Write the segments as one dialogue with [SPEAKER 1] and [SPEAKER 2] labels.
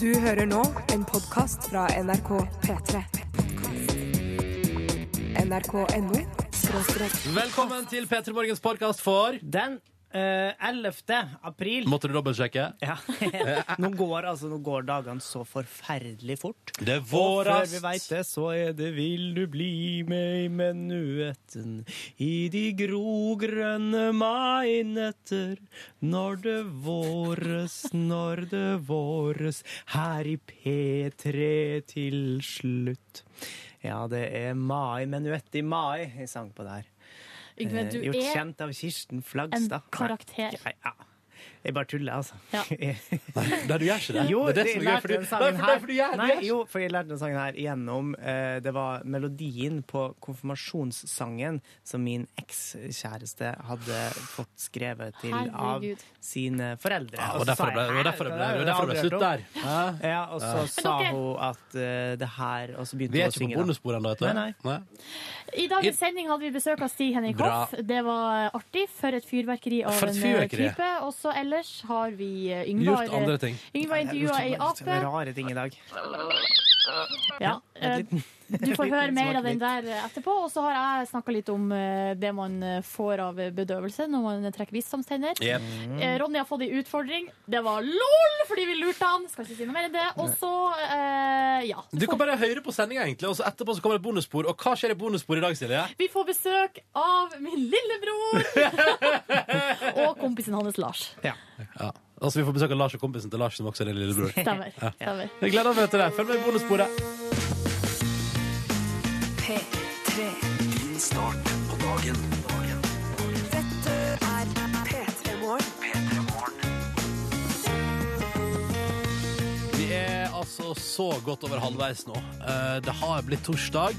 [SPEAKER 1] Du hører nå en podkast fra NRK P3. NRK.no skråstrek
[SPEAKER 2] Velkommen til P3 Morgens podkast for
[SPEAKER 3] Den eh, 11. april
[SPEAKER 2] Måtte du dobbeltsjekke?
[SPEAKER 3] ja. nå, går, altså, nå går dagene så forferdelig fort.
[SPEAKER 2] Det er
[SPEAKER 3] Og før
[SPEAKER 2] våras!
[SPEAKER 3] vi veit det, så er det 'Vil du bli med i menuetten' i de grogrønne mainetter. Når det våres, når det våres, her i P3 til slutt. Ja, det er mai, menuett i mai jeg sang på der.
[SPEAKER 4] Yngve,
[SPEAKER 3] Eh,
[SPEAKER 4] du
[SPEAKER 3] Gjort
[SPEAKER 4] er
[SPEAKER 3] kjent av Kirsten
[SPEAKER 4] en
[SPEAKER 3] Flagstad.
[SPEAKER 4] karakter.
[SPEAKER 3] Nei, ja. Jeg bare tuller, altså.
[SPEAKER 4] Ja.
[SPEAKER 2] Nei, du gjør ikke det.
[SPEAKER 3] Jo,
[SPEAKER 2] det er det som er
[SPEAKER 3] jeg
[SPEAKER 2] gøy,
[SPEAKER 3] lærte
[SPEAKER 2] for du-
[SPEAKER 3] den
[SPEAKER 2] Nei, for-
[SPEAKER 3] sangen her.
[SPEAKER 2] nei, for du gjør- du
[SPEAKER 3] Nei,
[SPEAKER 2] gjør-
[SPEAKER 3] jo, for jeg lærte den sangen her gjennom eh, Det var melodien på konfirmasjonssangen som min ekskjæreste hadde fått skrevet til av
[SPEAKER 4] Herregud.
[SPEAKER 3] sine foreldre.
[SPEAKER 2] Ja, og
[SPEAKER 3] Og så sa
[SPEAKER 2] derfor det
[SPEAKER 3] jeg,
[SPEAKER 2] ble, og derfor det ble,
[SPEAKER 3] "Hæ,
[SPEAKER 2] og
[SPEAKER 3] dette
[SPEAKER 2] derfor
[SPEAKER 3] har
[SPEAKER 2] det ble
[SPEAKER 3] jeg
[SPEAKER 2] slutt
[SPEAKER 3] aldri hørt om."
[SPEAKER 2] der. Hæ?
[SPEAKER 3] Ja, og så sa
[SPEAKER 4] dere-
[SPEAKER 3] hun at eh, det her Og så begynte
[SPEAKER 2] Vi er ikke
[SPEAKER 3] hun å
[SPEAKER 2] på
[SPEAKER 3] synge. da.
[SPEAKER 2] bondesporet ennå, vet du.
[SPEAKER 3] Nei,
[SPEAKER 4] I dagens sending hadde vi besøk av Stig Henrik
[SPEAKER 2] Bra.
[SPEAKER 4] Hoff. Det var artig. For et fyrverkeri av
[SPEAKER 2] For et
[SPEAKER 4] en eh,
[SPEAKER 2] fyrverkeri.
[SPEAKER 4] type. Og så ellers har vi eh, Yngvar
[SPEAKER 2] Gjort andre ting.
[SPEAKER 4] Yngvar intervjua ei ape.
[SPEAKER 3] Rare ting i dag.
[SPEAKER 4] Ja. eh, Du får høre
[SPEAKER 3] liten
[SPEAKER 4] mer av den
[SPEAKER 3] smakebit.
[SPEAKER 4] der eh, etterpå. Og så har jeg snakka litt om eh, det man eh, får av eh, bedøvelse når man trekker visdomstenner.
[SPEAKER 2] Jep.
[SPEAKER 4] Eh, Ronny har fått en utfordring. Det var LOL, fordi vi lurte han. Skal ikke si noe mer enn det. Og så, eh, ja.
[SPEAKER 2] Du kan bare høre på sendinga, egentlig, og så etterpå så kommer det et bonusspor. Og hva skjer i bonusspor i dag, Silje?
[SPEAKER 4] Vi får besøk av min lillebror og kompisen hans Lars.
[SPEAKER 2] Ja. Altså, vi får besøk av Lars og kompisen til Lars, som også er din lillebror.
[SPEAKER 4] Stemmer. Stemmer.
[SPEAKER 2] Jeg gleder meg til det. Følg med i bonussporet.
[SPEAKER 1] P3.
[SPEAKER 5] Din start på dagen.
[SPEAKER 1] Dette er P3 Morgen.
[SPEAKER 2] Vi er altså så godt over halvveis nå. Eh, Det har blitt torsdag,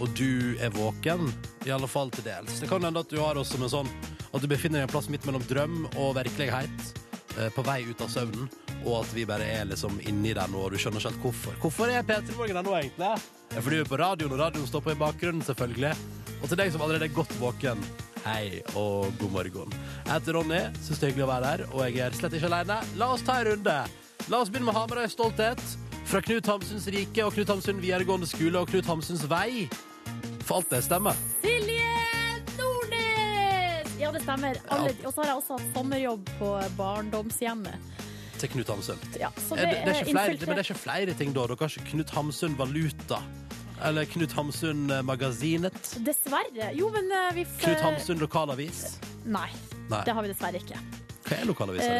[SPEAKER 2] og du er våken. I alle fall til dels. Det kan hende at du har oss som en sånn at du befinner deg en plass midt mellom drøm og virkelighet. eh, På vei ut av søvnen, og at vi bare er liksom inni der nå, og du skjønner ikke helt hvorfor. Hvorfor er P3 Morgen her nå, egentlig? Det er fordi vi er på radioen, og radioen står på i bakgrunnen, selvfølgelig. Og til deg som allerede er godt våken, hei og god morgen. Jeg heter Ronny, syns det er hyggelig å være her, og jeg er slett ikke aleine. La oss ta en runde. La oss begynne med Hamarøy stolthet. Fra Knut Hamsuns rike og Knut Hamsun videregående skole og Knut Hamsuns vei. For alt det stemmer.
[SPEAKER 4] Silje Nordnes! Ja, det stemmer. Alle, og så har jeg også hatt sommerjobb på barndomshjemmet.
[SPEAKER 2] Til Knut Hamsun.
[SPEAKER 4] Ja, så
[SPEAKER 2] Eh, Det,
[SPEAKER 4] det,
[SPEAKER 2] det, er ikke flere,
[SPEAKER 4] er
[SPEAKER 2] det, men det
[SPEAKER 4] infiltrert.
[SPEAKER 2] er ikke flere ting da. Dere har ikke Knut Hamsun Valuta. Eller Knut Hamsun eh, Magasinet.
[SPEAKER 4] Dessverre. Jo, men eh, vi får
[SPEAKER 2] Knut Hamsun lokalavis.
[SPEAKER 4] Nei,
[SPEAKER 2] Nei.
[SPEAKER 4] det har vi dessverre ikke.
[SPEAKER 2] Hva er lokalavisa di?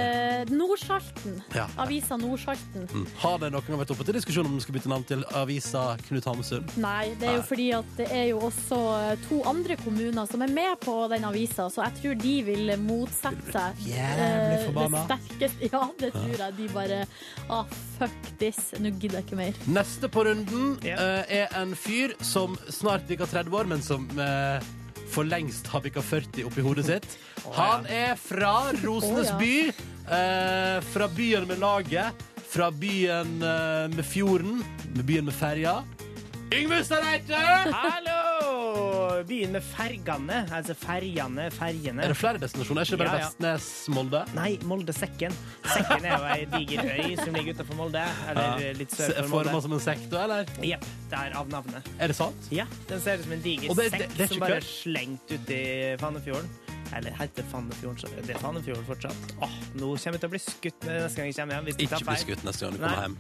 [SPEAKER 4] Eh, Nordsalten.
[SPEAKER 2] Ja.
[SPEAKER 4] Avisa Nordsalten.
[SPEAKER 2] Mm. Har det noen gang vært oppe til diskusjon om den skal bytte navn til avisa Knut Hamsun?
[SPEAKER 4] Nei, det er jo
[SPEAKER 2] Nei.
[SPEAKER 4] fordi at det er jo også eh, to andre kommuner som er med på den avisa, så jeg tror de vil motsette seg
[SPEAKER 2] Jævlig
[SPEAKER 4] eh,
[SPEAKER 2] forbanna.
[SPEAKER 4] det sterkeste. Ja, det tror jeg. De bare ah, fuck this, nå gidder jeg ikke mer.
[SPEAKER 2] Neste på runden
[SPEAKER 3] Ja.
[SPEAKER 2] eh, er en fyr som snart bikker 30 år, men som eh, for lengst har bikka 40 oppi hodet sitt. Han er fra Rosenes
[SPEAKER 4] Å, ja.
[SPEAKER 2] by. eh, fra byen med laget. Fra byen eh, med fjorden. Med byen med ferja. Yngve Stareite!
[SPEAKER 3] Hallo! Byen med fergene. Altså ferjene, ferjene.
[SPEAKER 2] Er det flere destinasjoner? Er ikke det bare
[SPEAKER 3] Ja, ja.
[SPEAKER 2] Vestnes, Molde?
[SPEAKER 3] Nei, Moldesekken. Sekken er jo ei diger øy som ligger utenfor Molde. Eller litt sør
[SPEAKER 2] Se-
[SPEAKER 3] for
[SPEAKER 2] Får man
[SPEAKER 3] Molde.
[SPEAKER 2] som en sekk, da? Eller?
[SPEAKER 3] Jepp, der av navnet.
[SPEAKER 2] Er det sant?
[SPEAKER 3] Ja, Den ser ut som en diger
[SPEAKER 2] Og det- det-
[SPEAKER 3] sekk
[SPEAKER 2] det er ikke
[SPEAKER 3] som bare
[SPEAKER 2] kødd.
[SPEAKER 3] er slengt uti Fannefjorden. Eller heter Fannefjorden så Det er Fannefjorden fortsatt. Åh, nå kommer jeg til å bli skutt neste gang jeg kommer hjem. Hvis jeg
[SPEAKER 2] Ikke
[SPEAKER 3] tar
[SPEAKER 2] bli
[SPEAKER 3] feil.
[SPEAKER 2] skutt neste gang du
[SPEAKER 3] Nei.
[SPEAKER 2] kommer hjem.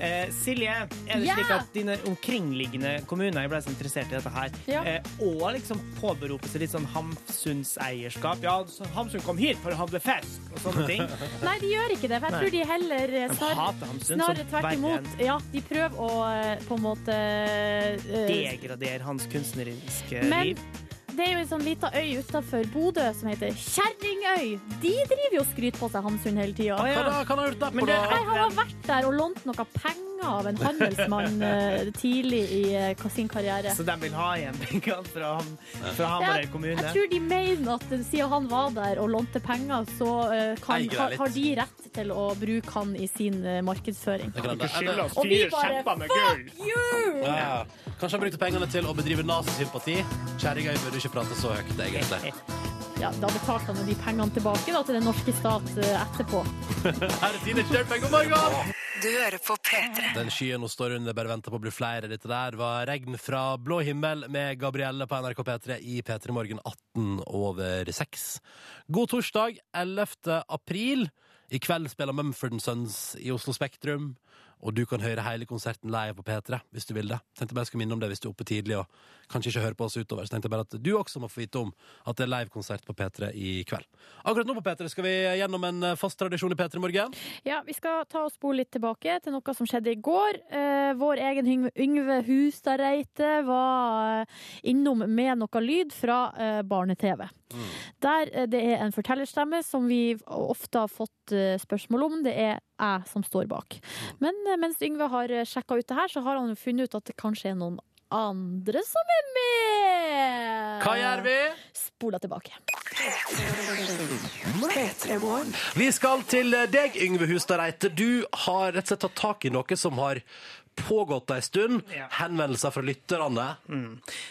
[SPEAKER 3] Eh, Silje, er det
[SPEAKER 4] Ja!
[SPEAKER 3] slik at dine omkringliggende kommuner ble så interessert i dette her,
[SPEAKER 4] Ja.
[SPEAKER 3] eh, og liksom påberoper seg litt sånn Hamsuns-eierskap? Ja, så Hamsun kom hit for å handle fisk, og sånne ting.
[SPEAKER 4] Nei, de gjør ikke det, for jeg tror de heller eh,
[SPEAKER 3] De
[SPEAKER 4] snar,
[SPEAKER 3] hater Hamsun som
[SPEAKER 4] snarere tvert
[SPEAKER 3] verre
[SPEAKER 4] imot. Ja, de prøver å eh, på en måte eh,
[SPEAKER 3] Degrader hans kunstneriske
[SPEAKER 4] Men
[SPEAKER 3] liv.
[SPEAKER 4] det er jo en sånn lita øy utafor Bodø som heter Kjerringøy. De driver jo og skryter på seg Hamsun hele tida.
[SPEAKER 3] Å, ja.
[SPEAKER 2] Hva da? Hva har han gjort der
[SPEAKER 3] Men
[SPEAKER 2] på,
[SPEAKER 3] det-
[SPEAKER 2] da?
[SPEAKER 4] Nei, han har vært der og lånt noe penger av en handelsmann eh, tidlig i eh, sin karriere.
[SPEAKER 3] Så de vil ha igjen pengene fra, ham, fra Hamarøy
[SPEAKER 4] Jeg,
[SPEAKER 3] kommune.
[SPEAKER 4] jeg tror de mener at eh, siden han var der og lånte penger, så eh, kan,
[SPEAKER 2] Eier jeg
[SPEAKER 4] har,
[SPEAKER 2] litt.
[SPEAKER 4] har de rett til å bruke han i sin eh, markedsføring.
[SPEAKER 2] Det kan hende.
[SPEAKER 3] altså.
[SPEAKER 4] Og vi bare fuck you!
[SPEAKER 2] Ja. Kanskje han brukte pengene til å bedrive nazisympati. Kjerringa burde ikke prate så høyt, egentlig.
[SPEAKER 6] ja, da betalte han jo de pengene tilbake da, til den norske stat eh, etterpå.
[SPEAKER 2] Her er Tine Kjørpeng, god morgen!
[SPEAKER 7] Du hører på P3.
[SPEAKER 2] Den skyen hun står under, bare venter på å bli flere. Dette der var regn fra blå himmel med Gabrielle på NRK P3 i P3 Morgen 18 over 6. God torsdag 11. april. I kveld spiller Mumford Sons i Oslo Spektrum. Og du kan høre hele konserten live på P3 hvis du vil det. Tenkte bare jeg skulle minne om det hvis du er oppe tidlig og kanskje ikke hører på oss utover. Så tenkte jeg bare at du også må få vite om at det er livekonsert på P3 i kveld. Akkurat nå på P3 skal vi gjennom en eh, fast tradisjon i P3 Morgen.
[SPEAKER 6] Ja, Vi skal ta og spole litt tilbake til noe som skjedde i går. Eh, vår egen Yng- Yngve Hustadreite var eh, innom med noe lyd fra eh, barne-TV. Der eh, det er en fortellerstemme som vi ofte har fått eh, spørsmål om. Det er jeg som står bak. Men eh, mens Yngve har sjekka ut det her, så har han funnet ut at det kanskje er noen andre som er med!
[SPEAKER 2] Hva gjør vi?
[SPEAKER 6] Spola tilbake.
[SPEAKER 7] P3-morgen.
[SPEAKER 2] Vi skal til eh, deg, Yngve Hustad Reite. Du har rett og slett tatt tak i noe som har pågått ei stund.
[SPEAKER 3] Ja.
[SPEAKER 2] Henvendelser fra lytterne.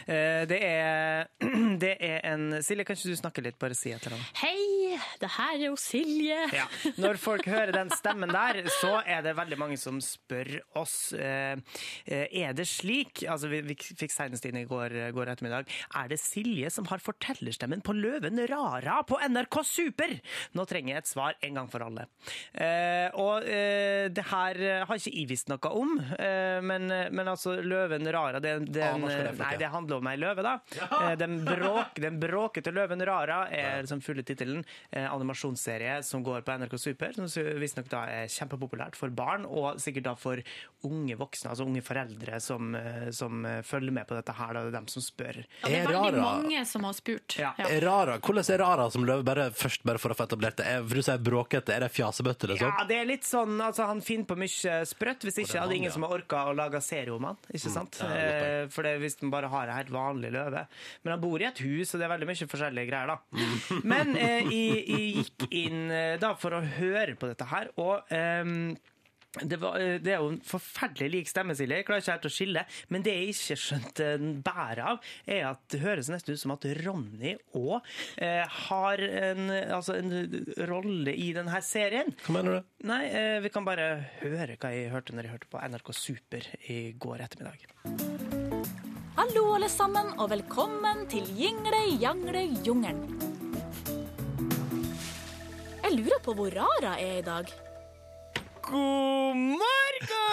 [SPEAKER 3] Eh, Det er, det er en Silje, kan ikke du snakke litt? Bare si et eller annet.
[SPEAKER 6] Hei, det her er jo Silje.
[SPEAKER 3] Når folk hører den stemmen der, så er det veldig mange som spør oss eh, eh, Er det slik Altså, vi, vi fikk senest inn i går, går ettermiddag. Er det Silje som har fortellerstemmen på Løven Rara på NRK Super? Nå trenger jeg et svar en gang for alle. Eh, og eh, det her har ikke jeg visst noe om, eh, men, men altså Løven Rara det, det,
[SPEAKER 2] Aner ikke hva det er for
[SPEAKER 3] Nei,
[SPEAKER 2] noe.
[SPEAKER 3] det det handler om ei løve, da. Eh, Den, bråk, den bråkete løven Rara er liksom fulle tittelen. Eh, Animasjonsserie som går på NRK Super, som visstnok da er kjempepopulært for barn, og sikkert da for unge voksne, altså unge foreldre som, eh, som eh, følger med på dette her, da. Det er dem som spør.
[SPEAKER 4] Ja, det er
[SPEAKER 2] Er
[SPEAKER 4] veldig
[SPEAKER 2] Rara-
[SPEAKER 4] mange som har spurt.
[SPEAKER 3] Ja.
[SPEAKER 2] Er Rara, hvordan er Rara som løve? Bare, først bare for å få etablert det. Er, vil du si bråkete? Er det fjasebøtte, liksom?
[SPEAKER 3] Ja, det er litt sånn, altså Han finner på mye sprøtt. Hvis ikke
[SPEAKER 2] er
[SPEAKER 3] hadde
[SPEAKER 2] han,
[SPEAKER 3] ingen
[SPEAKER 2] ja. Mm.
[SPEAKER 3] som har orka å lage serie om han. Ikke sant?
[SPEAKER 2] det er godt poeng.
[SPEAKER 3] Eh, for det, hvis man bare har en helt vanlig løve. Men han bor i et hus, og det er veldig mye forskjellige greier,
[SPEAKER 2] Mm.
[SPEAKER 3] da. Men eh, jeg, jeg gikk inn eh, da for å høre på dette her, og ehm, det, var, eh, det er jo en forferdelig lik stemme, Silje. Jeg klarer ikke helt å skille. Men det jeg ikke skjønte bæret av, er at det høres nesten ut som at Ronny òg eh, har en, altså en rolle i denne serien.
[SPEAKER 2] Hva mener du?
[SPEAKER 3] Nei, eh, vi kan bare høre hva jeg hørte når jeg hørte på NRK Super i går ettermiddag.
[SPEAKER 8] Hallo alle sammen, og velkommen til Jingle jangle jungelen. Jeg lurer på hvor Rara er i dag.
[SPEAKER 3] God morgen!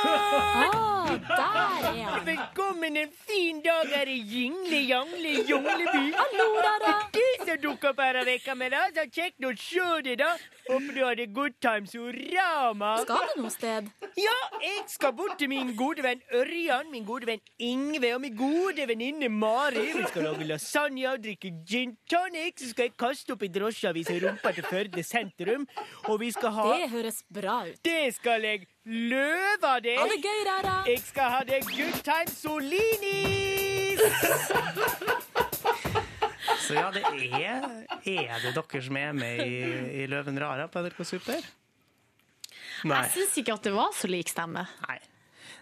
[SPEAKER 8] Ah, der er han.
[SPEAKER 3] Velkommen en fin dag her i Jingle Jangle Jungleby.
[SPEAKER 8] Hallo, Rara.
[SPEAKER 3] Du som dukket opp her av vekka med da, så kjekt å se deg da. Håper du hadde good times orama.
[SPEAKER 8] Skal du noe sted?
[SPEAKER 3] Ja, jeg skal bort til min gode venn Ørjan, min gode venn Ingve og min gode venninne Mari. Vi skal lage lasagne og drikke gin tonic. Så skal jeg kaste opp i drosjeavisa rumpa til Førde sentrum. Og vi skal ha
[SPEAKER 8] Det høres bra ut.
[SPEAKER 3] Det skal jeg løve av
[SPEAKER 8] Ha det
[SPEAKER 3] deg!
[SPEAKER 8] gøy, Rara.
[SPEAKER 3] Jeg skal ha det good time solinis! Så ja, det er, er det dere som er med i, i Løven Rara på NRK Super? Nei.
[SPEAKER 4] Jeg syns ikke at det var så lik stemme.
[SPEAKER 3] Nei.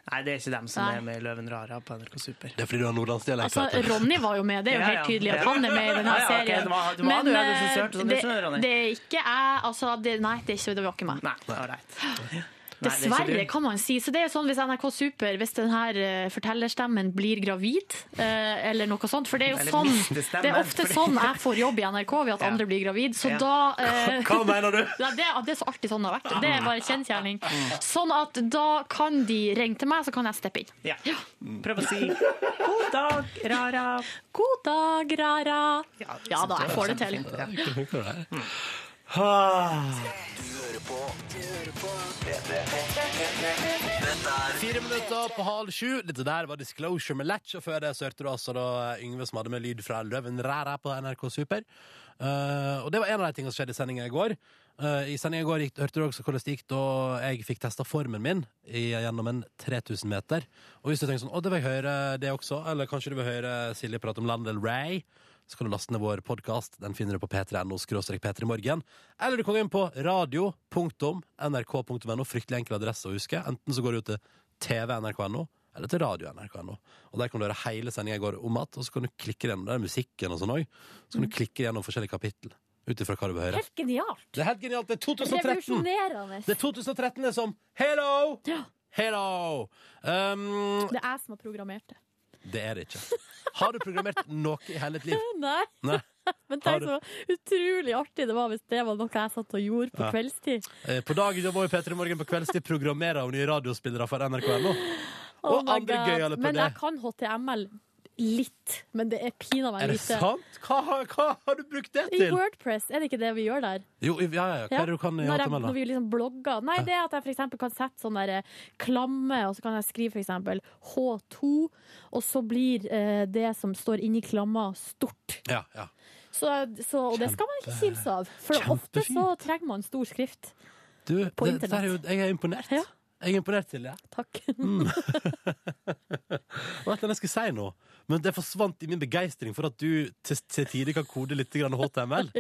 [SPEAKER 3] Nei, det er ikke dem som
[SPEAKER 4] Nei.
[SPEAKER 3] er med i Løven Rara på NRK Super.
[SPEAKER 2] Det er fordi du har nordlandsdialekt.
[SPEAKER 4] Altså,
[SPEAKER 2] vet du.
[SPEAKER 4] Ronny var jo med, det er jo
[SPEAKER 3] Ja, ja.
[SPEAKER 4] helt tydelig at
[SPEAKER 3] Ja.
[SPEAKER 4] han er med i
[SPEAKER 3] Ja,
[SPEAKER 4] denne
[SPEAKER 3] ja, ok, det
[SPEAKER 4] serien. eh,
[SPEAKER 3] var- det var du, ja, du synes- hørte sånn ut,
[SPEAKER 4] det,
[SPEAKER 3] skjønner du, Ronny?
[SPEAKER 4] det er ikke jeg altså, det, Nei, det, er ikke, det var ikke meg.
[SPEAKER 3] Nei, ålreit.
[SPEAKER 4] Dessverre, kan man si. Så det er jo sånn hvis NRK Super, hvis den her eh, fortellerstemmen blir gravid, eh, eller noe sånt For det er jo
[SPEAKER 3] Eller
[SPEAKER 4] sånn
[SPEAKER 3] mister stemmen,
[SPEAKER 4] Det er ofte
[SPEAKER 3] fordi-
[SPEAKER 4] sånn jeg får jobb i NRK, ved at
[SPEAKER 3] Ja.
[SPEAKER 4] andre blir gravid. Så
[SPEAKER 3] Ja.
[SPEAKER 4] da eh,
[SPEAKER 2] Hva mener du?
[SPEAKER 4] Nei, det, det er så alltid sånn det har vært. Det er bare
[SPEAKER 3] Mm.
[SPEAKER 4] kjensgjerning. Sånn at da kan de ringe til meg, så kan jeg steppe inn.
[SPEAKER 3] Ja. Prøv å si 'god dag, Rara'.
[SPEAKER 4] God dag, Rara.
[SPEAKER 3] Ja,
[SPEAKER 4] Ja da, jeg får det til.
[SPEAKER 3] Ja.
[SPEAKER 2] Fire minutter på halv sju. Dette der var Disclosure med Latch, og før det så hørte du altså da Yngve som hadde med lyd fra Løven Ræra på NRK Super. Eh, og det var en av de tingene som skjedde i sendinga i går. Eh, I sendinga i går gikk, hørte du også hvordan det gikk da jeg fikk testa formen min i, gjennom en 3000 meter. Og hvis du tenker sånn, å, det vil jeg høre det også, eller kanskje du vil høre Silje prate om Landel Ray, så kan du laste ned vår podkast. Den finner du på p3.no p3morgen. Eller du kan gå inn på radio.nrk.no. Fryktelig enkel adresse å huske. Enten så går du til tv.nrk.no, eller til radio.nrk.no. Og der kan du høre hele sendinga i går om igjen, og så kan du klikke gjennom der er musikken og sånn òg. Så kan du klikke gjennom forskjellige kapittel. Ut ifra hva du vil høre.
[SPEAKER 6] Helt genialt.
[SPEAKER 2] Det er helt genialt. Det er 2013!
[SPEAKER 6] Revolusjonerende.
[SPEAKER 2] Det er 2013 det er som Hello!
[SPEAKER 6] Ja.
[SPEAKER 2] Hello! Um,
[SPEAKER 6] Det er jeg som har programmert det.
[SPEAKER 2] det er det ikke. Har du programmert noe i hele ditt liv?
[SPEAKER 6] Nei,
[SPEAKER 2] Nei.
[SPEAKER 6] men
[SPEAKER 2] Har
[SPEAKER 6] tenk
[SPEAKER 2] du-
[SPEAKER 6] så utrolig artig det var hvis det var noe jeg satt og gjorde på
[SPEAKER 2] Ja.
[SPEAKER 6] kveldstid.
[SPEAKER 2] Eh, På dagen jobber vi i P3 Morgen på kveldstid programmerer og nye radiospillere for NRK.no.
[SPEAKER 6] Oh
[SPEAKER 2] Og
[SPEAKER 6] my
[SPEAKER 2] andre
[SPEAKER 6] God.
[SPEAKER 2] gøyale på
[SPEAKER 6] Men
[SPEAKER 2] det.
[SPEAKER 6] jeg kan HTML litt, men det er pinadø
[SPEAKER 2] Er det
[SPEAKER 6] lite.
[SPEAKER 2] sant? Hva, har- hva har du brukt det
[SPEAKER 6] I
[SPEAKER 2] til?
[SPEAKER 6] Wordpress, er det ikke det vi gjør der?
[SPEAKER 2] Jo, ja, ja, ja. Hva er det du kan i
[SPEAKER 6] når, jeg,
[SPEAKER 2] HTML,
[SPEAKER 6] når
[SPEAKER 2] da?
[SPEAKER 6] vi liksom blogger. Nei, det er at jeg for eksempel kan sette sånn der eh, klamme, og så kan jeg skrive for eksempel H2, og så blir eh, det som står inni klamma, stort.
[SPEAKER 2] Ja, ja.
[SPEAKER 6] Så, så, og det skal man ikke kimse av, for ofte så
[SPEAKER 2] kjempefint.
[SPEAKER 6] trenger man stor skrift.
[SPEAKER 2] Du, det,
[SPEAKER 6] På
[SPEAKER 2] det er jo, jeg er imponert.
[SPEAKER 6] Ja.
[SPEAKER 2] Jeg er imponert til det.
[SPEAKER 6] Takk.
[SPEAKER 2] Og vet du hva jeg skulle si nå, men det forsvant i min begeistring for at du til, til tider kan kode litt grann HTML.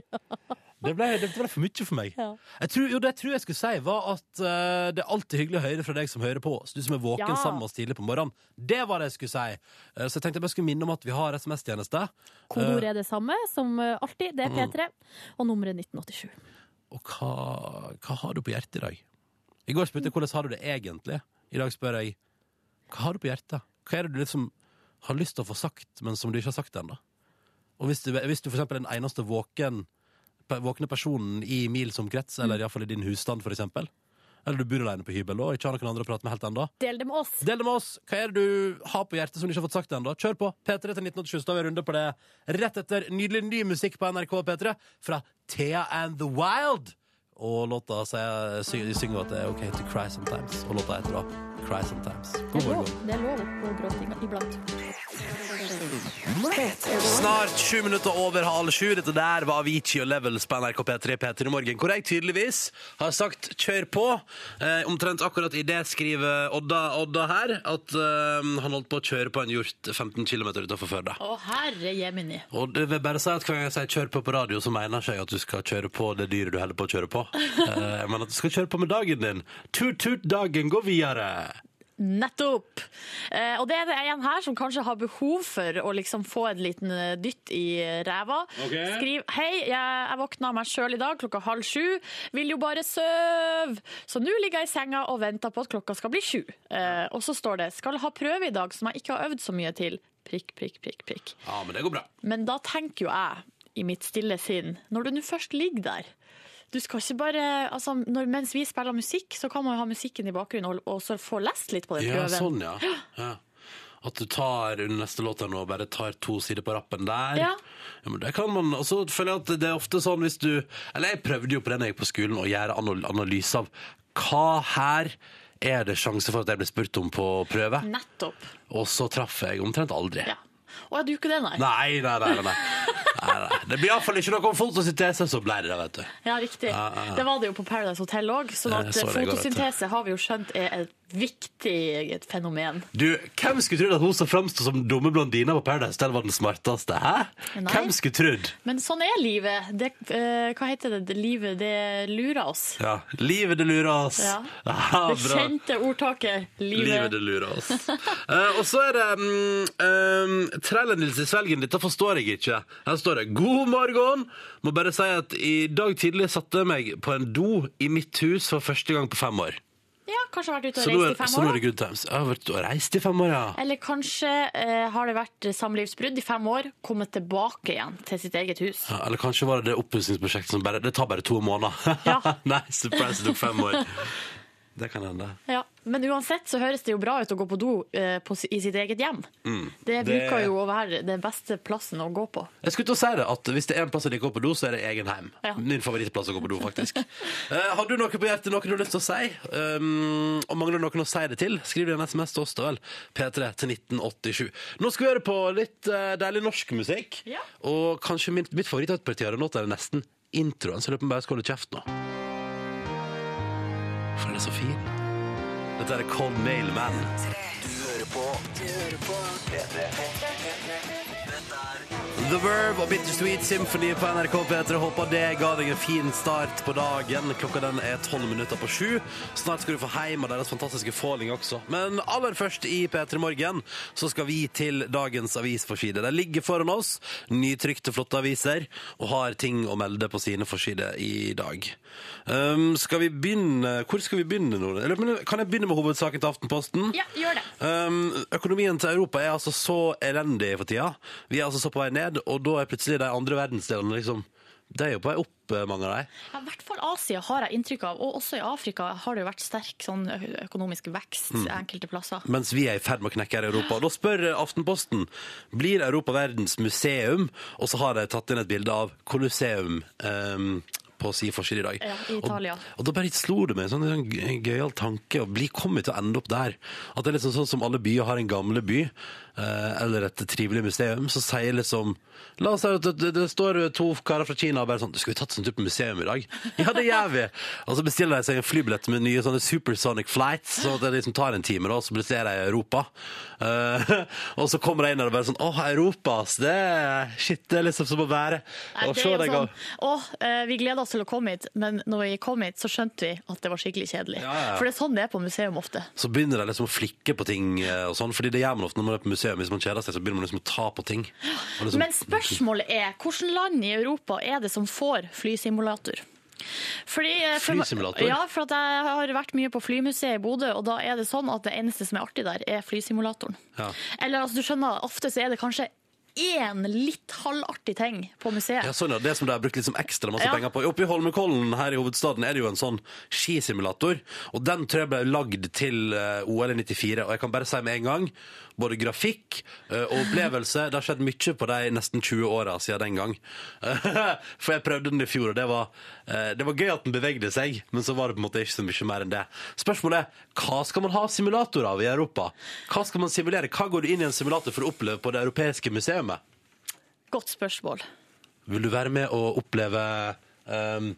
[SPEAKER 2] Det ble, det ble for mye for meg.
[SPEAKER 6] Ja.
[SPEAKER 2] Jeg tror, jo, det jeg tror jeg skulle si, var at eh, det er alltid hyggelig å høre fra deg som hører på oss. Du som er våken
[SPEAKER 6] Ja.
[SPEAKER 2] sammen med oss tidlig på morgenen. Det var det jeg skulle si. Eh, så jeg tenkte jeg bare skulle minne om at vi har SMS-tjeneste.
[SPEAKER 6] Kodeordet er det samme som eh, alltid. Det er
[SPEAKER 2] Mm.
[SPEAKER 6] P3, og nummeret er 1987.
[SPEAKER 2] Og hva, hva har du på hjertet i dag? I går spurte jeg hvordan har du det egentlig. I dag spør jeg hva har du på hjertet? Hva er det du liksom har lyst til å få sagt, men som du ikke har sagt ennå? Og hvis du, hvis du for eksempel er den eneste våken, pe- våkne personen i mils omkrets, eller iallfall i din husstand, for eksempel, eller du bor alene på hybel og ikke har noen andre å prate med helt ennå,
[SPEAKER 6] Del det med oss!
[SPEAKER 2] Del det med oss. Hva er det du har på hjertet som du ikke har fått sagt ennå? Kjør på. P3 til 1987. Så tar vi en runde på det rett etter nydelig ny musikk på NRK P3 fra Thea and The Wild. Og låta sier- sy- de synger jo at det er OK to cry sometimes. Og låta heter da Cry Sometimes.
[SPEAKER 6] Det
[SPEAKER 2] God
[SPEAKER 6] er
[SPEAKER 2] morgen.
[SPEAKER 6] lov, det er lov på gråtinga iblant.
[SPEAKER 2] Snart sju minutter over halv sju. Dette der var Avicii og Levels på NRK P3 P3 i morgen, hvor jeg tydeligvis har sagt 'kjør på'. Eh, omtrent akkurat i det skriver Odda, Odda her at eh, han holdt på å kjøre på en hjort 15 km utenfor Førde.
[SPEAKER 4] Å, herre jemini.
[SPEAKER 2] Og det vil bare si at hver gang jeg sier 'kjør på' på radio, så mener ikke jeg at du skal kjøre på det dyret du holder på å kjøre på. Eh, men at du skal kjøre på med dagen din. Tut-tut-dagen går videre.
[SPEAKER 4] Nettopp! Eh, og det er det en her som kanskje har behov for å liksom få en liten eh, dytt i ræva. Skriv 'Hei, jeg, jeg våkna av meg sjøl i dag klokka halv sju. Vil jo bare søv'. Så nå ligger jeg i senga og venter på at klokka skal bli sju. Eh, og så står det 'Skal ha prøve i dag som jeg ikke har øvd så mye til'. Prikk, prikk, prikk, prikk.
[SPEAKER 2] Ja, men det går bra.
[SPEAKER 4] Men da tenker jo jeg i mitt stille sinn, når du nå først ligger der du skal ikke bare, altså når, Mens vi spiller musikk, så kan man jo ha musikken i bakgrunnen og, og så få lest litt på den
[SPEAKER 2] Ja,
[SPEAKER 4] prøven.
[SPEAKER 2] sånn, ja. ja. At du tar under neste låt her nå og bare tar to sider på rappen der.
[SPEAKER 4] Ja.
[SPEAKER 2] Ja, men det kan man, og så føler jeg at det er ofte sånn hvis du Eller jeg prøvde jo på den jeg gikk på skolen å gjøre anal- analyse av hva her er det sjanse for at jeg blir spurt om på prøve,
[SPEAKER 4] Nettopp.
[SPEAKER 2] og så traff jeg omtrent aldri.
[SPEAKER 4] Ja. Å, jeg duker den, nei.
[SPEAKER 2] Nei, nei, nei, nei, nei. nei, nei. Det blir iallfall ikke noe om fotosyntese, så ble det det, vet du.
[SPEAKER 4] Ja, riktig.
[SPEAKER 2] Ja, ja, ja.
[SPEAKER 4] Det var det jo på Paradise Hotel òg, sånn
[SPEAKER 2] Jeg
[SPEAKER 4] at
[SPEAKER 2] så det i går, vet du.
[SPEAKER 4] fotosyntese har vi jo skjønt er et viktig fenomen.
[SPEAKER 2] Du, Hvem skulle trodd at hun som framsto som dumme blondina på Paradise, den var den smarteste? Hæ?
[SPEAKER 4] Nei.
[SPEAKER 2] Hvem skulle trodd?
[SPEAKER 4] Men sånn er livet. Det, eh, hva heter det? det? Livet, det lurer oss.
[SPEAKER 2] Ja, livet det lurer oss.
[SPEAKER 4] Ja.
[SPEAKER 2] Aha,
[SPEAKER 4] Det
[SPEAKER 2] bra.
[SPEAKER 4] kjente ordtaket 'livet
[SPEAKER 2] Livet det lurer oss. Eh, og så er det um, Trellendils i svelgen. Dette forstår jeg ikke. Her står det 'God morgen'. Må bare si at i dag tidlig satte jeg meg på en do i mitt hus for første gang på fem år.
[SPEAKER 4] Ja, kanskje har vært ute og
[SPEAKER 2] Så nå,
[SPEAKER 4] reist
[SPEAKER 2] er,
[SPEAKER 4] i fem
[SPEAKER 2] så nå er
[SPEAKER 4] år. da.
[SPEAKER 2] det good times. Jeg har vært og reist i fem år, ja.
[SPEAKER 4] Eller kanskje eh, har det vært samlivsbrudd i fem år, kommet tilbake igjen til sitt eget hus.
[SPEAKER 2] Ja, Eller kanskje var det det oppussingsprosjektet som bare Det tar bare to måneder.
[SPEAKER 4] Ja.
[SPEAKER 2] Nei, surprise, det tok fem år. Det kan hende.
[SPEAKER 4] Ja. Men uansett så høres det jo bra ut å gå på do eh, på, si- i sitt eget hjem. Det
[SPEAKER 2] Mm. Det-
[SPEAKER 4] bruker jo å være den beste plassen å gå på.
[SPEAKER 2] Jeg skulle til å si det, at Hvis det er en plass jeg liker å gå på do, så er det egen heim.
[SPEAKER 4] Ja.
[SPEAKER 2] Min favorittplass å gå på do, faktisk. Eh, har du noe på hjertet, noe du har lyst til å si? Um, og mangler du noen å si det til, skriv det i en SMS til oss, da vel. P3 til 1987. Nå skal vi høre på litt eh, deilig norsk musikk.
[SPEAKER 4] Ja.
[SPEAKER 2] Og kanskje min, mitt favorittparti av den låta er nesten introen, så jeg lurer på om jeg bare skal holde kjeft nå. For den er så fin. Dette er Cold Mail Man.
[SPEAKER 9] Du hører på. Du hører på. P3.
[SPEAKER 2] The Verve og Bittersweet Symphony på NRK P3. Håper det ga deg en fin start på dagen. Klokka den er tolv minutter på sju. Snart skal du få heim av deres fantastiske Falling også. Men aller først i P3 Morgen så skal vi til dagens avisforside. De ligger foran oss, nytrykte, flotte aviser, og har ting å melde på sine forsider i dag. Um, skal vi begynne Hvor skal vi begynne nå? Eller, men Kan jeg begynne med hovedsaken til Aftenposten?
[SPEAKER 4] Ja, gjør det.
[SPEAKER 2] Um, økonomien til Europa er altså så elendig for tida. Vi er altså så på vei ned, og da er plutselig de andre verdensdelene liksom De er jo på vei opp, eh, mange av de.
[SPEAKER 4] Ja, I hvert fall Asia har jeg inntrykk av, og også i Afrika har det jo vært sterk sånn ø- økonomisk vekst
[SPEAKER 2] Mm.
[SPEAKER 4] enkelte plasser.
[SPEAKER 2] Mens vi er i ferd med å knekke her i Europa. Da spør eh, Aftenposten blir Europa verdens museum, og så har de tatt inn et bilde av Colosseum. Um, på si forside i dag.
[SPEAKER 4] Ja, i Italia.
[SPEAKER 2] Og, og da bare slo det meg en sånn, en sånn gøyal tanke å bli kommet til å ende opp der. At det er liksom sånn som alle byer har en gamle by, eh, eller et trivelig museum, så sier liksom La oss si at det, det står to karer fra Kina og bare sånn Du, skal vi tatt en tur på museum i dag? Ja, det gjør vi! Og så bestiller de seg en flybillett med nye sånne supersonic flights, sånn at det liksom tar en time, da, og så blir de i Europa. Eh, og så kommer de inn og bare sånn Åh, Europa, ass! Det, er- shit, det er liksom som å være
[SPEAKER 4] Nei,
[SPEAKER 2] Og
[SPEAKER 4] det
[SPEAKER 2] se
[SPEAKER 4] er jo
[SPEAKER 2] deg
[SPEAKER 4] sånn,
[SPEAKER 2] gå.
[SPEAKER 4] «Å, eh, vi gleda oss til å komme hit, men når vi kom hit, så skjønte vi at det var skikkelig kjedelig.
[SPEAKER 2] Ja, ja, ja.
[SPEAKER 4] For det er sånn det er på museum ofte.
[SPEAKER 2] så begynner de liksom å flikke på ting eh, og sånn, fordi det gjør man ofte når man er på museum. Hvis man kjeder seg, så begynner man liksom å ta på ting. Og liksom,
[SPEAKER 4] Men spørsmålet er hvilket land i Europa er det som får flysimulator? Fordi, eh, for-
[SPEAKER 2] Flysimulator?
[SPEAKER 4] Ja, for at jeg har vært mye på flymuseet i Bodø, og da er det sånn at det eneste som er artig der, er flysimulatoren.
[SPEAKER 2] Ja.
[SPEAKER 4] Eller altså, du skjønner, ofte så er det kanskje én litt halvartig ting på museet.
[SPEAKER 2] Ja, sånn, ja. Det som de har brukt liksom ekstra masse
[SPEAKER 4] Ja.
[SPEAKER 2] penger på. Oppe i Holmenkollen her i hovedstaden er det jo en sånn skisimulator. Og den tror jeg ble lagd til eh, OL i 94. Og jeg kan bare si med en gang, både grafikk eh, og opplevelse Det har skjedd mye på de nesten 20 åra siden den gang. For jeg prøvde den i fjor, og det var, eh, det var gøy at den bevegde seg, men så var det på en måte ikke så mye mer enn det. Spørsmålet er hva skal man ha simulatorer av i Europa? Hva skal man simulere? Hva går du inn i en simulator for å oppleve på det europeiske museet?
[SPEAKER 4] Godt spørsmål.
[SPEAKER 2] Vil du være med og oppleve um,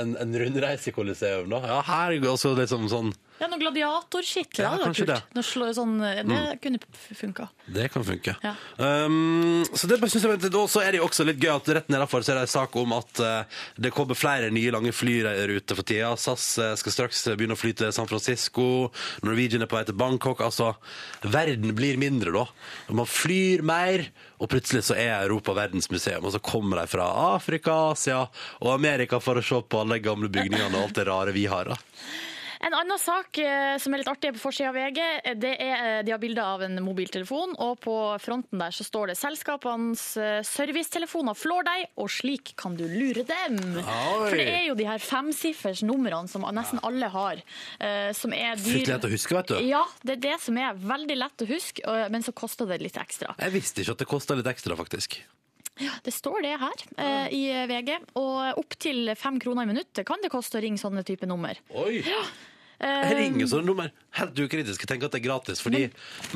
[SPEAKER 2] en, en rundreis i Colosseum, da? Ja, her går også liksom sånn
[SPEAKER 4] Ja, noe gladiatorskitt.
[SPEAKER 2] Ja,
[SPEAKER 4] Ja, det var
[SPEAKER 2] kanskje
[SPEAKER 4] kult.
[SPEAKER 2] det. Mm.
[SPEAKER 4] Noe slå- sånn, det kunne funka.
[SPEAKER 2] Det kan funke.
[SPEAKER 4] Ja.
[SPEAKER 2] Um, så det bare synes jeg Og så er det jo også litt gøy at rett nedenfor så er det en sak om at eh, det kommer flere nye lange flyruter for tida. SAS eh, skal straks begynne å fly til San Francisco. Norwegian er på vei til Bangkok. Altså, verden blir mindre da. Man flyr mer, og plutselig så er Europa verdensmuseum. Og så kommer de fra Afrika, Asia og Amerika for å se på alle de gamle bygningene og alt det rare vi har. da.
[SPEAKER 4] En annen sak eh, som er litt artig på forsida av VG, eh, det er eh, de har bilde av en mobiltelefon, og på fronten der så står det 'Selskapenes eh, servicetelefoner flår deg, og slik kan du lure dem'.
[SPEAKER 2] Oi.
[SPEAKER 4] For det er jo de her femsiffers numrene som nesten alle har, eh, som er dyr.
[SPEAKER 2] Fryktelig lett å huske, vet du.
[SPEAKER 4] Ja, det er det som er veldig lett å huske, eh, men så koster det litt ekstra.
[SPEAKER 2] Jeg visste ikke at det kosta litt ekstra, faktisk.
[SPEAKER 4] Det står det her eh, i VG, og opptil fem kroner i minuttet kan det koste å ringe sånne type nummer.
[SPEAKER 2] Oi! Jeg ringer sånne nummer helt ukritisk. Jeg tenker at det er gratis. Fordi,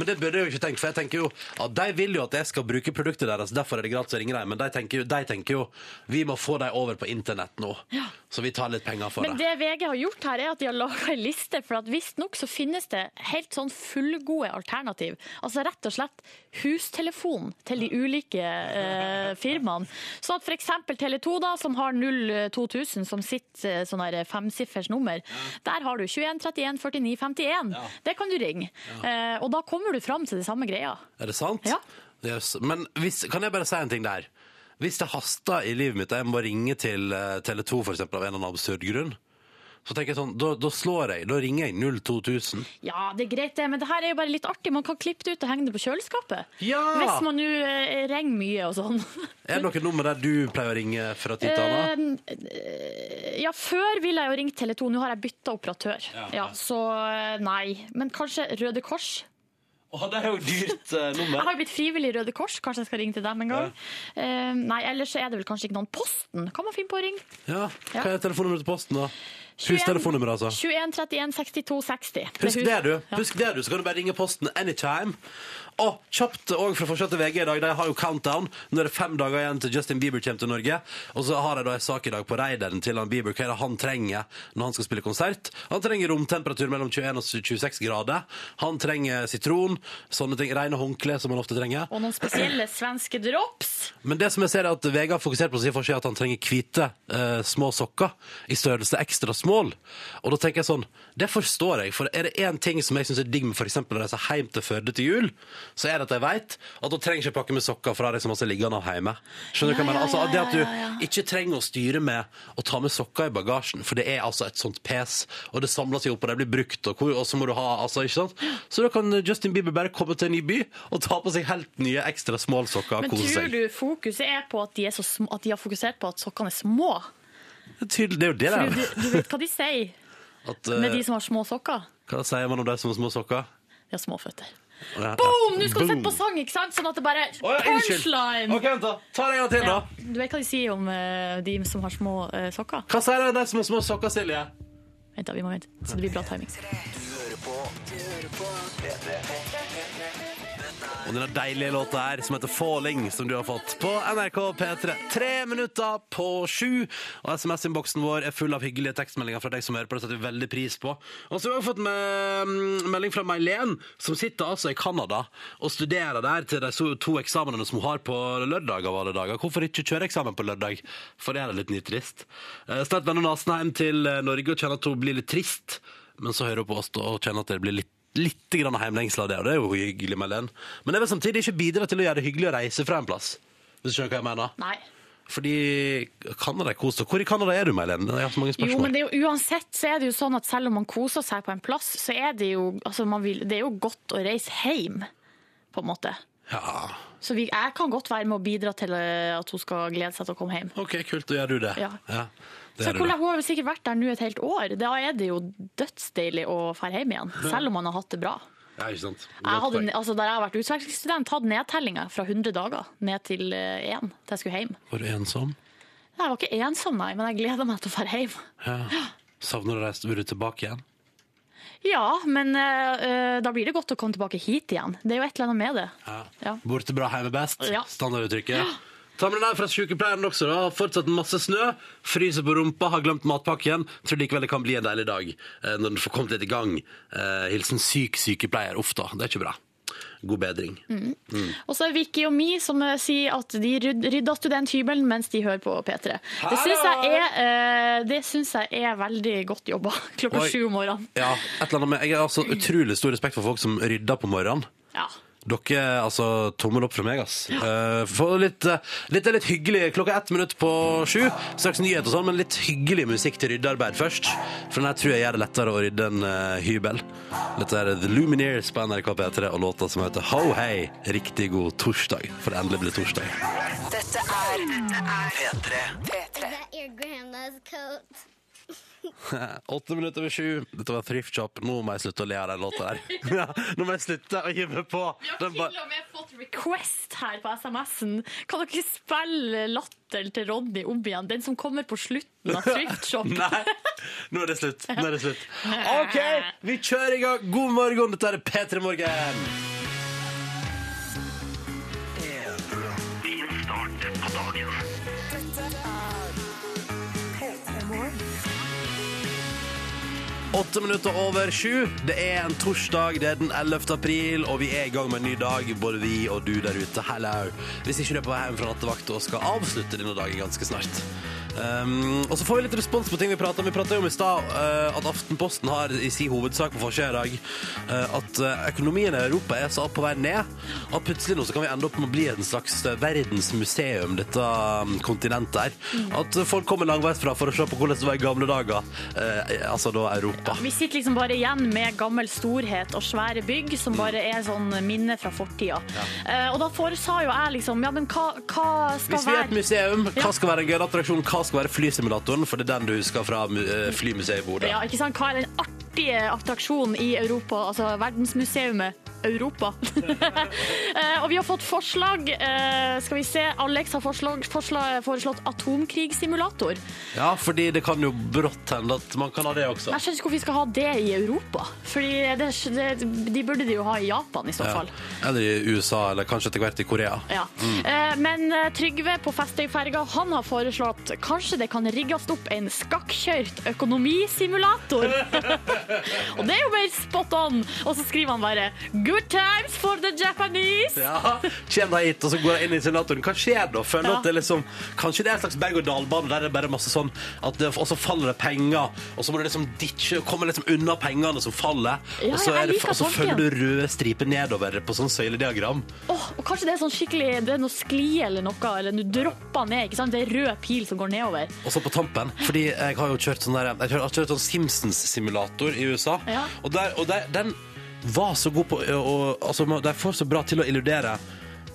[SPEAKER 2] men det burde jeg jo ikke tenke, for jeg tenker jo at de vil jo at jeg skal bruke produktet deres. Derfor er det gratis å ringe dem. Men de tenker, jo- de tenker jo vi må få dem over på internett nå. Så vi tar litt penger for
[SPEAKER 4] Men
[SPEAKER 2] det.
[SPEAKER 4] det VG har gjort her, er at de har laga ei liste, for at visstnok så finnes det helt sånn fullgode alternativ. Altså rett og slett hustelefon til de ulike eh, firmaene. Sånn at f.eks. Tele2, da, som har 02000 som sitt eh, sånn her femsiffers nummer, der har du 21 31 49 51. Det kan du ringe. Eh, og da kommer du fram til det samme greia.
[SPEAKER 2] Er det sant?
[SPEAKER 4] Ja.
[SPEAKER 2] Yes. Men hvis, kan jeg bare si en ting der? Hvis det haster i livet mitt, og jeg må ringe til eh, Tele 2 for eksempel, av en eller annen absurd grunn, så tenker jeg sånn, da, da slår jeg, da ringer jeg 02000.
[SPEAKER 4] Ja, det er greit det, men det her er jo bare litt artig. Man kan klippe det ut og henge det på kjøleskapet.
[SPEAKER 2] Ja!
[SPEAKER 4] Hvis man nå eh, ringer mye og sånn.
[SPEAKER 2] Er det noe nummer der du pleier å ringe fra tid til annen?
[SPEAKER 4] Eh, ja, før ville jeg jo ringt Tele2. Nå har jeg bytta operatør. Ja, så eh, nei. Men kanskje Røde Kors?
[SPEAKER 2] Å, det er jo et dyrt eh,
[SPEAKER 4] Jeg
[SPEAKER 2] nummer.
[SPEAKER 4] har jo blitt frivillig i Røde Kors, kanskje jeg skal ringe til dem en gang. Eh, nei, ellers så er det vel kanskje ikke noen Posten kan man finne på å ringe.
[SPEAKER 2] Ja, Hva er telefonnummeret til Posten, da? Husk telefonnummeret, altså.
[SPEAKER 4] 21 31 62 60.
[SPEAKER 2] Husk det, du. Husk det du, Så kan du bare ringe posten anytime. Og kjapt òg fra forsida til VG i dag. De har jo countdown. Nå er det fem dager igjen til Justin Bieber kommer til Norge. Og så har de da en sak i dag på raideren til han Bieber. Hva er det han trenger når han skal spille konsert? Han trenger romtemperatur mellom 21 og 26 grader. Han trenger sitron, sånne ting. Rene håndklær, som han ofte trenger.
[SPEAKER 4] Og noen spesielle svenske drops.
[SPEAKER 2] Men det som jeg ser er at VG har fokusert på å si for seg at han trenger hvite eh, små sokker i størrelse ekstra small. Og da tenker jeg sånn, det forstår jeg, for er det én ting som jeg syns er digg med f.eks. å reise hjem til Førde til jul, så er det at jeg veit at da trenger jeg ikke pakke med sokker fra de som også ligger av hjemme. Skjønner du hva jeg mener? Altså, det at du ikke trenger å styre med å ta med sokker i bagasjen, for det er altså et sånt pes, og det samler seg opp, og de blir brukt, og, hvor, og så må du ha altså, ikke sant? Så da kan Justin Bieber bare komme til en ny by og ta på seg helt nye ekstra small sokker
[SPEAKER 4] Men
[SPEAKER 2] og kose
[SPEAKER 4] tror
[SPEAKER 2] seg.
[SPEAKER 4] du fokuset er på at de, er så sm at de har fokusert på at sokkene er små?
[SPEAKER 2] Det er tydelig- det er jo det det
[SPEAKER 4] For
[SPEAKER 2] er.
[SPEAKER 4] du, du vet hva de sier
[SPEAKER 2] At,
[SPEAKER 4] med
[SPEAKER 2] eh,
[SPEAKER 4] de som har små sokker?
[SPEAKER 2] Hva sier man om de som har små sokker?
[SPEAKER 4] De har små føtter.
[SPEAKER 2] Ja, ja.
[SPEAKER 4] Boom! Nå skal du sette
[SPEAKER 2] Boom.
[SPEAKER 4] på sang, ikke sant? Sånn at det bare
[SPEAKER 2] Å, ja, unnskyld.
[SPEAKER 4] Punchline!
[SPEAKER 2] Ok, vent da. Ta det en gang til,
[SPEAKER 4] Ja,
[SPEAKER 2] da.
[SPEAKER 4] du vet hva de sier om eh, de som har små eh, sokker?
[SPEAKER 2] Hva sier de som har små sokker, Silje?
[SPEAKER 4] Vent, da, vi må vente. Så det blir bra timing.
[SPEAKER 2] Og denne deilige låta her som heter Falling, som du har fått på NRK P3. Tre minutter på sju. Og SMS-innboksen vår er full av hyggelige tekstmeldinger fra deg som hører på. Det setter vi veldig pris på. Og så har vi fått med mm, melding fra Mailen, som sitter altså i Canada og studerer der til de so- to eksamenene som hun har på lørdag av alle dager. Hvorfor ikke kjøre eksamen på lørdag? For det er litt nitrist. Eh, Snart vender Nasen hjem til eh, Norge og kjenner at hun blir litt trist. Men så hører hun på oss da og kjenner at det blir litt litt grann heimlengsel av det, og det er jo hyggelig med den. Men det vil samtidig ikke bidra til å gjøre det hyggelig å reise fra en plass. Hvis du skjønner hva jeg mener.
[SPEAKER 4] Nei.
[SPEAKER 2] Fordi Canada er kos. og Hvor i Canada er du, Meilen? Jeg har så mange
[SPEAKER 4] Jo, men
[SPEAKER 2] spørsmål.
[SPEAKER 4] det er jo, uansett så er det jo sånn at selv om man koser seg på en plass, så er det jo, altså, man vil, det er jo godt å reise hjem, på en måte.
[SPEAKER 2] Ja,
[SPEAKER 4] Så vi, jeg kan godt være med å bidra til eh, at hun skal glede seg til å komme hjem.
[SPEAKER 2] OK, kult. Da gjør du det.
[SPEAKER 4] Ja.
[SPEAKER 2] det
[SPEAKER 4] Så
[SPEAKER 2] gjør du
[SPEAKER 4] hvordan,
[SPEAKER 2] da.
[SPEAKER 4] Hun har jo sikkert vært der nå et helt år. Da er det jo dødsdeilig å dra hjem igjen, selv om man har hatt det bra.
[SPEAKER 2] Ja, ikke sant.
[SPEAKER 4] Jeg
[SPEAKER 2] Godt
[SPEAKER 4] hadde,
[SPEAKER 2] poeng.
[SPEAKER 4] altså, der jeg har vært utvekslingsstudent, hadde nedtellinga fra 100 dager ned til eh, én til jeg skulle hjem.
[SPEAKER 2] Var du ensom?
[SPEAKER 4] Jeg var ikke ensom, nei, men jeg gleda meg til å dra hjem.
[SPEAKER 2] Ja. Savner du å reise? Vil du tilbake igjen?
[SPEAKER 4] Ja, men eh, eh, da blir det godt å komme tilbake hit igjen. Det er jo et eller annet med det.
[SPEAKER 2] Ja.
[SPEAKER 4] Ja.
[SPEAKER 2] Borte bra, hjemme best.
[SPEAKER 4] Ja.
[SPEAKER 2] Standarduttrykket. Ta med den her fra sykepleieren også. da. Har Fortsatt masse snø. Fryser på rumpa, har glemt matpakken. Tror likevel det kan bli en deilig dag eh, når den får kommet litt i gang. Eh, hilsen syk sykepleier. Uff da, det er ikke bra. God bedring.
[SPEAKER 4] Og så er Vicky og Mi som eh, sier at de rydd- rydda studenthybelen mens de hører på P3. Det syns jeg, er, eh, det syns jeg er veldig godt jobba klokka
[SPEAKER 2] Oi.
[SPEAKER 4] sju om morgenen.
[SPEAKER 2] Ja, et eller annet med Jeg har altså utrolig stor respekt for folk som rydder på morgenen.
[SPEAKER 4] Ja.
[SPEAKER 2] Dere, altså, tommel opp fra meg, ass. Eh, få litt, eh, litt, det er litt hyggelig klokka ett minutt på sju. Straks nyhet og sånn, men litt hyggelig musikk til ryddearbeid først. For den her tror jeg gjør det lettere å rydde en eh, hybel. Dette er The Lumineers på NRK P3 og låta som heter Ho Hei. Riktig god torsdag, for det endelig blir torsdag.
[SPEAKER 7] Dette er
[SPEAKER 9] P3.
[SPEAKER 7] P3.
[SPEAKER 2] Eh, Åtte minutter over sju. Dette var Thrift Shop. Nå må jeg slutte å le av den låta der. Nå må jeg slutte å hive på. Den ba-
[SPEAKER 4] og med fått request her på SMS-en. Kan dere spille latter til Ronny om igjen? Den som kommer på slutten av Thrift Shop.
[SPEAKER 2] Nei, nå er det slutt. Nå er det slutt. OK, vi kjører i gang. God morgen, dette er P3 Morgen. Åtte minutter over sju. Det er en torsdag, det er den 11. april, og vi er i gang med en ny dag, både vi og du der ute. Hello. Hvis ikke du er på vei hjem fra nattevakt og skal avslutte denne dagen ganske snart. Um, og så får vi litt respons på ting vi prater om. Vi pratet jo om i stad eh, at Aftenposten har i sin hovedsak på forsida i dag eh, at eh, økonomien i Europa er så på vei ned at plutselig nå så kan vi ende opp med å bli en slags eh, verdensmuseum, dette um, kontinentet her.
[SPEAKER 4] Mm.
[SPEAKER 2] At eh, folk kommer langveisfra for å se på hvordan det var i gamle dager, eh, altså da Europa.
[SPEAKER 4] Vi sitter liksom bare igjen med gammel storhet og svære bygg som bare er sånn minne fra fortida. Eh, og da foresa jo jeg liksom Ja, men hva, hva skal
[SPEAKER 2] Hvis vi er et
[SPEAKER 4] være
[SPEAKER 2] museum, hva
[SPEAKER 4] Ja.
[SPEAKER 2] skal være en gøy attraksjon? Hva skal være flysimulatoren? For det er den du husker fra eh, flymuseet i Bodø.
[SPEAKER 4] ja, ikke sant? Hva er den artige attraksjonen i Europa, altså verdensmuseet? Europa. Eh, og vi har fått forslag. eh, Skal vi se, Alex har forslag, forslag, foreslått atomkrigssimulator.
[SPEAKER 2] Ja, fordi det kan jo brått hende at man kan ha det også.
[SPEAKER 4] Men Jeg skjønner ikke hvorfor vi skal ha det i Europa. Fordi det, det, De burde de jo ha i Japan i så fall.
[SPEAKER 2] Eller i USA, eller kanskje etter hvert i Korea.
[SPEAKER 4] Ja. Eh, Men eh, Trygve på Festøyferga han har foreslått kanskje det kan rigges opp en skakkjørt økonomisimulator. og det er jo mer spot on. Og så skriver han bare 'Good times for the Japanese'.
[SPEAKER 2] Ja, Kjem deg hit, og så går jeg inn i simulatoren. Hva skjer da? Føler
[SPEAKER 4] Ja.
[SPEAKER 2] at det liksom, kanskje det er en slags berg-og-dal-bane der det er bare masse sånn at det, Og så faller det penger, og så må du liksom ditche komme liksom unna pengene som faller.
[SPEAKER 4] Ja,
[SPEAKER 2] og så,
[SPEAKER 4] ja, jeg
[SPEAKER 2] er det,
[SPEAKER 4] liker
[SPEAKER 2] og så
[SPEAKER 4] tanken.
[SPEAKER 2] følger du røde striper nedover på sånn søylediagram.
[SPEAKER 4] Åh, og kanskje det er sånn skikkelig Det er noe skli eller noe, eller du dropper ned. ikke sant? Det er rød pil som går nedover.
[SPEAKER 2] Og så på tampen, fordi jeg har jo kjørt sånn der Jeg har kjørt sånn Simpsons-simulator i USA,
[SPEAKER 4] Ja.
[SPEAKER 2] og, der, og der, den var så god på å- å- Altså, man- de får så bra til å illudere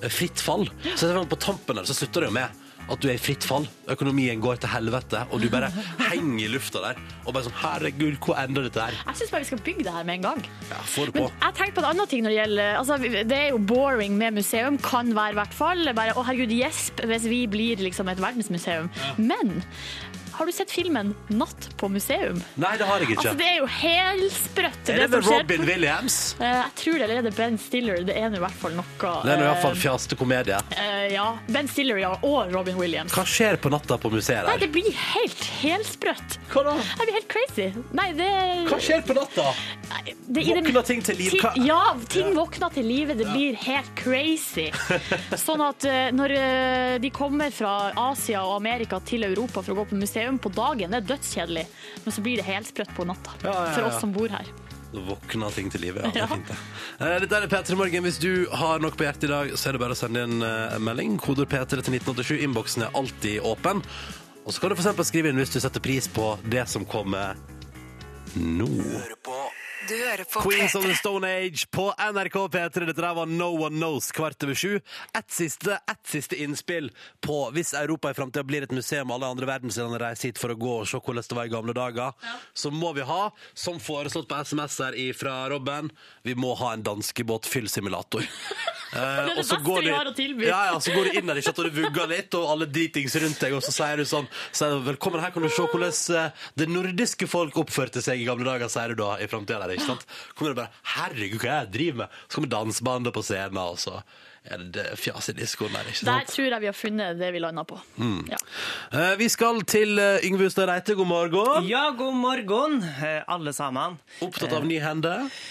[SPEAKER 2] eh, fritt fall. Så det var på tampen der, så slutter det jo med at du er i fritt fall. Økonomien går til helvete, og du bare henger i lufta der. Og bare sånn Herregud, hvor ender dette her?
[SPEAKER 4] Jeg syns bare vi skal bygge det her med en gang.
[SPEAKER 2] Ja, får det
[SPEAKER 4] Men
[SPEAKER 2] på.
[SPEAKER 4] jeg tenkte på en annen ting når det gjelder altså, Det er jo boring med museum, kan være i hvert fall. Bare, å herregud, gjesp hvis vi blir liksom et verdensmuseum. Men har du sett filmen 'Natt på museum'?
[SPEAKER 2] Nei, det har jeg ikke.
[SPEAKER 4] Altså, det er jo helsprøtt,
[SPEAKER 2] er det
[SPEAKER 4] det, som
[SPEAKER 2] med
[SPEAKER 4] skjer.
[SPEAKER 2] Robin Williams?
[SPEAKER 4] Eh, Jeg tror det, eller er det Ben Stiller? Det ene er i hvert fall noe.
[SPEAKER 2] Det er nå i hvert fall
[SPEAKER 4] eh,
[SPEAKER 2] fjaste komedie.
[SPEAKER 4] eh, ja, Ben Stiller ja, og Robin Williams.
[SPEAKER 2] Hva skjer på natta på museet der?
[SPEAKER 4] Nei, det blir helt helsprøtt.
[SPEAKER 2] Hva da?
[SPEAKER 4] Jeg blir helt crazy. Nei, det
[SPEAKER 2] Hva skjer på natta?
[SPEAKER 4] Det, i det-
[SPEAKER 2] Våkner ting til liv?
[SPEAKER 4] Ti-
[SPEAKER 2] Hva-
[SPEAKER 4] Ja, ting våkner til livet. Det blir helt crazy. Sånn at eh, når eh, de kommer fra Asia og Amerika til Europa for å gå på museum på dagen, det er dødskjedelig, men så blir det helsprøtt på natta.
[SPEAKER 2] Ja, ja, ja.
[SPEAKER 4] For oss som bor her.
[SPEAKER 2] Da våkner ting til livet, ja. Det er fint, det. Eh, Dette er P3 Morgen. Hvis du har noe på hjertet i dag, så er det bare å sende inn eh, en melding. Koder P3 til 1987. Innboksen er alltid åpen. Og så kan du for eksempel skrive inn hvis du setter pris på det som kommer nå.
[SPEAKER 7] Du hører på
[SPEAKER 2] Queens of
[SPEAKER 7] P3.
[SPEAKER 2] the Stone Age på NRK P3. Dette der var No One Knows kvart over sju. Ett siste, ett siste innspill på hvis Europa i framtida blir et museum og alle andre verdensdelene reiser hit for å gå og se hvordan det var i gamle dager, så må vi ha, som foreslått på SMS her fra Robben, vi må ha en danskebåtfyllsimulator. Eh, det
[SPEAKER 4] det beste vi har å tilby.
[SPEAKER 2] Ja, ja, så går du inn der, ikke sant, og du vugger litt, og alle dritings rundt deg, og så sier du sånn sier du, Velkommen, her kan du se hvordan eh, det nordiske folk oppførte seg i gamle dager, sier du da, i framtida der, ikke sant? Kommer du bare Herregud, hva er det jeg driver med? Så kommer dansebandet på scenen, og så er det det fjas i diskoen der, ikke
[SPEAKER 4] Der
[SPEAKER 2] sant?
[SPEAKER 4] tror jeg vi har funnet det vi landa på. Ja.
[SPEAKER 2] Eh, vi skal til eh, Yngve Hustad Reite, god morgen.
[SPEAKER 3] Ja, god morgen, eh, alle sammen.
[SPEAKER 2] Opptatt av nye hender.
[SPEAKER 3] Eh,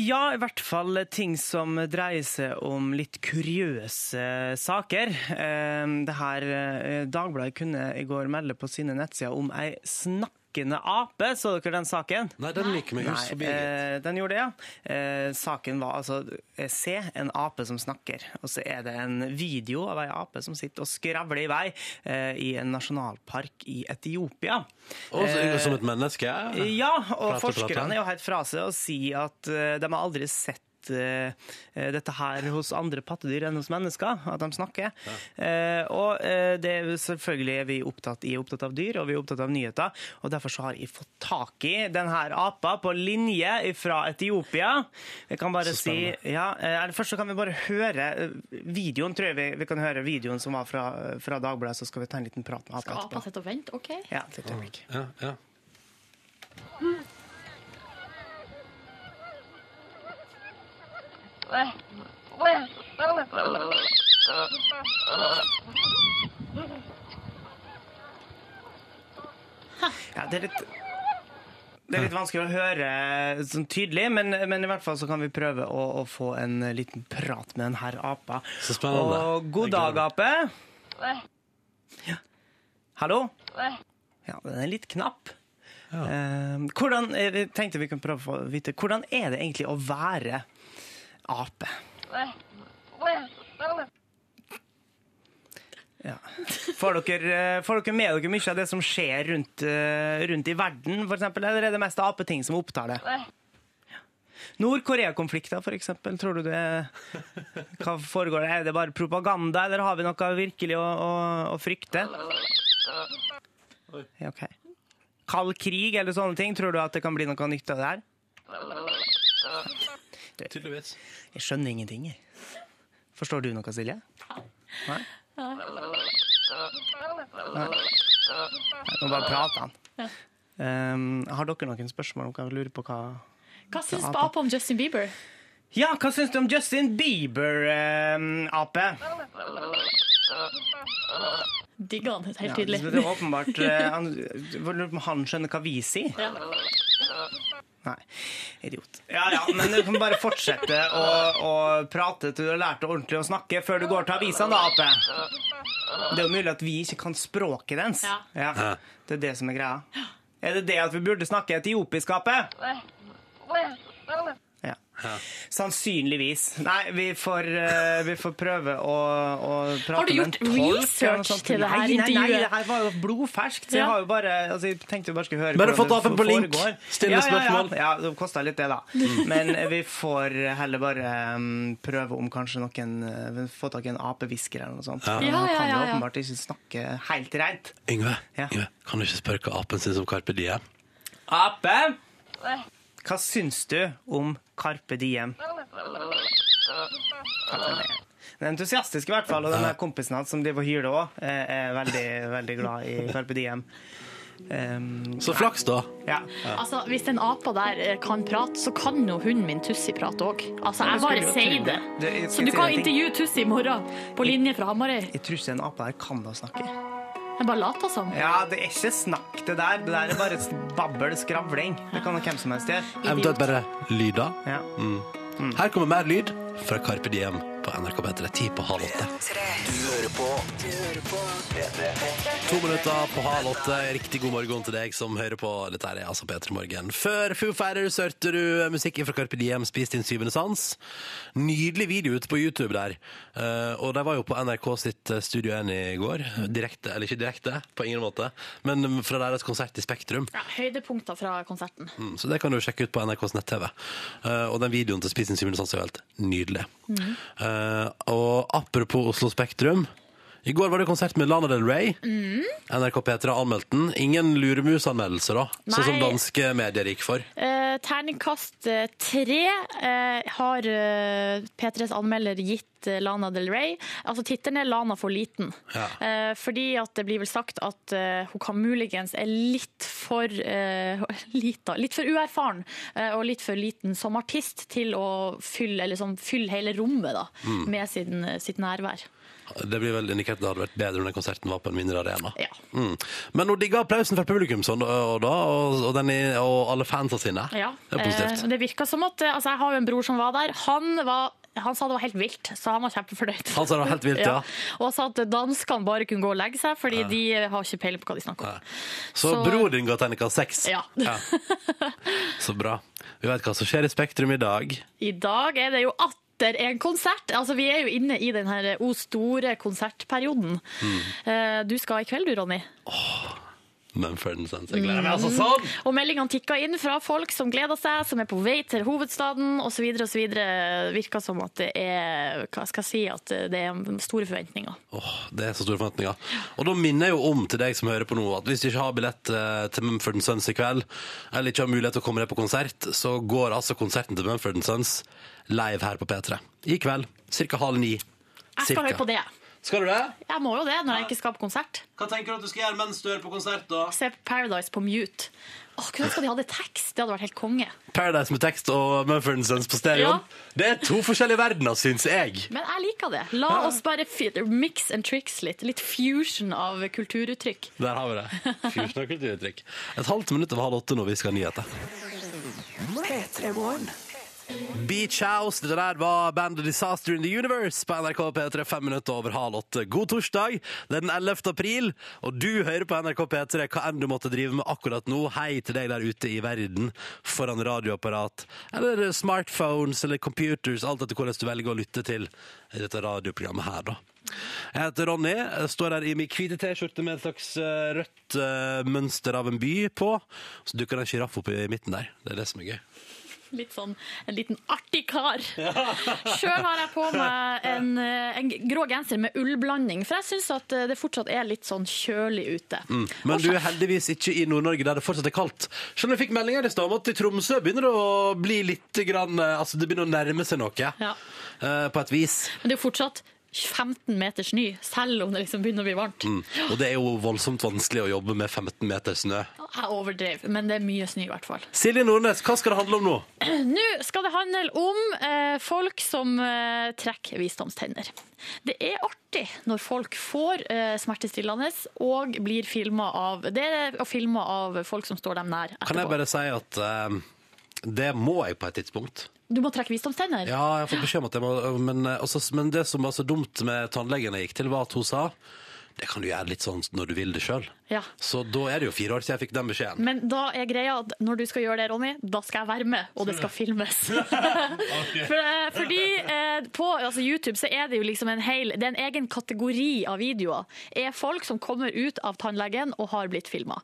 [SPEAKER 3] Ja, i hvert fall ting som dreier seg om litt kuriøse saker. Eh, Det her eh, Dagbladet kunne i går melde på sine nettsider om ei snakkende ape. Så dere den saken?
[SPEAKER 2] Nei, den liker meg hus forbi. litt.
[SPEAKER 3] eh, den gjorde det, ja. Eh, saken var altså eh, Se en ape som snakker. Og så er det en video av ei ape som sitter og skravler i vei eh, i en nasjonalpark i Etiopia.
[SPEAKER 2] Og så Yngve som
[SPEAKER 3] eh,
[SPEAKER 2] et menneske.
[SPEAKER 3] ja, og
[SPEAKER 2] Prate, prate.
[SPEAKER 3] forskerne er jo helt fra seg og sier at eh, de har aldri sett eh, eh, dette her hos andre pattedyr enn hos mennesker, at de snakker. Eh, og eh, det er jo selvfølgelig er vi opptatt, i opptatt av dyr, og vi er opptatt av nyheter. Og derfor så har jeg fått tak i denne apa på linje fra Etiopia. Jeg kan bare
[SPEAKER 2] Så
[SPEAKER 3] si
[SPEAKER 2] spennende.
[SPEAKER 3] ja, eh, eller Først så kan vi bare høre eh, videoen, tror jeg vi, vi kan høre videoen som var fra, eh, fra Dagbladet, så skal vi ta en liten prat med apa
[SPEAKER 4] Skal apa
[SPEAKER 3] etterpå.
[SPEAKER 4] sitte og vente? OK.
[SPEAKER 3] Ja, et lite øyeblikk.
[SPEAKER 2] Ja, ja.
[SPEAKER 3] Ja, det er litt det er litt vanskelig å høre sånn tydelig, men, men i hvert fall så kan vi prøve å, å få en liten prat med den her apa.
[SPEAKER 2] Så spennende.
[SPEAKER 3] Og god dag, ape. Ja. Hallo? Ja, den er litt knapp. Eh, hvordan, eh, vi tenkte vi kunne prøve å få vite, hvordan er det egentlig å være ape? Ja. Får, dere, eh, får dere med dere mye av det som skjer rundt, eh, rundt i verden, for eksempel, eller er det mest apeting som opptar det? Nord-Korea-konflikter, for eksempel, tror du det Hva foregår der? Er det bare propaganda, eller har vi noe virkelig å, å, å frykte? Ja, ok. Kald krig eller sånne ting, tror du at det kan bli noe nytt av det her? artig.
[SPEAKER 2] Tydeligvis.
[SPEAKER 3] Jeg skjønner ingenting, jeg. Forstår du noe, Silje? Nei? Nei. Nå bare prater han. Um, har dere noen spørsmål om hva lurer på hva
[SPEAKER 4] Hva syns Ape om Justin Bieber?
[SPEAKER 3] Ja, hva syns du om Justin Bieber, um, ape?
[SPEAKER 4] Digger han helt
[SPEAKER 3] Ja,
[SPEAKER 4] tydelig.
[SPEAKER 3] det er åpenbart eh, han, jeg Lurer på om han skjønner hva vi sier? Nei. Idiot. Ja ja, men du kan bare fortsette å, å prate til du har lært deg ordentlig å snakke før du går til avisene, da, Ape. Det er jo mulig at vi ikke kan språket dens.
[SPEAKER 4] Ja.
[SPEAKER 3] Ja, Det er det som er greia. Er det det at vi burde snakke etiopisk, Ape? Ja. Sannsynligvis. Nei, vi får, eh, vi får prøve å, å prate
[SPEAKER 4] Har
[SPEAKER 3] med
[SPEAKER 4] du
[SPEAKER 3] en
[SPEAKER 4] gjort
[SPEAKER 3] tolk eller noe
[SPEAKER 4] research
[SPEAKER 3] sånt.
[SPEAKER 4] til det her
[SPEAKER 3] nei, nei, nei,
[SPEAKER 4] intervjuet?
[SPEAKER 3] det her var jo blodferskt, så jeg,
[SPEAKER 4] Ja.
[SPEAKER 3] har jo bare, altså, jeg tenkte jo bare skulle høre
[SPEAKER 2] Bare
[SPEAKER 3] hvordan
[SPEAKER 2] fått apen
[SPEAKER 3] det
[SPEAKER 2] på link.
[SPEAKER 3] foregår.
[SPEAKER 2] Stille
[SPEAKER 3] ja,
[SPEAKER 2] spørsmål. Mm.
[SPEAKER 3] Ja, ja. ja, det kosta litt det, da. Men eh, vi får heller bare um, prøve om kanskje noen eh, Få tak i en apehvisker eller noe sånt. Ja.
[SPEAKER 4] Ja, ja,
[SPEAKER 3] Han kan jo
[SPEAKER 4] ja, ja.
[SPEAKER 3] åpenbart ikke snakke helt rent.
[SPEAKER 2] Yngve,
[SPEAKER 3] Ja.
[SPEAKER 2] Yngve, kan du ikke spørre hva apen syns om Carpe Diem?
[SPEAKER 3] Ape! Hva syns du om Carpe Diem? Carpe Diem. Den er entusiastisk i hvert fall, og den der kompisen hans som driver og hyler òg, er veldig, veldig glad i Carpe Diem. Um,
[SPEAKER 2] Så flaks, da.
[SPEAKER 3] ja.
[SPEAKER 4] Altså, Hvis den apa der eh, kan prate, så kan jo hunden min Tussi prate òg. Altså, jeg
[SPEAKER 3] skulle
[SPEAKER 4] bare
[SPEAKER 3] jo
[SPEAKER 4] sier
[SPEAKER 3] tro
[SPEAKER 4] det.
[SPEAKER 3] det. Det- jeg
[SPEAKER 4] Så
[SPEAKER 3] skal
[SPEAKER 4] du
[SPEAKER 3] si
[SPEAKER 4] kan
[SPEAKER 3] en ting.
[SPEAKER 4] intervjue Tussi i morgen, på linje fra Hamarøy.
[SPEAKER 3] Jeg tror ikke den apa her kan å snakke.
[SPEAKER 4] Jeg bare later som.
[SPEAKER 3] Ja, det er ikke snakk det der. Det der er bare babbel, skravling. Det kan hvem som helst gjøre.
[SPEAKER 2] Eventuelt bare lyder.
[SPEAKER 3] Ja.
[SPEAKER 2] Her kommer mer lyd fra Carpe Diem på NRK P3 ti på halv åtte. To minutter på halv åtte. Riktig god morgen til deg som hører på. Dette her er altså P3 Morgen. Før Foo Fighters hørte du musikk fra Carpe Diem, Spis din syvende sans. Nydelig video ute på YouTube der. Eh, og de var jo på NRK sitt eh, Studio 1 i går. Direkte, eller ikke direkte, på ingen måte, men mm, fra deres konsert i Spektrum.
[SPEAKER 4] Ja, høydepunkter fra konserten.
[SPEAKER 2] Mm, Så det kan du sjekke ut på NRKs nett-TV. Eh, og den videoen til Spisen Simulsans er jo helt nydelig.
[SPEAKER 4] Mm.
[SPEAKER 2] Eh, og apropos Oslo Spektrum. I går var det konsert med Lana Del Rey.
[SPEAKER 4] Mm.
[SPEAKER 2] NRK P3 har anmeldt den. Ingen luremusanmeldelser, da. Sånn som
[SPEAKER 4] Nei.
[SPEAKER 2] danske medier gikk for.
[SPEAKER 4] Eh, terningkast eh, tre eh, har eh, P3s anmelder gitt eh, Lana Del Rey. Altså Tittelen er 'Lana for liten'.
[SPEAKER 2] Ja.
[SPEAKER 4] Eh, fordi at det blir vel sagt at eh, hun kan muligens er litt for eh, lita. Litt for uerfaren eh, og litt for liten som artist til å fylle, eller sånn, fylle hele rommet da, med sin, sitt nærvær.
[SPEAKER 2] Det blir vel indikert at det hadde vært bedre om den konserten var på en mindre arena.
[SPEAKER 4] Ja.
[SPEAKER 2] Mm. Men hun digga applausen fra publikum sånn, og, da, og, og, den, i- og alle fansa sine.
[SPEAKER 4] Ja,
[SPEAKER 2] Det er positivt.
[SPEAKER 4] eh, det virka som at eh, altså, Jeg har jo en bror som var der. Han, var, han sa det var helt vilt, så han var kjempefornøyd.
[SPEAKER 2] Han sa det var helt vilt, ja.
[SPEAKER 4] Og han sa at danskene bare kunne gå og legge seg, fordi de eh, har ikke peiling på hva de snakker om.
[SPEAKER 2] Så,
[SPEAKER 4] Så-
[SPEAKER 2] bror din ga terningkast seks.
[SPEAKER 4] Ja.
[SPEAKER 2] Så bra. Vi veit hva som skjer i Spektrum i dag.
[SPEAKER 4] I dag er det jo atter en konsert. Altså, vi er jo inne i den her eh, O store konsertperioden.
[SPEAKER 2] Mm.
[SPEAKER 4] Eh, Du skal i kveld, du, Ronny.
[SPEAKER 2] Mumford Sons. Jeg gleder meg altså sånn!
[SPEAKER 4] Og meldingene tikker inn fra folk som gleder seg, som er på vei til hovedstaden osv. osv. Virker som at det er Hva skal jeg si? At det er store forventninger.
[SPEAKER 2] Åh, det er så store forventninger. Og da minner jeg jo om til deg som hører på nå, at hvis du ikke har billett eh, til Mumford Sons i kveld, eller ikke har mulighet til å komme deg på konsert, så går altså konserten til Mumford Sons live her på P3. I kveld. Cirka halv ni.
[SPEAKER 4] Jeg skal høre på det.
[SPEAKER 2] Skal du det?
[SPEAKER 4] Jeg må jo det når jeg ikke skal på konsert.
[SPEAKER 2] Hva tenker du at du skal gjøre mens du hører på konsert, da?
[SPEAKER 4] Se på Paradise på mute. Åh, Kunne ønske at de hadde tekst. Det hadde vært helt konge.
[SPEAKER 2] Paradise med tekst og Mumford Sons på stereoen.
[SPEAKER 4] Ja.
[SPEAKER 2] Det er to forskjellige verdener, syns jeg.
[SPEAKER 4] Men jeg liker det. La oss bare fi- mix and tricks litt. Litt fusion av kulturuttrykk.
[SPEAKER 2] Der har vi det. Fusion av kulturuttrykk. Et halvt minutt over halv åtte når vi skal ha nyheter. Beach House, det der var bandet Disaster in the Universe på NRK P3 fem minutter over halv åtte. God torsdag, det er den 11. april, og du hører på NRK P3 hva enn du måtte drive med akkurat nå. Hei til deg der ute i verden, foran radioapparat, eller smartphones eller computers, alt etter hvordan du velger å lytte til dette radioprogrammet her, da. Jeg heter Ronny, jeg står her i min hvite T-skjorte med et slags eh, rødt eh, mønster av en by på. Så dukker det en sjiraff opp i midten der. Det er det som er gøy.
[SPEAKER 4] Litt sånn en liten artig kar. Sjøl har jeg på meg en, eh, en grå genser med ullblanding, for jeg syns at eh, det fortsatt er litt sånn kjølig ute.
[SPEAKER 2] Mm. Men du er heldigvis ikke i Nord-Norge der det fortsatt er kaldt. Selv om jeg fikk meldinger i stad om at i Tromsø begynner det å bli litt grann, eh, altså det begynner å nærme seg noe.
[SPEAKER 4] Ja.
[SPEAKER 2] Eh, På et vis.
[SPEAKER 4] Men det er jo fortsatt 15 meter snø, selv om det liksom begynner å bli varmt.
[SPEAKER 2] Og det er jo voldsomt vanskelig å jobbe med 15 meter snø.
[SPEAKER 4] Jeg overdrev, men det er mye snø i hvert fall.
[SPEAKER 2] Silje Nordnes, hva skal det handle om nå?
[SPEAKER 4] Nå skal det handle om eh, folk som eh, trekker visdomstenner. Det er artig når folk får eh, smertestillende og blir filma av Det er filma av folk som står dem nær etterpå.
[SPEAKER 2] Kan jeg bare si at eh, det må jeg på et tidspunkt.
[SPEAKER 4] Du må trekke visdomstenner?
[SPEAKER 2] Ja, jeg har fått beskjed om at jeg må men, eh, altså, men det som var så dumt med tannlegen jeg gikk til, var at hun sa det kan du gjøre litt sånn når du vil det sjøl.
[SPEAKER 4] Ja.
[SPEAKER 2] Så da er det jo fire år siden jeg fikk den beskjeden.
[SPEAKER 4] Men da er greia at når du skal gjøre det, Ronny, da skal jeg være med, og det skal filmes. For, eh, fordi eh, på altså YouTube så er det jo liksom en hel Det er en egen kategori av videoer. Er folk som kommer ut av tannlegen og har blitt filma.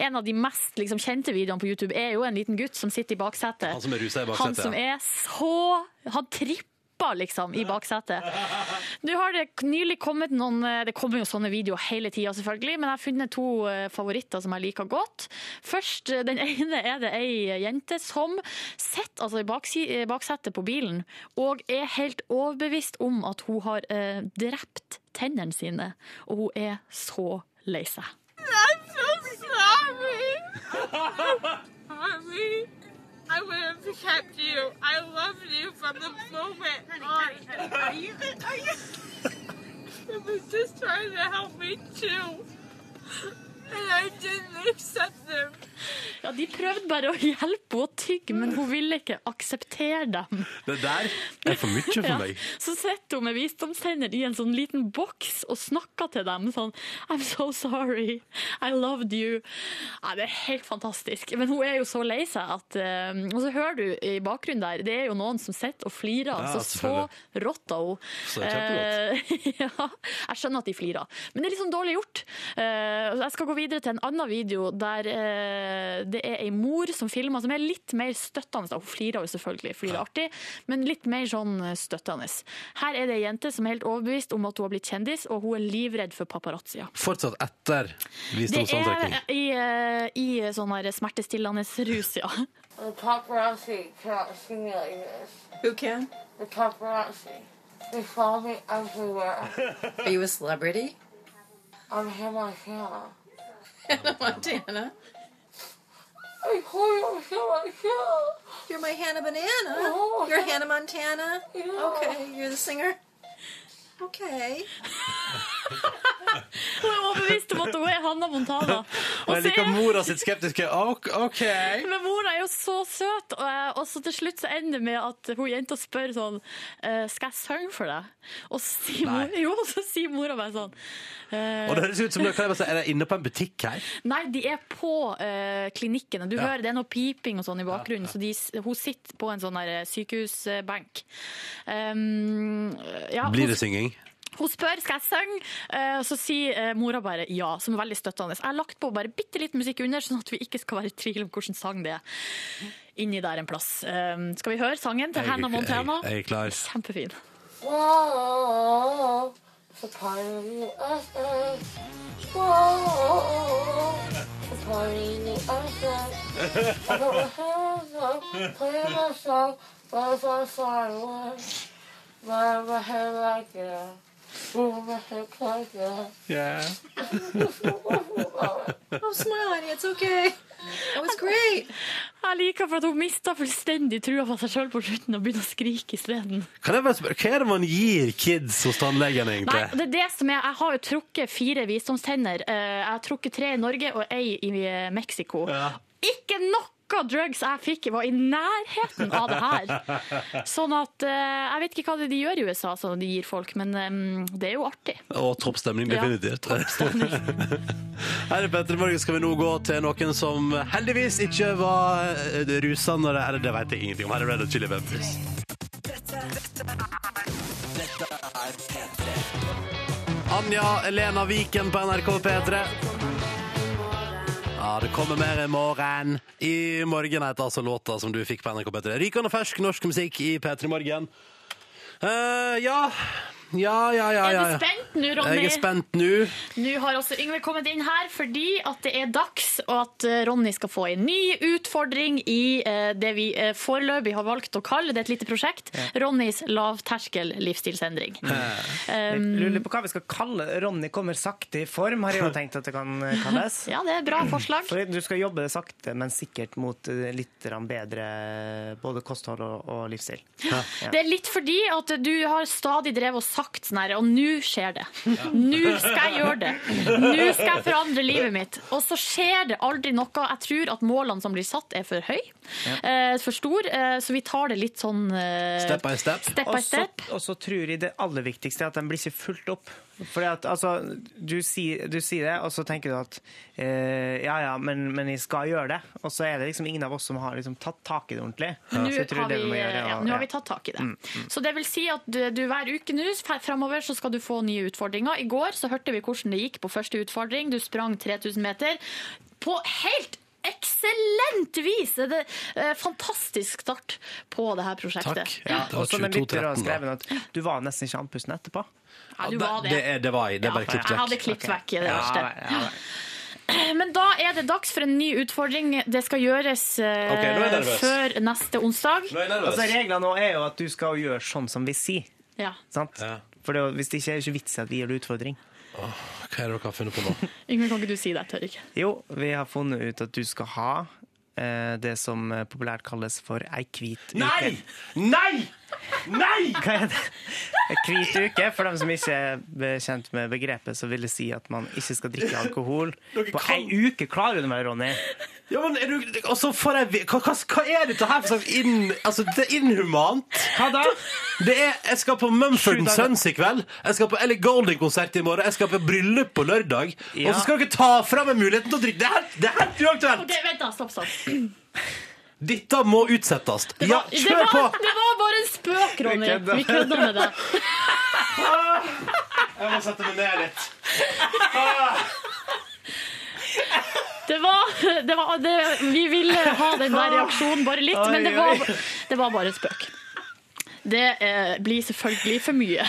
[SPEAKER 4] En av de mest liksom, kjente videoene på YouTube er jo en liten gutt som sitter i baksetet.
[SPEAKER 2] Han som er ruset i baksetet,
[SPEAKER 4] Han som er så Han tripper liksom i baksetet. Nå har det nylig kommet noen Det kommer jo sånne videoer hele tida, selvfølgelig, men jeg har funnet to eh, favoritter som jeg liker godt. Først, eh, Den ene er det ei jente som sitter altså, i baksi- eh, baksetet på bilen og er helt overbevist om at hun har eh, drept tennene sine, og hun er så lei seg. Ja, De prøvde bare å hjelpe henne å tygge, men hun ville ikke akseptere dem.
[SPEAKER 2] Det der er for mye for meg.
[SPEAKER 4] Så sitter hun med visdomstenner i en sånn liten boks og snakker til dem sånn I'm so sorry. I loved you. Nei, det er helt fantastisk. Men hun er jo så lei seg at eh, Og så hører du i bakgrunnen der, det er jo noen som sitter og flirer.
[SPEAKER 2] Ja,
[SPEAKER 4] altså så rått av henne.
[SPEAKER 2] Så kjemperått.
[SPEAKER 4] Eh, ja, jeg skjønner at de flirer, men det er liksom dårlig gjort. Eh, jeg skal gå videre til en annen video der eh, det er ei mor som filmer, som er litt mer støttende. Hun flirer jo selvfølgelig, fordi det er artig, men litt mer sånn støttende. Her er det ei jente som er helt overbevist om at hun har blitt kjendis, og hun er livredd for paparazzoer.
[SPEAKER 2] Fortsatt etter
[SPEAKER 4] Det er
[SPEAKER 2] visdomsantrekning.
[SPEAKER 4] i, eh, i sånn her smertestillende rus, ja.
[SPEAKER 10] The paparazzi cannot see me like this.
[SPEAKER 7] Who can?
[SPEAKER 10] The paparazzi. They follow me everywhere.
[SPEAKER 7] Are you a celebrity?
[SPEAKER 10] I'm here Montana.
[SPEAKER 7] Hannah Montana.
[SPEAKER 10] I call you here Montana.
[SPEAKER 7] You're my Hannah Banana.
[SPEAKER 10] No.
[SPEAKER 7] You're Hannah Montana.
[SPEAKER 10] Oh, Yeah.
[SPEAKER 7] Okay, you're the singer. Okay.
[SPEAKER 4] Hun er overbevist om at hun er Hanna Montana.
[SPEAKER 2] Og jeg
[SPEAKER 4] så
[SPEAKER 2] liker
[SPEAKER 4] er-
[SPEAKER 2] mora sitt skeptiske OK. ok.
[SPEAKER 4] Men mora er jo så søt, og, og så til slutt så ender det med at hun jenta spør sånn «Eh, Skal jeg synge for deg? Og så sier,
[SPEAKER 2] Nei.
[SPEAKER 4] mor, jo, og så sier mora bare sånn
[SPEAKER 2] Og det høres ut som det kan jeg bare si, er jeg inne på en butikk her.
[SPEAKER 4] Nei, de er på eh, klinikkene. Du hører det er noe piping og sånn i bakgrunnen, så de, hun sitter på en sånn der sykehusbenk. Um, ja,
[SPEAKER 2] Blir
[SPEAKER 4] hun-
[SPEAKER 2] det synging?
[SPEAKER 4] Hun spør skal jeg synge, eh, og så sier eh, mora bare ja, som er veldig støttende. Jeg har lagt på bare bitte litt musikk under, sånn at vi ikke skal være i tvil om hvilken sang det er. Inni der en plass. Eh, Skal vi høre sangen til Hannah Montana?
[SPEAKER 2] Jeg, jeg er klar.
[SPEAKER 4] Kjempefin.
[SPEAKER 10] Whoa. It's a party in the SS. Whoa. It's a party in the SS. I got my hands up, playing my song. But if I'm sorry, what? Right my head like that. Move my hip like that.
[SPEAKER 7] Oh, smile, honey. It's okay. That was great.
[SPEAKER 4] Jeg liker for at hun mista fullstendig trua på seg sjøl på slutten og begynner å skrike isteden.
[SPEAKER 2] Kan jeg bare spørre, Hva er det man gir kids hos tannlegen,
[SPEAKER 4] Nei,
[SPEAKER 2] egentlig?
[SPEAKER 4] det er det som er Jeg har jo trukket fire visdomstenner. Eh, Jeg har trukket tre i Norge og ei i eh, Mexico. Ikke noe drugs jeg fikk, var i nærheten av det her. Sånn at eh, Jeg vet ikke hva det de gjør i USA, som de gir folk, men eh, det er jo artig.
[SPEAKER 2] Og toppstemning,
[SPEAKER 4] Ja,
[SPEAKER 2] definitivt. Her i Petter Morgen skal vi nå gå til noen som heldigvis ikke var eh, rusa når det Eller det vet jeg ingenting om. Her er Red Hot Chili Peppers. Anja Elena Viken på NRK P3. Ja, Ja, det kommer mer i morgen. I morgen heter altså låta som du fikk på NRK P3. Rykende fersk norsk musikk i P3 Morgen. Eh, ja. Ja, ja, ja, ja.
[SPEAKER 4] Er du
[SPEAKER 2] ja.
[SPEAKER 4] spent nå, Ronny?
[SPEAKER 2] Jeg er spent nå.
[SPEAKER 4] Nå har også Yngve kommet inn her fordi at det er dags, og at eh, Ronny skal få en ny utfordring i eh, det vi eh, foreløpig har valgt å kalle det er et lite prosjekt, Ronnys lavterskel livsstilsendring.
[SPEAKER 3] Jeg
[SPEAKER 4] Um,
[SPEAKER 3] lurer på hva vi skal kalle det. Ronny kommer sakte i form, har jeg jo tenkt at det kan eh, kalles.
[SPEAKER 4] Ja, det er bra forslag.
[SPEAKER 3] For du skal jobbe sakte, men sikkert mot eh, litt grann bedre både kosthold og, og livsstil. Ja.
[SPEAKER 4] Det er litt fordi at du har stadig drevet og sagt sånn her, og nå skjer det. Nå skal jeg gjøre det. Nå skal jeg forandre livet mitt. Og så skjer det aldri noe. Jeg tror at målene som blir satt er for høy, eh, for stor, eh, så vi tar det litt sånn eh,
[SPEAKER 2] Step by step.
[SPEAKER 4] Step by
[SPEAKER 3] Og så-
[SPEAKER 4] step.
[SPEAKER 3] Og så tror jeg det aller viktigste er at den blir ikke fulgt opp. Fordi at, altså, du sier, du sier det, og så tenker du at eh, ja, ja, men, men jeg skal gjøre det. Og så er det liksom ingen av oss som har liksom, tatt tak i det ordentlig.
[SPEAKER 4] Nå
[SPEAKER 3] Så jeg tror
[SPEAKER 4] har,
[SPEAKER 3] det
[SPEAKER 4] vi,
[SPEAKER 3] må gjøre,
[SPEAKER 4] ja,
[SPEAKER 3] og-
[SPEAKER 4] nå har
[SPEAKER 3] ja.
[SPEAKER 4] vi tatt tak i det. Så det vil si at du, du hver uke nå framover så skal du få nye utfordringer. I går så hørte vi hvordan det gikk på første utfordring. Du sprang 3000 meter på helt Eksellent vis! Det er eh, fantastisk start på det her prosjektet.
[SPEAKER 2] Takk.
[SPEAKER 3] Ja,
[SPEAKER 2] Det var
[SPEAKER 3] og som en lytter har
[SPEAKER 2] 22-13 da.
[SPEAKER 3] skrevet at du var nesten ikke andpusten etterpå.
[SPEAKER 4] Ja, du
[SPEAKER 2] det,
[SPEAKER 4] var det.
[SPEAKER 2] det, er, det var jeg. Det er bare
[SPEAKER 4] jeg
[SPEAKER 2] klippet
[SPEAKER 4] hadde
[SPEAKER 2] vekk.
[SPEAKER 4] klippet
[SPEAKER 3] Ok.
[SPEAKER 4] vekk i det
[SPEAKER 3] Ja,
[SPEAKER 4] verste.
[SPEAKER 3] nei, ja, nei.
[SPEAKER 4] Men da er det dags for en ny utfordring. Det skal gjøres eh,
[SPEAKER 2] Ok, nå er jeg nervøs.
[SPEAKER 4] før neste onsdag.
[SPEAKER 2] Nå er jeg nervøs.
[SPEAKER 3] Altså, reglene nå er jo at du skal gjøre sånn som vi sier.
[SPEAKER 4] Ja.
[SPEAKER 3] Sant?
[SPEAKER 2] Ja.
[SPEAKER 3] For det, er jo- hvis det ikke er det ikke vits i at vi gir det utfordring.
[SPEAKER 2] Hva er det dere har funnet på nå?
[SPEAKER 4] Yngve, kan ikke du si det? Jeg tør ikke.
[SPEAKER 3] Jo, vi har funnet ut at du skal ha eh, det som eh, populært kalles for ei hvit uke.
[SPEAKER 2] Nei! Nei!
[SPEAKER 3] Hva er det? Ei hvit uke, for dem som ikke er be- kjent med begrepet, så vil det si at man ikke skal drikke alkohol.
[SPEAKER 2] Dere
[SPEAKER 3] På
[SPEAKER 2] kan-
[SPEAKER 3] ei uke klarer du det, Ronny.
[SPEAKER 2] Ja, men er du, og så får jeg vi- hva, hva, hva er dette her for slags inn, altså, Det er inhumant.
[SPEAKER 3] Hva da?
[SPEAKER 2] Det er, jeg skal på Mumford
[SPEAKER 3] Sju dager.
[SPEAKER 2] Sons i kveld. Jeg skal på Ellie Golding-konsert i morgen. Jeg skal på bryllup på lørdag.
[SPEAKER 3] Ja.
[SPEAKER 2] Og så skal dere ta fra meg muligheten til å drikke. Det er helt- det er helt uaktuelt!
[SPEAKER 4] Ok, Vent, da. Stopp, stopp.
[SPEAKER 2] Dette må utsettes. Ja,
[SPEAKER 4] det,
[SPEAKER 2] kjør
[SPEAKER 4] var,
[SPEAKER 2] på!
[SPEAKER 4] det var bare en spøk,
[SPEAKER 3] Vi
[SPEAKER 4] Ronny.
[SPEAKER 3] kødda.
[SPEAKER 4] Vi kødda med det.
[SPEAKER 2] Jeg må sette meg ned litt.
[SPEAKER 4] Det var, det var, det, vi ville ha den der reaksjonen bare litt, men det var, det var bare en spøk. Det eh, blir selvfølgelig for mye.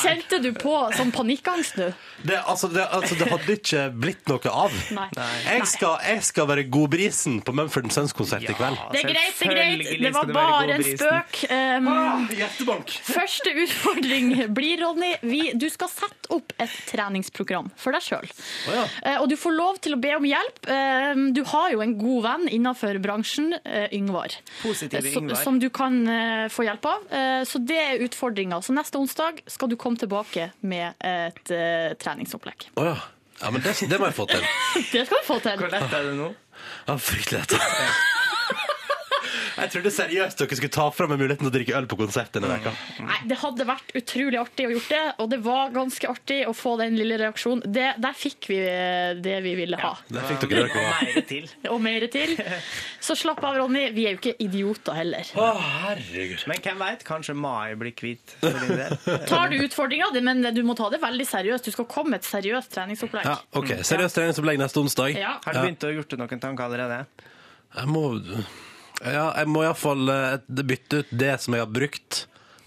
[SPEAKER 4] Kjente du på sånn panikkangst nå?
[SPEAKER 2] Det, altså, det, altså, det hadde ikke blitt noe av.
[SPEAKER 4] Nei.
[SPEAKER 2] Jeg skal, jeg skal være godbrisen på Mumford Sons-konsert i kveld.
[SPEAKER 4] Det er greit, det er greit.
[SPEAKER 3] Selvfølgelig
[SPEAKER 4] Det
[SPEAKER 3] skal
[SPEAKER 4] var
[SPEAKER 3] du være
[SPEAKER 4] bare en
[SPEAKER 3] godbrisen.
[SPEAKER 4] spøk. Um,
[SPEAKER 3] Ah,
[SPEAKER 2] Hjertebank.
[SPEAKER 4] Første utfordring blir, Ronny, vi, du skal sette opp et treningsprogram for deg sjøl.
[SPEAKER 2] ja.
[SPEAKER 4] Og du får lov til å be om hjelp. Eh, Du har jo en god venn innenfor bransjen, eh, Yngvar,
[SPEAKER 3] Positive
[SPEAKER 4] eh, som-
[SPEAKER 3] Yngvar.
[SPEAKER 4] som du kan eh, få hjelp av. Eh, Så det er utfordringa. Så neste onsdag skal du komme tilbake med et eh, treningsopplegg.
[SPEAKER 2] Å ja. ja, men det, det må jeg få til.
[SPEAKER 4] Det skal du få til.
[SPEAKER 3] Hvor lett er det nå?
[SPEAKER 2] Ja, fryktelig lett. Jeg trodde seriøst dere skulle ta fra meg muligheten til å drikke øl på konsert denne veka.
[SPEAKER 4] Nei, Det hadde vært utrolig artig å gjort det, og det var ganske artig å få den lille reaksjonen. Det, der fikk vi eh, det vi ville ha.
[SPEAKER 2] Der fikk dere røyk over.
[SPEAKER 3] Mer til.
[SPEAKER 4] og mer til. Så slapp av, Ronny. Vi er jo ikke idioter heller.
[SPEAKER 2] Å, herregud.
[SPEAKER 3] Men hvem veit? Kanskje mai blir hvit for din del.
[SPEAKER 4] Tar du utfordringa, men du må ta det veldig seriøst. Du skal komme med et seriøst treningsopplegg.
[SPEAKER 2] Ja, ok, Seriøst treningsopplegg neste onsdag.
[SPEAKER 4] Ja.
[SPEAKER 3] Har du begynt å gjort deg noen tanker allerede?
[SPEAKER 2] Jeg må ja, jeg må iallfall eh, bytte ut det som jeg har brukt,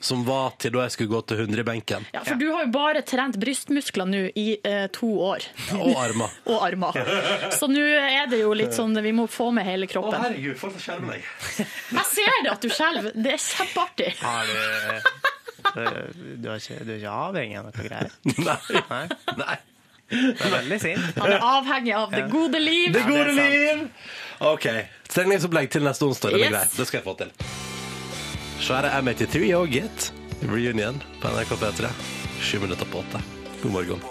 [SPEAKER 2] som var til da jeg skulle gå til 100 i benken.
[SPEAKER 4] Ja, for du har jo bare trent brystmuskler nå i eh, to år.
[SPEAKER 2] Og armer.
[SPEAKER 4] Og armer. Så nå er det jo litt sånn vi må få med hele kroppen.
[SPEAKER 2] herregud, folk skjermer meg.
[SPEAKER 4] Jeg ser det at du skjelver. Det er kjempeartig.
[SPEAKER 3] Har du eh, Du er ikke, du er ikke avhengig av noe greier?
[SPEAKER 2] Nei.
[SPEAKER 3] Nei?
[SPEAKER 2] Nei.
[SPEAKER 3] Det er veldig sint.
[SPEAKER 4] Han er avhengig av det gode liv.
[SPEAKER 2] Det gode
[SPEAKER 3] det er
[SPEAKER 2] liv! OK. Treningsopplegg til neste onsdag. Det blir
[SPEAKER 4] Yes.
[SPEAKER 2] greit. Det skal jeg få til. Svære M83 og Git. Reunion på NRK P3. Sju minutter på åtte. God morgen.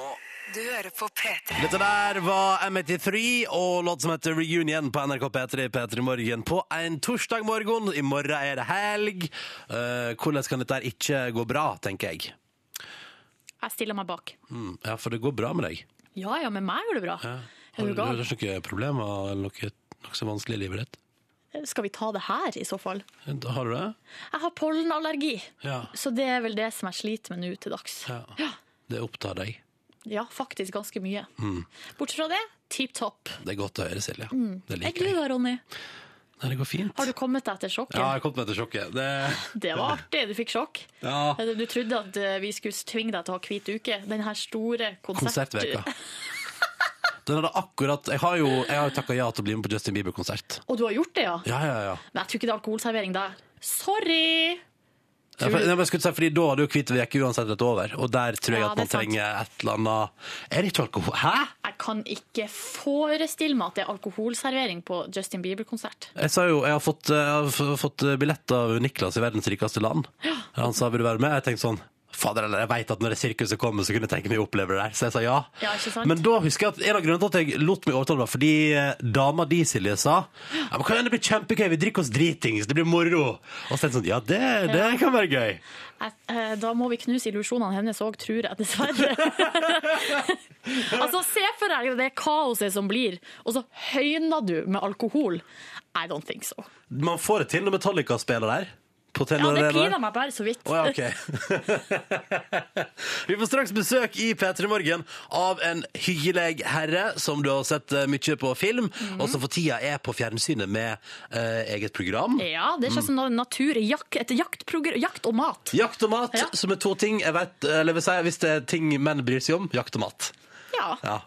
[SPEAKER 1] Du hører på P3.
[SPEAKER 2] Dette der var M83 og låt som heter Reunion på NRK P3 P3 Morgen på en torsdag morgen. I morgen er det helg. Eh, hvordan kan dette her ikke gå bra, tenker jeg.
[SPEAKER 4] Jeg stiller meg bak.
[SPEAKER 2] Mm, ja, for det går bra med deg.
[SPEAKER 4] Ja ja, med meg går det bra.
[SPEAKER 2] Har
[SPEAKER 4] Er
[SPEAKER 2] du,
[SPEAKER 4] du
[SPEAKER 2] har
[SPEAKER 4] gal?
[SPEAKER 2] du noen problemer eller noe, noe så vanskelig i livet ditt?
[SPEAKER 4] Skal vi ta det her, i så fall?
[SPEAKER 2] Har du det?
[SPEAKER 4] Jeg har pollenallergi.
[SPEAKER 2] Ja.
[SPEAKER 4] Så det er vel det som jeg sliter med nå til dags.
[SPEAKER 2] ja.
[SPEAKER 4] Ja.
[SPEAKER 2] Det opptar deg.
[SPEAKER 4] Ja, faktisk ganske mye.
[SPEAKER 2] Mm.
[SPEAKER 4] Bortsett fra det, tipp topp.
[SPEAKER 2] Det er godt å høre, Silje.
[SPEAKER 4] Mm.
[SPEAKER 2] Det
[SPEAKER 4] Er
[SPEAKER 2] liker
[SPEAKER 4] du
[SPEAKER 2] jeg.
[SPEAKER 4] da, Ronny?
[SPEAKER 2] Nei, det går fint.
[SPEAKER 4] Har du kommet deg etter sjokket?
[SPEAKER 2] Ja, jeg kom til dette sjokket. Det,
[SPEAKER 4] Det var artig, du fikk sjokk.
[SPEAKER 2] Ja.
[SPEAKER 4] Du trodde at eh, vi skulle tvinge deg til å ha hvit uke. Den her store konsert...
[SPEAKER 2] Konsertveka. Den hadde akkurat Jeg har jo jeg har takka ja til å bli med på Justin Bieber-konsert.
[SPEAKER 4] Og du har gjort det, ja?
[SPEAKER 2] Ja, ja, ja.
[SPEAKER 4] Men jeg tror ikke det er alkoholservering der. Sorry!
[SPEAKER 2] Ja, for, nei, men jeg skulle si, fordi Da hadde jo Hvit uke uansett rett over, og der tror jeg
[SPEAKER 4] Ja,
[SPEAKER 2] at
[SPEAKER 4] det
[SPEAKER 2] man
[SPEAKER 4] er sant.
[SPEAKER 2] trenger et eller annet Er det ikke alkohol? Hæ?!
[SPEAKER 4] Jeg kan ikke forestille meg at det er alkoholservering på Justin Bieber-konsert.
[SPEAKER 2] Jeg sa jo, jeg har fått, eh, jeg har f- fått billett av Niklas i verdens rikeste land. Han sa vil du være med? Jeg tenkte sånn Fader, eller jeg veit at når det sirkuset kommer, så kunne jeg tenke meg å oppleve det der. Så jeg sa ja.
[SPEAKER 4] Ja, ikke sant?
[SPEAKER 2] Men da husker jeg at en av grunnene til at jeg lot meg overtale, var fordi eh, dama di, Silje, sa ja, men kan det bli kjempegøy, vi drikker oss dritings, det blir moro. Og så tenkte jeg sånn, ja, det, det
[SPEAKER 4] Ja.
[SPEAKER 2] kan være gøy.
[SPEAKER 4] Jeg, eh, da må vi knuse illusjonene hennes òg, tror jeg, dessverre. altså, Se for deg det kaoset som blir, og så høyner du med alkohol. I don't think so.
[SPEAKER 2] Man får det til når Metallica spiller der. På
[SPEAKER 4] Ja,
[SPEAKER 2] Telenor
[SPEAKER 4] Det
[SPEAKER 2] Arena.
[SPEAKER 4] piner meg bare så vidt.
[SPEAKER 2] Å ja, ok. Vi får straks besøk i P3 Morgen av en hyggelig herre som du har sett eh, mye på film, og som for tida er på fjernsynet med eh, eget program.
[SPEAKER 4] Ja, det er ikke
[SPEAKER 2] Mm.
[SPEAKER 4] sånn natur, jak, et jaktprogr- jakt og mat.
[SPEAKER 2] Jakt og mat, som er to ting jeg vet, eh, eller vil si, hvis det er ting menn bryr seg om, jakt og mat.
[SPEAKER 4] Ja.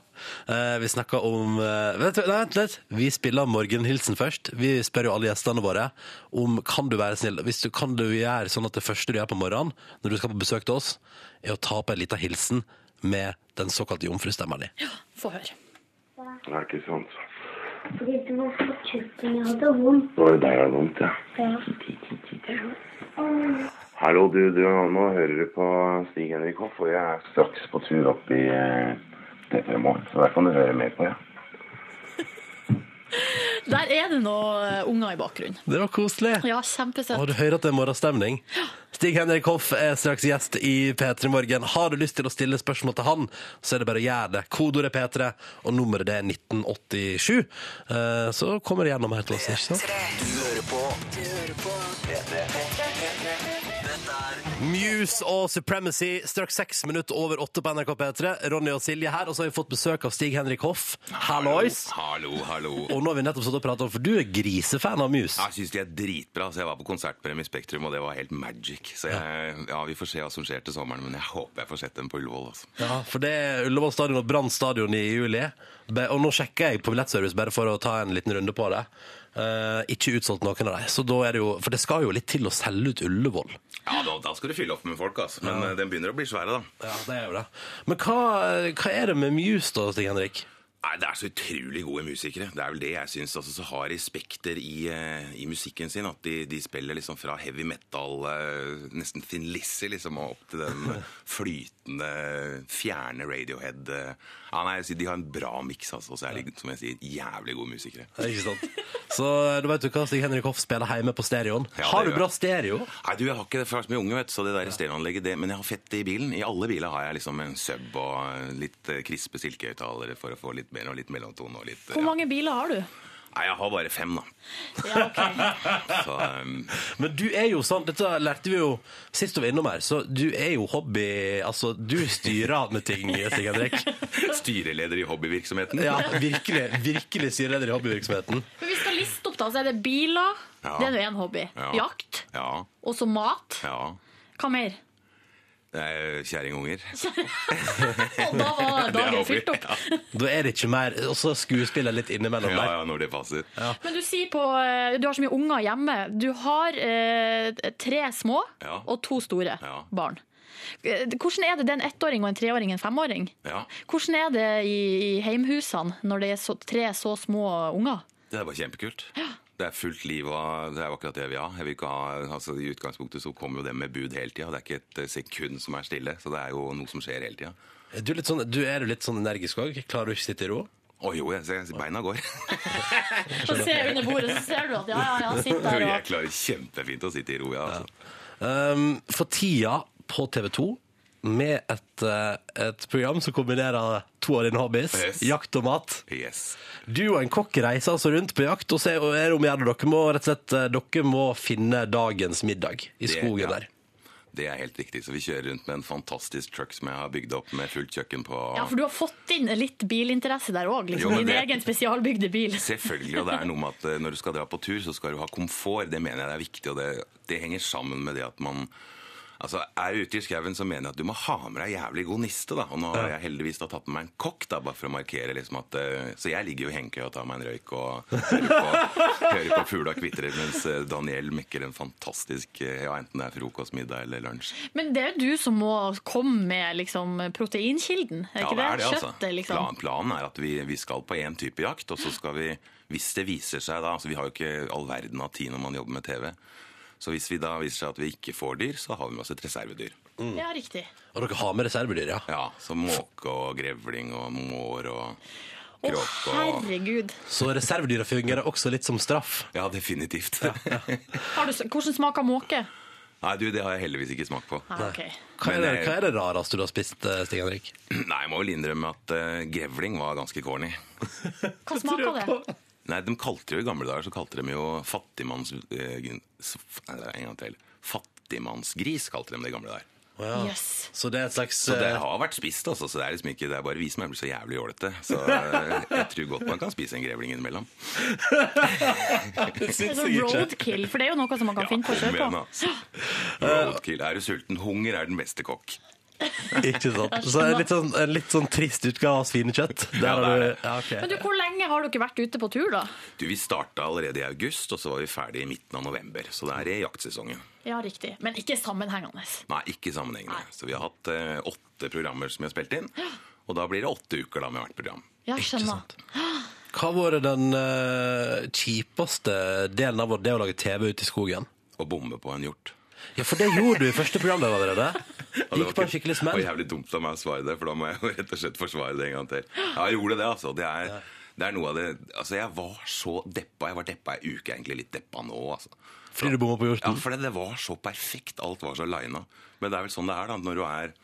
[SPEAKER 2] Eh, vi snakker om eh, Vent, vent, vent litt. Vi spiller morgenhilsen først. Vi spør jo alle gjestene våre om kan du være snill Hvis du kan du gjøre sånn at det første du gjør på morgenen når du skal på besøk til oss, er å ta på en liten hilsen med den såkalte jomfrustemma di.
[SPEAKER 4] Få høre.
[SPEAKER 11] Nei, ikke sant.
[SPEAKER 10] Fordi det var for tjukt, og jeg hadde vondt.
[SPEAKER 11] Det var jo deg jeg vant, ja. Hallo, du, du. Nå hører du på Stig Henrik Hoff, og jeg er straks på tur opp i eh, P3 Morgen, så der kan du høre mer på, ja.
[SPEAKER 4] Der er det noen eh, unger i bakgrunnen.
[SPEAKER 2] Det var koselig.
[SPEAKER 4] Ja, kjempesøtt.
[SPEAKER 2] Og du hører at det er morgenstemning. Stig Henrik Hoff er straks gjest i P3 Morgen. Har du lyst til å stille spørsmål til han, så er det bare å gjøre det. Kodeordet er P3, og nummeret det er 1987. Eh, Så kommer det gjennom her til oss. ikke sant?
[SPEAKER 9] Du hører på P3. Dette er
[SPEAKER 2] Muse og Supremacy, straks seks minutter over åtte på NRK P3. Ronny og Silje her, og så har vi fått besøk av Stig Henrik Hoff. Hallois!
[SPEAKER 12] Hallo, hallo.
[SPEAKER 2] Og nå har vi nettopp stått og pratet om, for du er grisefan av Muse.
[SPEAKER 12] Jeg syns de er dritbra, så jeg var på konsertpremie i Spektrum, og det var helt magic. Så jeg, ja, vi får se hva som skjer til sommeren, men jeg håper jeg får sett dem på Ullevål, altså.
[SPEAKER 2] Ja, for det er Ullevål stadion og Brann stadion i juli. Be- Og nå sjekker jeg på billettservice bare for å ta en liten runde på det. Eh, ikke utsolgt noen av dem. Så da er det jo, for det skal jo litt til å selge ut Ullevål.
[SPEAKER 12] Ja, da, da skal du fylle opp med folk, altså. Men
[SPEAKER 2] Ja.
[SPEAKER 12] eh, den begynner å bli svære, da.
[SPEAKER 2] Ja, det er jo det. Men hva, hva er det med Muse da, Stig Henrik?
[SPEAKER 12] Nei, Det er så utrolig gode musikere. Det er vel det jeg syns. Altså, så har de spekter i, eh, i musikken sin. At de, de spiller liksom fra heavy metal, eh, nesten Thin Lizzie, liksom, og opp til den eh, flytende, fjerne Radiohead. eh. Ja, nei, jeg sier De har en bra miks, altså. Og så er de, som jeg sier, jævlig gode musikere.
[SPEAKER 2] Det er Ikke sant? Så eh, da vet du hva Stig Henrik Hoff spiller hjemme på stereoen.
[SPEAKER 12] Ja, det
[SPEAKER 2] har du
[SPEAKER 12] gjør
[SPEAKER 2] bra
[SPEAKER 12] jeg.
[SPEAKER 2] stereo?
[SPEAKER 12] Nei, du, jeg har ikke det, for jeg har så mye unge, vet du, så det der stereoanlegget, det, men jeg har fett i bilen. I alle biler har jeg liksom en sub og eh, litt eh, krispe silkehøyttalere for å få litt mer og litt mellomtone og litt eh,
[SPEAKER 4] Hvor mange biler har du?
[SPEAKER 12] Nei, jeg har bare fem, da.
[SPEAKER 4] Ja, ok.
[SPEAKER 12] Så, um,
[SPEAKER 2] Men du er jo sånn, dette lærte vi jo sist du var innom her, så du er jo hobby Altså, du styrer med ting, Stig Henrik.
[SPEAKER 12] Styreleder i hobbyvirksomheten.
[SPEAKER 2] Ja, virkelig. Virkelig styreleder i hobbyvirksomheten.
[SPEAKER 4] Men vi skal liste opp, da. Så er det biler.
[SPEAKER 12] Ja.
[SPEAKER 4] Det er nå én hobby.
[SPEAKER 12] Ja.
[SPEAKER 4] Jakt.
[SPEAKER 12] Ja.
[SPEAKER 4] Og så mat.
[SPEAKER 12] ja.
[SPEAKER 4] Hva mer?
[SPEAKER 12] Det er Kjerringunger.
[SPEAKER 4] Og da var dagen fylt opp.
[SPEAKER 2] Da er det ikke mer Og så skuespiller litt innimellom der.
[SPEAKER 12] Ja, når det passer.
[SPEAKER 4] Men du sier på eh, Du har så mye unger hjemme. Du har eh, tre små
[SPEAKER 12] Ja.
[SPEAKER 4] og to store barn. Eh, Hvordan er det? Det er en ettåring og en treåring en femåring.
[SPEAKER 12] Ja.
[SPEAKER 4] Hvordan er det i, i heimhusene når det er så, tre så små unger?
[SPEAKER 12] Det er bare kjempekult. Det er fullt liv og det er jo akkurat det vi har. Jeg vil ikke ha, altså I utgangspunktet så kommer jo det med bud hele tida. Det er ikke et eh, sekund som er stille. Så det er jo noe som skjer hele tida.
[SPEAKER 2] Er Du, litt sånn, du er jo litt sånn energisk òg. Klarer du ikke å sitte i ro?
[SPEAKER 12] Å jo, jeg ser beina går.
[SPEAKER 4] Så ser jeg under bordet, så ser du at ja, ja, ja, sitt der og
[SPEAKER 12] Jeg klarer kjempefint å sitte i ro, ja. Altså.
[SPEAKER 2] Um, for tida på TV 2 med et, eh, et program som kombinerer to av dine hobbies, jakt og mat. Du og en kokk reiser altså rundt på jakt, og så er er det om å gjøre. Dere må rett og slett eh, dere må finne dagens middag i
[SPEAKER 12] Det-
[SPEAKER 2] skogen
[SPEAKER 12] ja.
[SPEAKER 2] der.
[SPEAKER 12] Det er helt riktig. Så vi kjører rundt med en fantastisk truck som jeg har bygd opp med fullt kjøkken på.
[SPEAKER 4] Ja, for du har fått inn litt bilinteresse der òg,
[SPEAKER 12] Jo,
[SPEAKER 4] liksom.
[SPEAKER 12] men
[SPEAKER 4] Din
[SPEAKER 12] det-
[SPEAKER 4] egen spesialbygde bil.
[SPEAKER 12] Selvfølgelig, og det er noe med at eh, når du skal dra på tur, så skal du ha komfort. Det mener jeg er viktig, og det, det henger sammen med det at man Altså, Er du ute i skauen, så mener jeg at du må ha med deg jævlig god niste. da. Og nå har jeg heldigvis da tatt med meg en kokk, da, bare for å markere liksom at eh, Så jeg ligger jo i hengekøya og tar meg en røyk og hører på, hører på fugla kvitrer, mens eh, Daniel mekker en fantastisk eh, Ja, enten det er frokost, middag eller lunsj.
[SPEAKER 4] Men det er jo du som må komme med liksom, proteinkilden, er ikke det? Kjøttet, liksom.
[SPEAKER 12] altså. Plan, planen er at vi, vi skal på én type jakt, og så skal vi, hvis det viser seg da altså Vi har jo ikke all verden av tid når man jobber med TV. Så hvis vi da viser seg at vi ikke får dyr, så har vi med oss et reservedyr.
[SPEAKER 4] Ja, riktig.
[SPEAKER 2] Og dere har med reservedyr, ja?
[SPEAKER 12] Ja, så måke og grevling og mår og
[SPEAKER 4] Å,
[SPEAKER 12] kråke og
[SPEAKER 4] herregud.
[SPEAKER 2] Så reservedyra fungerer også litt som straff?
[SPEAKER 12] Ja, definitivt.
[SPEAKER 4] Har du, s- hvordan smaker måke?
[SPEAKER 12] Nei, du, det har jeg heldigvis ikke smakt på.
[SPEAKER 4] Ah, ok.
[SPEAKER 2] Hva er, det,
[SPEAKER 12] Men, eh,
[SPEAKER 2] hva er det rareste du har spist, eh, Stig Henrik?
[SPEAKER 12] Nei, jeg må vel innrømme at eh, grevling var ganske corny.
[SPEAKER 4] Hva smaker det?
[SPEAKER 12] Nei, de kalte jo I gamle dager så kalte de jo fattigmanns... eh, gun- s- f- nei, en gang til. Fattigmannsgris kalte de det i gamle dager.
[SPEAKER 4] Yes.
[SPEAKER 2] Så det er et slags
[SPEAKER 12] Så det
[SPEAKER 2] eh,
[SPEAKER 12] har vært spist, altså. Så det er liksom ikke, det er bare vi som er blitt så jævlig jålete. Så eh, jeg tror godt man kan spise en grevling innimellom.
[SPEAKER 4] Det er sånn roadkill, for det er jo noe som man kan finne på å
[SPEAKER 12] Kom
[SPEAKER 4] kjøre
[SPEAKER 12] igjen,
[SPEAKER 4] på.
[SPEAKER 12] altså. Roadkill. Er du sulten? Hunger er den beste kokk.
[SPEAKER 2] Ikke sant? Så det er litt sånn, en litt sånn trist utgave av svinekjøtt. Der
[SPEAKER 12] Ja, det
[SPEAKER 2] har du,
[SPEAKER 12] er det.
[SPEAKER 2] ja, ok.
[SPEAKER 4] Men du, hvor lenge har du ikke vært ute på tur, da?
[SPEAKER 12] Du, Vi starta allerede i august, og så var vi ferdig i midten av november. Så det er i jaktsesongen.
[SPEAKER 4] Ja, riktig. Men ikke sammenhengende.
[SPEAKER 12] Nei, ikke sammenhengende. Så vi har hatt eh, åtte programmer som vi har spilt inn. Og da blir det åtte uker da med hvert program.
[SPEAKER 4] Ja, skjønner.
[SPEAKER 2] Hva har vært den eh, kjipeste delen av det å lage TV ute i skogen?
[SPEAKER 12] Å bombe på en hjort.
[SPEAKER 2] Ja, for det gjorde du i første program der allerede.
[SPEAKER 12] Og det
[SPEAKER 2] Gikk på en
[SPEAKER 12] ikke-
[SPEAKER 2] skikkelig smell.
[SPEAKER 12] Det var jævlig dumt av meg å svare det, for da må jeg jo rett og slett forsvare det en gang til. Ja, jeg gjorde det, altså. Det er, det er noe av det Altså, jeg var så deppa. Jeg var deppa ei uke, egentlig litt deppa nå, altså.
[SPEAKER 2] Fordi du bomma på hjorten?
[SPEAKER 12] Ja, for det, det var så perfekt. Alt var så lina. Men det er vel sånn det er, da. Når du er,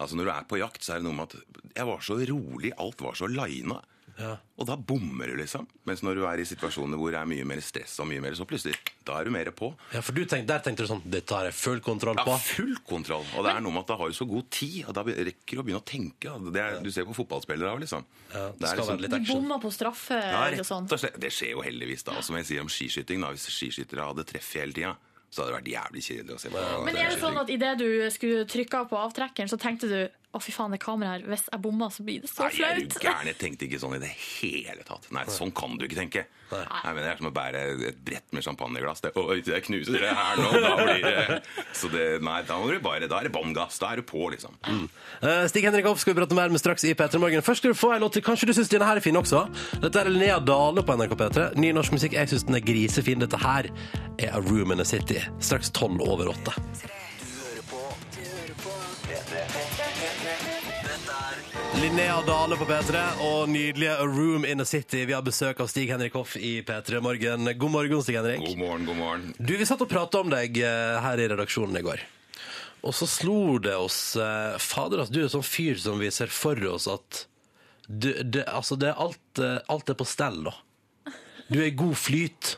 [SPEAKER 12] altså, når du er på jakt, så er det noe med at Jeg var så rolig. Alt var så lina.
[SPEAKER 2] Ja.
[SPEAKER 12] Og da bommer du, liksom. Mens når du er i situasjoner hvor det er mye mer stress og mye mer, så plutselig Da er du mer på.
[SPEAKER 2] Ja, for du tenkte, Der tenkte du sånn Dette har jeg full kontroll på.
[SPEAKER 12] Ja, full kontroll. Og det er noe med at da har du så god tid, og da rekker du å begynne å tenke. da. Det er, du ser på fotballspillere òg, liksom.
[SPEAKER 2] det skal være litt
[SPEAKER 4] Du bomma på straffe
[SPEAKER 12] Ja,
[SPEAKER 4] eller
[SPEAKER 12] rett
[SPEAKER 4] sånn.
[SPEAKER 12] og slett. Det skjer jo heldigvis, da. Og som jeg sier om skiskyting, da. Hvis skiskyttere hadde treff hele tida, så hadde det vært jævlig kjedelig å se på.
[SPEAKER 4] Men er det sånn at idet du skulle trykke på avtrekkeren, så tenkte du å fy faen, det kameraet her, hvis jeg bomma, så blir det så
[SPEAKER 12] Nei, jeg er
[SPEAKER 4] flaut?
[SPEAKER 12] jo gæren. Jeg tenkte ikke sånn i det hele tatt. Nei, sånn kan du ikke tenke. Nei, men Det er som å bære et brett med champagneglass. Det, Oi, jeg knuser det her nå! Da blir det Så det, nei, da, må du bare, da er det bånn gass. Da er du på, liksom.
[SPEAKER 2] Eh, Stig Henrik Hoff skal vi prate mer med straks i P3 Morgen. Først skal du få en låt til. Kanskje du syns denne her er fin også? Dette er Linnea Dale på NRK P3. Ny norsk musikk. Jeg syns den er grisefin. Dette her er A Room in a City. Straks tolv over åtte. Linnea Dale på P3 og nydelige A Room in a City. Vi har besøk av Stig Henrik Hoff i P3 Morgen. God morgen, Stig Henrik.
[SPEAKER 12] God morgen, god morgen.
[SPEAKER 2] Du, vi satt og pratet om deg eh, her i redaksjonen i går. Og så slo det oss eh, Fader, altså, du er en sånn fyr som vi ser for oss at du, det, altså, det er alt, eh, alt er på stell, da. Du er i god flyt.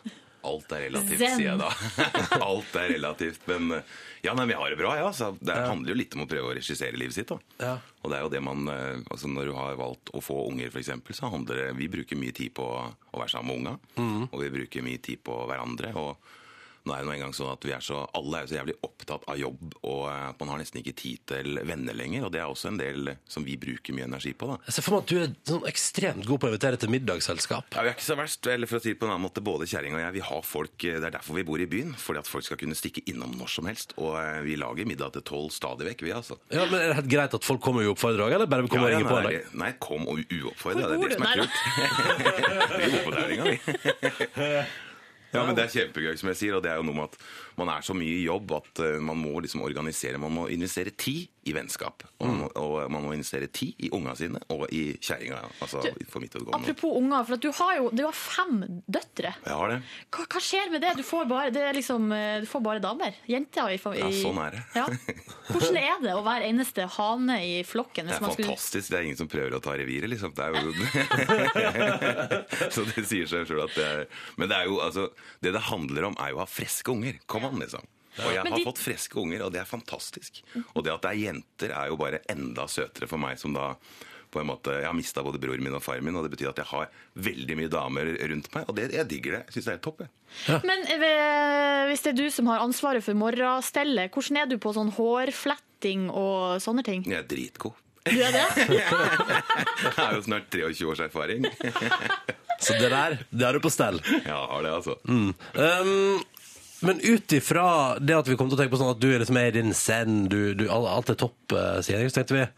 [SPEAKER 12] Alt er relativt,
[SPEAKER 2] Zen.
[SPEAKER 12] sier jeg da. Alt er relativt. Men eh, ja, nei, vi har det bra, ja. Så det handler jo litt om å prøve å regissere livet sitt. da.
[SPEAKER 2] Ja.
[SPEAKER 12] Og det er jo det man, eh, altså Når du har valgt å få unger, f.eks., så handler det Vi bruker mye tid på å være sammen med unga.
[SPEAKER 2] Mhm.
[SPEAKER 12] Og vi bruker mye tid på hverandre. Og nå er det nå engang sånn at vi er så, alle er jo så jævlig opptatt av jobb, og eh, at man har nesten ikke tid til venner lenger. Og det er også en del som vi bruker mye energi på. da.
[SPEAKER 2] Jeg ser for meg at du er sånn ekstremt god på å invitere til middagsselskap.
[SPEAKER 12] Ja, vi er ikke så verst, eller for å si det på en annen måte, både kjerring og jeg, vi har folk, eh, det er derfor vi bor i byen, fordi at folk skal kunne stikke innom når som helst, og eh, vi lager middag til tolv stadig vekk, vi altså.
[SPEAKER 2] Ja, men Er det helt greit at folk kommer i oppfordra òg, eller bare kommer og ringer på?
[SPEAKER 12] nei,
[SPEAKER 2] deg?
[SPEAKER 12] nei, kom og uoppfordra, det
[SPEAKER 2] Hvor
[SPEAKER 12] er det
[SPEAKER 2] bor du?
[SPEAKER 12] som er kult. vi bor på Dæringa, vi. Ja, men Det er kjempegøy, som jeg sier. og det er jo noe med at Man er så mye i jobb at eh, man må liksom organisere. Man må investere tid i vennskap. Og man må,
[SPEAKER 2] Mm.
[SPEAKER 12] og man må investere tid i unga sine og i kjerringa. Altså,
[SPEAKER 4] Du,
[SPEAKER 12] for mitt vedkommende.
[SPEAKER 4] Apropos unger, for at du har jo du har fem døtre.
[SPEAKER 12] Jeg har det.
[SPEAKER 4] Hva, hva skjer med det? Du får bare, det er liksom, eh, du får bare damer. Jenter. I, fam- i,
[SPEAKER 12] Ja, sånn er det.
[SPEAKER 4] Ja. Hvordan er det å være eneste hane i flokken?
[SPEAKER 12] Det
[SPEAKER 4] hvis
[SPEAKER 12] er
[SPEAKER 4] man skulle-
[SPEAKER 12] fantastisk. Det er ingen som prøver å ta reviret, liksom. Det er jo... så det sier seg sjøl at det er Men det er jo altså Det det handler om, er jo å ha friske unger. Kom an, liksom. Og jeg
[SPEAKER 4] Men
[SPEAKER 12] har
[SPEAKER 4] de-
[SPEAKER 12] fått friske unger, og det er fantastisk. Og det at det er jenter, er jo bare enda søtere for meg som da på en måte, Jeg har mista både broren min og faren min, og det betyr at jeg har veldig mye damer rundt meg. Og det, jeg digger det. Jeg syns det er helt topp. jeg.
[SPEAKER 4] Men eh, hvis det er du som har ansvaret for morgenstellet, hvordan er du på sånn hårfletting og sånne ting?
[SPEAKER 12] Jeg er dritgod.
[SPEAKER 4] Du er det?
[SPEAKER 12] Jeg har jo snart 23 års erfaring.
[SPEAKER 2] Så det der, det har du på stell.
[SPEAKER 12] Ja, jeg har det, altså.
[SPEAKER 2] Mm. Um, men ut ifra det at vi kom til å tenke på sånn at du er liksom er i din send, du, du, alt alt er topp, eh, sier jeg, så tenkte vi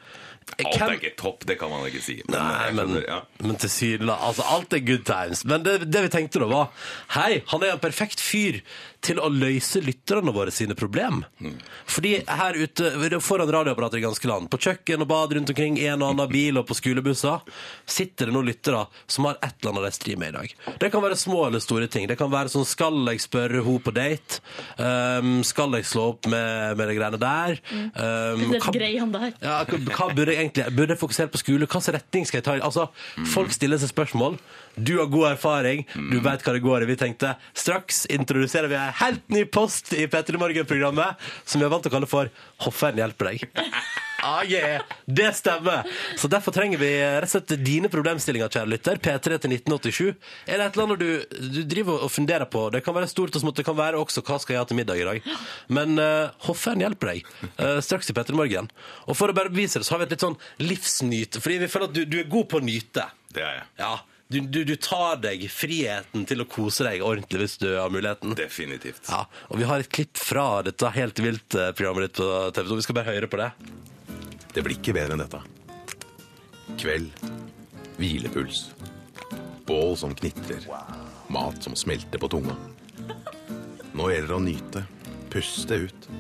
[SPEAKER 12] Alt er ikke topp, det kan man ikke si. Men,
[SPEAKER 2] Nei,
[SPEAKER 12] jeg
[SPEAKER 2] men,
[SPEAKER 12] skjønner, ja.
[SPEAKER 2] men til syden av altså, Alt er good times. Men det, det vi tenkte da, var Hei, han er en perfekt fyr til å løse lytterne våre sine problem.
[SPEAKER 12] Hmm.
[SPEAKER 2] Fordi her ute foran radioapparater i ganske land, på kjøkken og bad rundt omkring, i en og annen bil og på skolebusser, sitter det noen lyttere som har et eller annet de strir med i dag. Det kan være små eller store ting. Det kan være sånn Skal jeg spørre henne på date? Um, skal jeg slå opp med, med de greiene der? Um,
[SPEAKER 4] Den
[SPEAKER 2] hva-
[SPEAKER 4] greia der.
[SPEAKER 2] ja, hva hva burde jeg egentlig Burde jeg fokusere på skole? Hvilken retning skal jeg ta? i? Altså, Folk stiller seg spørsmål. Du har god erfaring, du vet hva det går i. Vi tenkte straks introduserer vi en helt ny post i P3 Morgen-programmet som vi er vant til å kalle for Hofferen hjelper deg. Ah, yeah. Det stemmer! Så derfor trenger vi rett og slett dine problemstillinger, kjære lytter. P3 til 1987. Er det et eller annet du, du driver og funderer på? Det kan være stort og smått, det kan være også hva skal jeg ha til middag i dag? Men eh, hofferen hjelper deg eh, straks i P3 Morgen. Og for å bare bevise det, så har vi et litt sånn livsnyte, fordi vi føler at du, du er god på å nyte.
[SPEAKER 12] Det er jeg.
[SPEAKER 2] Ja. Du, du, du tar deg friheten til å kose deg ordentlig hvis du har muligheten.
[SPEAKER 12] Definitivt.
[SPEAKER 2] Ja, og vi har et klipp fra dette helt vilt eh, programmet ditt på TV 2. Vi skal bare høre på det.
[SPEAKER 12] Det blir ikke bedre enn dette. Kveld. Hvilepuls. Bål som knitrer. Mat som smelter på tunga. Nå gjelder det å nyte. Puste ut.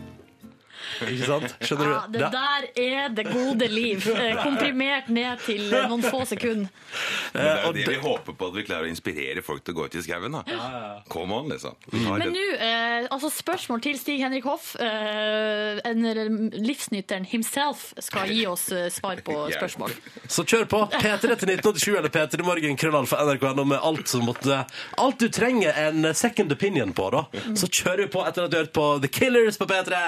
[SPEAKER 2] Ikke sant? Skjønner
[SPEAKER 4] Ja, det der er det gode liv. eh, Komprimert ned til eh, noen få sekunder.
[SPEAKER 12] Men det er jo det vi håper på, at vi klarer å inspirere folk til å gå ut i skauen. da. Come on, liksom. Vi har
[SPEAKER 4] Men
[SPEAKER 12] det-
[SPEAKER 4] nå, eh, altså spørsmål til Stig-Henrik Hoff. Eh, en livsnyteren himself skal gi oss eh, svar på spørsmål.
[SPEAKER 2] Så kjør på. P3 til 1987 eller P3 Morgen krøllall for NRK.no med alt som måtte Alt du trenger en second opinion på, da. Så kjører vi på etter at du har hørt på The Killers på P3.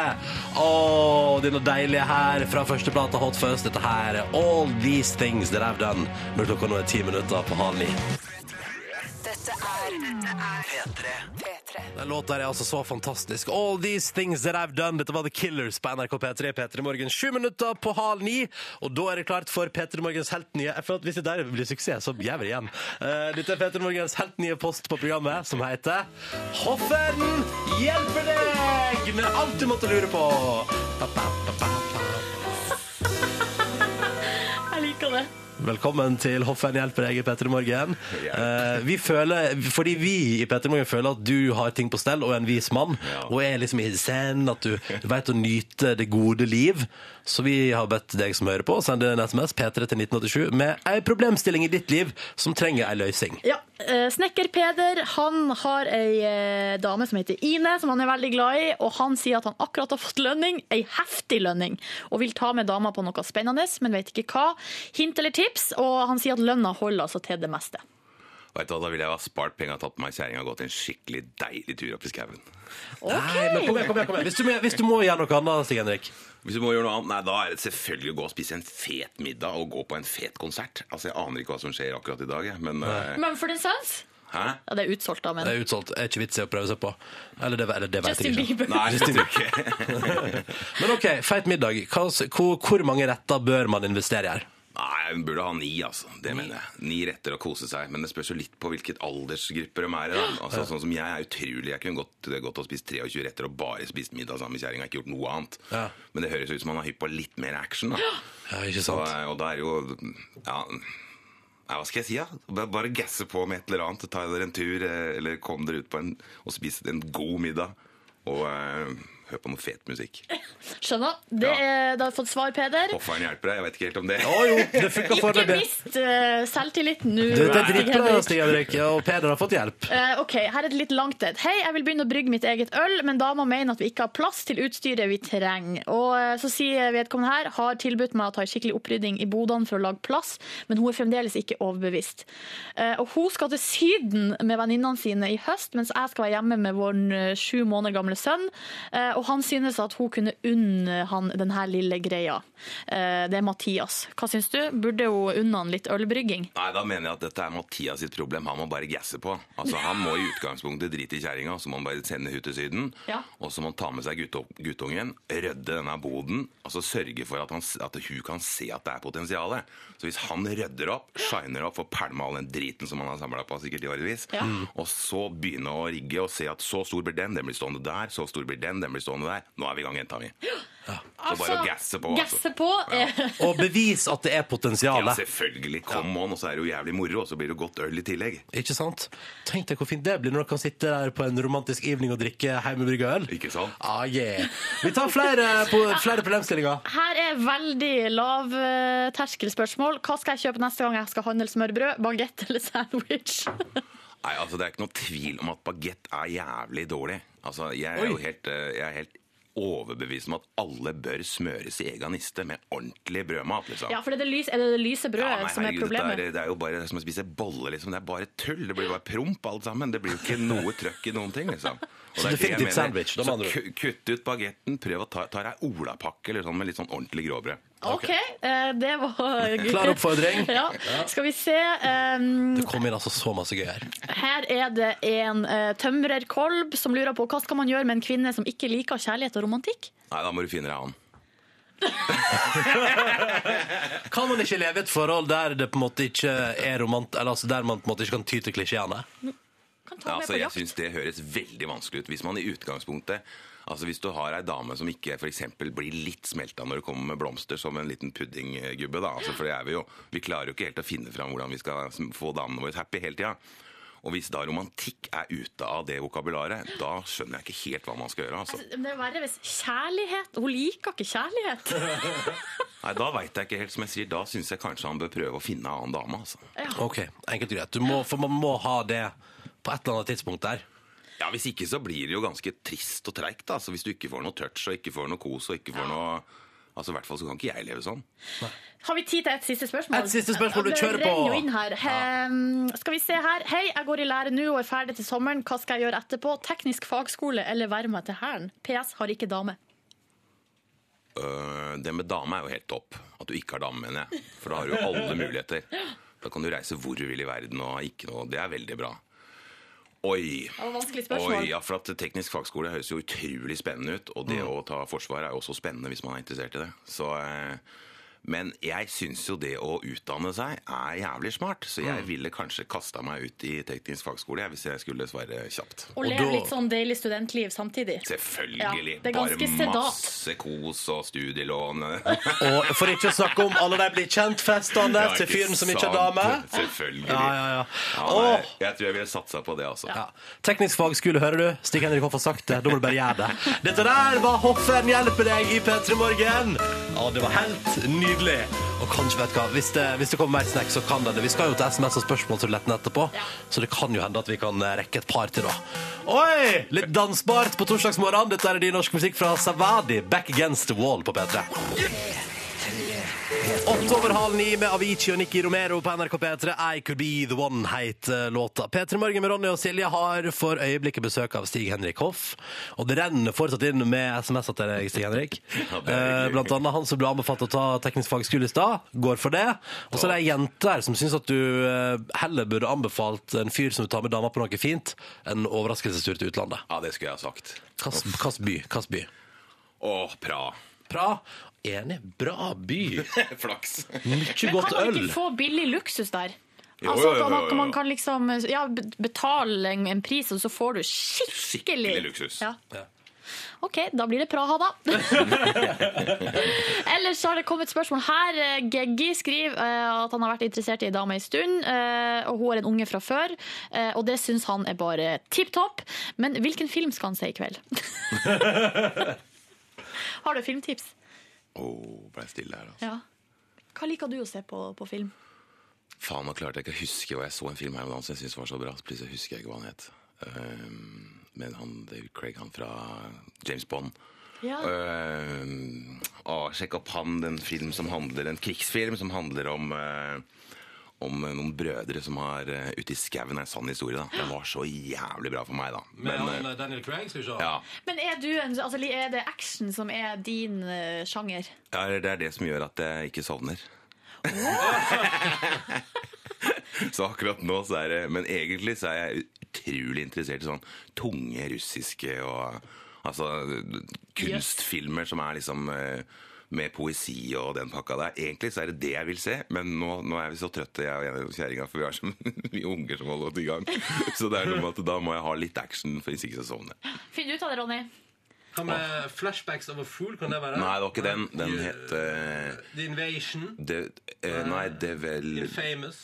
[SPEAKER 2] Og denne deilige her fra første plate Hot First. Dette her er All These Things That I've Done. Når klokka nå er ti minutter på halv ni.
[SPEAKER 9] Dette er P3.
[SPEAKER 2] Den låta her er altså så fantastisk. All these things that I've done. Dette var The Killers på NRK P3 P3 Morgen. Sju minutter på halv ni, og da er det klart for P3 Morgens helt nye Jeg føler at Hvis det der blir suksess, så jævlig igjen. Eh, dette er P3 Morgens helt nye post på programmet, som heter Hofferen hjelper deg med alt du måtte lure på. Pa, pa, pa, pa, pa.
[SPEAKER 4] Jeg liker det.
[SPEAKER 2] Velkommen til Hofferen hjelper deg i P3 Morgen. Eh, vi føler, fordi vi i P3 Morgen føler at du har ting på stell og er en vis mann, og er liksom i zen, at du vet å nyte det gode liv. Så vi har bedt deg som hører på, sende en SMS P3 til 1987 med ei problemstilling i ditt liv som trenger ei løsning.
[SPEAKER 4] Ja, eh, Snekker Peder han har ei eh, dame som heter Ine, som han er veldig glad i. Og han sier at han akkurat har fått lønning, ei heftig lønning, og vil ta med dama på noe spennende, men vet ikke hva. Hint eller tips, og han sier at lønna holder altså til det meste.
[SPEAKER 12] Vet du hva, Da ville jeg ha spart penga og tatt med meg kjerringa og gått en skikkelig deilig tur opp i skauen.
[SPEAKER 2] Nei, men kom igjen, kom igjen, kom igjen. Hvis du, må- hvis du må gjøre noe annet, Stig Henrik.
[SPEAKER 12] Hvis du må gjøre noe annet, nei, da er det selvfølgelig å gå og spise en fet middag og gå på en fet konsert. Altså, Jeg aner ikke hva som skjer akkurat i dag, jeg, men eh,
[SPEAKER 4] Mumford Sons?
[SPEAKER 12] Hæ?
[SPEAKER 4] Ja, det er utsolgt, da, men
[SPEAKER 2] Det er utsolgt. Er ikke vits i å prøve seg på. Eller det, eller det vet jeg
[SPEAKER 4] Justin
[SPEAKER 2] ikke.
[SPEAKER 4] Bieber. Nei,
[SPEAKER 2] Justin Bieber. Men OK, feit middag. Hva, hvor, hvor mange retter bør man investere i her?
[SPEAKER 12] Nei, hun burde ha ni, altså. Det mener jeg. Ni retter og kose seg. Men det spørs jo litt på hvilket aldersgrupper de er i. da. Altså,
[SPEAKER 2] Ja.
[SPEAKER 12] Sånn som jeg er utrolig. Jeg kunne godt, godt ha spist 23 retter og bare spist middag sammen med kjerringa. Ikke gjort noe annet.
[SPEAKER 2] Ja.
[SPEAKER 12] Men det høres ut som han er hypp på litt mer action, da.
[SPEAKER 2] Ja, ikke sant?
[SPEAKER 12] eh, Og, og da er det jo ja, ja, hva skal jeg si, da? Bare- Bare gasse på med et eller annet. Ta dere en tur, eh, eller kom dere ut på en, og spis en god middag. Og eh, hør på noe fet musikk.
[SPEAKER 4] skjønner. Det er, da har jeg fått svar, Peder.
[SPEAKER 12] Hofferen hjelper deg, jeg vet ikke helt om det.
[SPEAKER 2] eh,
[SPEAKER 4] Ikke mist eh, selvtilliten nå.
[SPEAKER 2] Det, det er
[SPEAKER 4] Stig
[SPEAKER 2] dritbra,
[SPEAKER 4] Henrik.
[SPEAKER 2] Stig Henrik. Ja, Og Peder har fått hjelp.
[SPEAKER 4] Eh, ok, her er det litt langt et. Hei, jeg vil begynne å brygge mitt eget øl, men dama mener at vi ikke har plass til utstyret vi trenger. Og eh, så sier vedkommende her, har tilbudt meg å ta en skikkelig opprydding i bodene for å lage plass, men hun er fremdeles ikke overbevist. Eh, og hun skal til syden med venninnene sine i høst, mens jeg skal være hjemme med vår eh, sju måneder gamle sønn. Eh, og han synes at hun kunne unne han denne lille greia. Eh, det er Mathias. Hva syns du? Burde hun unne han litt ølbrygging?
[SPEAKER 12] Nei, da mener jeg at dette er Mathias sitt problem. Han må bare gasse på. Altså, Han må i utgangspunktet drite i kjerringa, så må han bare sende henne til Syden.
[SPEAKER 4] Ja.
[SPEAKER 12] Og så må han ta med seg gutte- guttungen, rydde denne boden, altså sørge for at, han, s- at hun kan se at det er potensialet. Så hvis han rydder opp, shiner opp, får pælma all den driten som han har samla på sikkert i årevis,
[SPEAKER 4] Ja.
[SPEAKER 12] og så begynne å rigge og se at så stor blir den, den blir stående der, så stor blir den, den blir stående der. Nå er vi i gang, jenta mi. Så bare å gasse på. altså.
[SPEAKER 4] Gasse på. eh,
[SPEAKER 2] Og bevis at det er potensial.
[SPEAKER 12] Ja, selvfølgelig. Kom on, og så er det jo jævlig moro, og så blir det godt øl i tillegg.
[SPEAKER 2] Ikke sant? Tenk deg hvor fint det blir når dere kan sitte der på en romantisk evening og drikke hjemmebrygga øl.
[SPEAKER 12] Ikke sant?
[SPEAKER 2] Ah, yeah. Vi tar flere, på, flere problemstillinger.
[SPEAKER 4] Her er veldig lav eh, terskelspørsmål. Hva skal jeg kjøpe neste gang jeg skal handle smørbrød? Bagett eller sandwich?
[SPEAKER 12] Nei, altså Det er ikke noe tvil om at bagett er jævlig dårlig. Altså, Jeg er jo helt, eh, jeg er helt overbevist om at alle bør smøres i egen niste med ordentlig brødmat. liksom.
[SPEAKER 4] Ja, for det er det, lys, er det, det lyse brødet
[SPEAKER 12] Nei,
[SPEAKER 4] som er
[SPEAKER 12] herregud, dette
[SPEAKER 4] problemet.
[SPEAKER 12] er, det er jo bare som å spise bolle, liksom. Det er bare tull. Det blir bare promp alt sammen. Det blir jo ikke noe trøkk i noen ting, liksom. Og
[SPEAKER 2] Så
[SPEAKER 12] det er det jeg
[SPEAKER 2] definitivt
[SPEAKER 12] mener.
[SPEAKER 2] sandwich, da
[SPEAKER 12] Så
[SPEAKER 2] mener du.
[SPEAKER 12] ku- kutt ut bagetten, prøv å ta, ta deg olapakke eller sånn med litt sånn ordentlig gråbrød.
[SPEAKER 4] OK, eh, det var
[SPEAKER 2] Klar oppfordring.
[SPEAKER 4] Ja.
[SPEAKER 2] Ja.
[SPEAKER 4] Skal vi se. eh,
[SPEAKER 2] Det kom inn altså så masse gøy her.
[SPEAKER 4] Her er det en eh, tømrerkolb som lurer på hva skal man gjøre med en kvinne som ikke liker kjærlighet og romantikk?
[SPEAKER 12] Nei, da må du finne deg annen.
[SPEAKER 2] Kan man ikke leve i et forhold der det på en måte ikke er romant, eller altså der man på en måte ikke kan ty til klisjeene?
[SPEAKER 12] Ja, altså, jeg syns det høres veldig vanskelig ut. Hvis man i utgangspunktet Altså Hvis du har ei dame som ikke for eksempel, blir litt smelta når du kommer med blomster som en liten puddinggubbe, da. Altså, for det er vi jo Vi klarer jo ikke helt å finne fram hvordan vi skal sm- få damene våre happy hele tida. Og hvis da romantikk er ute av det vokabularet, da skjønner jeg ikke helt hva man skal gjøre. altså.
[SPEAKER 4] Men Det er verre hvis kjærlighet Hun liker ikke kjærlighet.
[SPEAKER 12] Nei, Da veit jeg ikke helt, som jeg sier. Da syns jeg kanskje han bør prøve å finne ei annen dame. altså.
[SPEAKER 2] Ok, enkelt og greit. Du må, for man må ha det på et eller annet tidspunkt der.
[SPEAKER 12] Ja, Hvis ikke så blir det jo ganske trist og treigt. da. Altså, hvis du ikke får noe touch og ikke får noe kos og ikke får noe Altså, I hvert fall så kan ikke jeg leve sånn.
[SPEAKER 4] Har vi tid til et siste spørsmål?
[SPEAKER 12] Et siste spørsmål, du
[SPEAKER 4] Det
[SPEAKER 12] kjører på.
[SPEAKER 4] renner jo inn her. Ehm, skal vi se her. Hei, jeg går i lære nå og er ferdig til sommeren. Hva skal jeg gjøre etterpå? Teknisk fagskole eller være med til Hæren? PS har ikke dame.
[SPEAKER 12] Øh, det med dame er jo helt topp. At du ikke har dame, mener jeg. For da har du jo alle muligheter. Da kan du reise hvor du vil i verden og ikke noe. Det er veldig bra. Oi.
[SPEAKER 4] Det var et vanskelig spørsmål.
[SPEAKER 12] Oi, ja, for at Teknisk fagskole høres jo utrolig spennende ut, og det
[SPEAKER 4] Mm.
[SPEAKER 12] å ta forsvar er jo også spennende hvis man er interessert i det. Så, eh, men jeg syns jo det å utdanne seg er jævlig smart, så
[SPEAKER 4] Mm.
[SPEAKER 12] jeg ville kanskje kasta meg ut i teknisk fagskole jeg, hvis jeg skulle svare kjapt.
[SPEAKER 4] Og leve litt sånn deilig studentliv samtidig.
[SPEAKER 12] Selvfølgelig.
[SPEAKER 4] Ja, det er ganske
[SPEAKER 12] Bare
[SPEAKER 4] sedat.
[SPEAKER 12] masse kos og studielån. eh.
[SPEAKER 2] Og for ikke å snakke om alle de blir kjent-festene
[SPEAKER 12] Ja,
[SPEAKER 2] til
[SPEAKER 12] ikke
[SPEAKER 2] fyren som ikke
[SPEAKER 12] sant.
[SPEAKER 2] er dame.
[SPEAKER 12] Selvfølgelig.
[SPEAKER 2] Ja, ja, ja.
[SPEAKER 12] Ja, nei, jeg tror jeg ville satsa på det, altså.
[SPEAKER 2] Teknisk fagskole, hører du? Stig Henrik Hoff har sagt det. Da må du bare gjøre det. Dette der var Hoffen hjelper deg i P3 Morgen. Ja, det var helt nydelig. Og kanskje, vet du hva, hvis det, hvis det kommer mer snacks, så kan det det. Vi skal jo til SMS og spørsmål til letten etterpå, så det kan jo hende at vi kan eh, rekke et par til, da. Oi! Litt dansbart på torsdagsmorgen. Dette er ny norsk musikk fra Savadi, Back Against The Wall på P3. Åtte over halv ni med Avicii og Nikki Romero på NRK P3. I Could Be The One het eh, låta. P3 Morgen med Ronny og Silje har for øyeblikket besøk av Stig Henrik Hoff. Og det renner fortsatt inn med SMS-er til deg, Stig Henrik. Eh, Blant annet han som ble anbefalt å ta teknisk fagskole i stad, går for det. Og så er det ei jente her som syns at du eh, heller burde anbefalt en fyr som vil ta med dama på noe fint, enn overraskelsestur til utlandet.
[SPEAKER 12] Ja, det skulle jeg ha sagt.
[SPEAKER 2] Hvilken by? Hvilken by?
[SPEAKER 12] Åh, bra.
[SPEAKER 2] Bra. Enig. Bra by.
[SPEAKER 12] Flaks.
[SPEAKER 2] Mye
[SPEAKER 4] Men
[SPEAKER 2] godt
[SPEAKER 4] kan man
[SPEAKER 2] øl.
[SPEAKER 4] ikke få billig luksus der?
[SPEAKER 2] Jo,
[SPEAKER 4] altså,
[SPEAKER 2] jo, jo, jo,
[SPEAKER 4] Man,
[SPEAKER 2] jo.
[SPEAKER 4] man kan liksom ja, b- betale en, en pris, og så får du skikkelig
[SPEAKER 12] Skikkelig luksus.
[SPEAKER 4] Ja. OK, da blir det Praha, da. Ellers har det kommet spørsmål her. Eh, Geggi skriver eh, at han har vært interessert i ei dame en stund, eh, og hun er en unge fra før. eh, Og det syns han er bare tipp topp. Men hvilken film skal han se i kveld? Har du filmtips?
[SPEAKER 12] Åh, ble jeg stille her, altså.
[SPEAKER 4] Ja. Hva liker du å se på, på film?
[SPEAKER 12] Faen, nå klarte jeg ikke å huske, og jeg så en film her om dagen som jeg syntes var så bra, så plutselig husker jeg ikke hva han het. Ehm, men han, det er jo Craig, han fra James Bond.
[SPEAKER 4] Ja.
[SPEAKER 12] Ehm, å, sjekk opp han, den film som handler, en krigsfilm som handler om eh, om eh, noen brødre som har eh, ute i skauen er en sann historie. da. Den var så jævlig bra for meg, da.
[SPEAKER 2] Med
[SPEAKER 12] Men,
[SPEAKER 2] han, eh, Daniel Craig, skal vi se.
[SPEAKER 12] eh, ja.
[SPEAKER 4] Men er, du en, altså, er det action som er din eh, sjanger?
[SPEAKER 12] ja, det er det som gjør at jeg ikke sovner. så akkurat nå så er det Men egentlig så er jeg utrolig interessert i sånn tunge russiske og Altså kunstfilmer som er liksom eh, med poesi og den pakka der. Egentlig så er det det jeg vil se, men nå, nå er vi så trøtte, jeg og kjerringa, for vi har så mye unger som holder oss i gang. Så det er noe med at da må jeg ha litt action, for hvis ikke så sovner jeg.
[SPEAKER 4] Finn ut av det, Ronny.
[SPEAKER 2] Hva med flashbacks of a fool? Kan det være?
[SPEAKER 12] Nei, det var ikke den. Den het eh,
[SPEAKER 2] The Invasion.
[SPEAKER 12] det- eh, Nei, det er vel
[SPEAKER 2] Famous.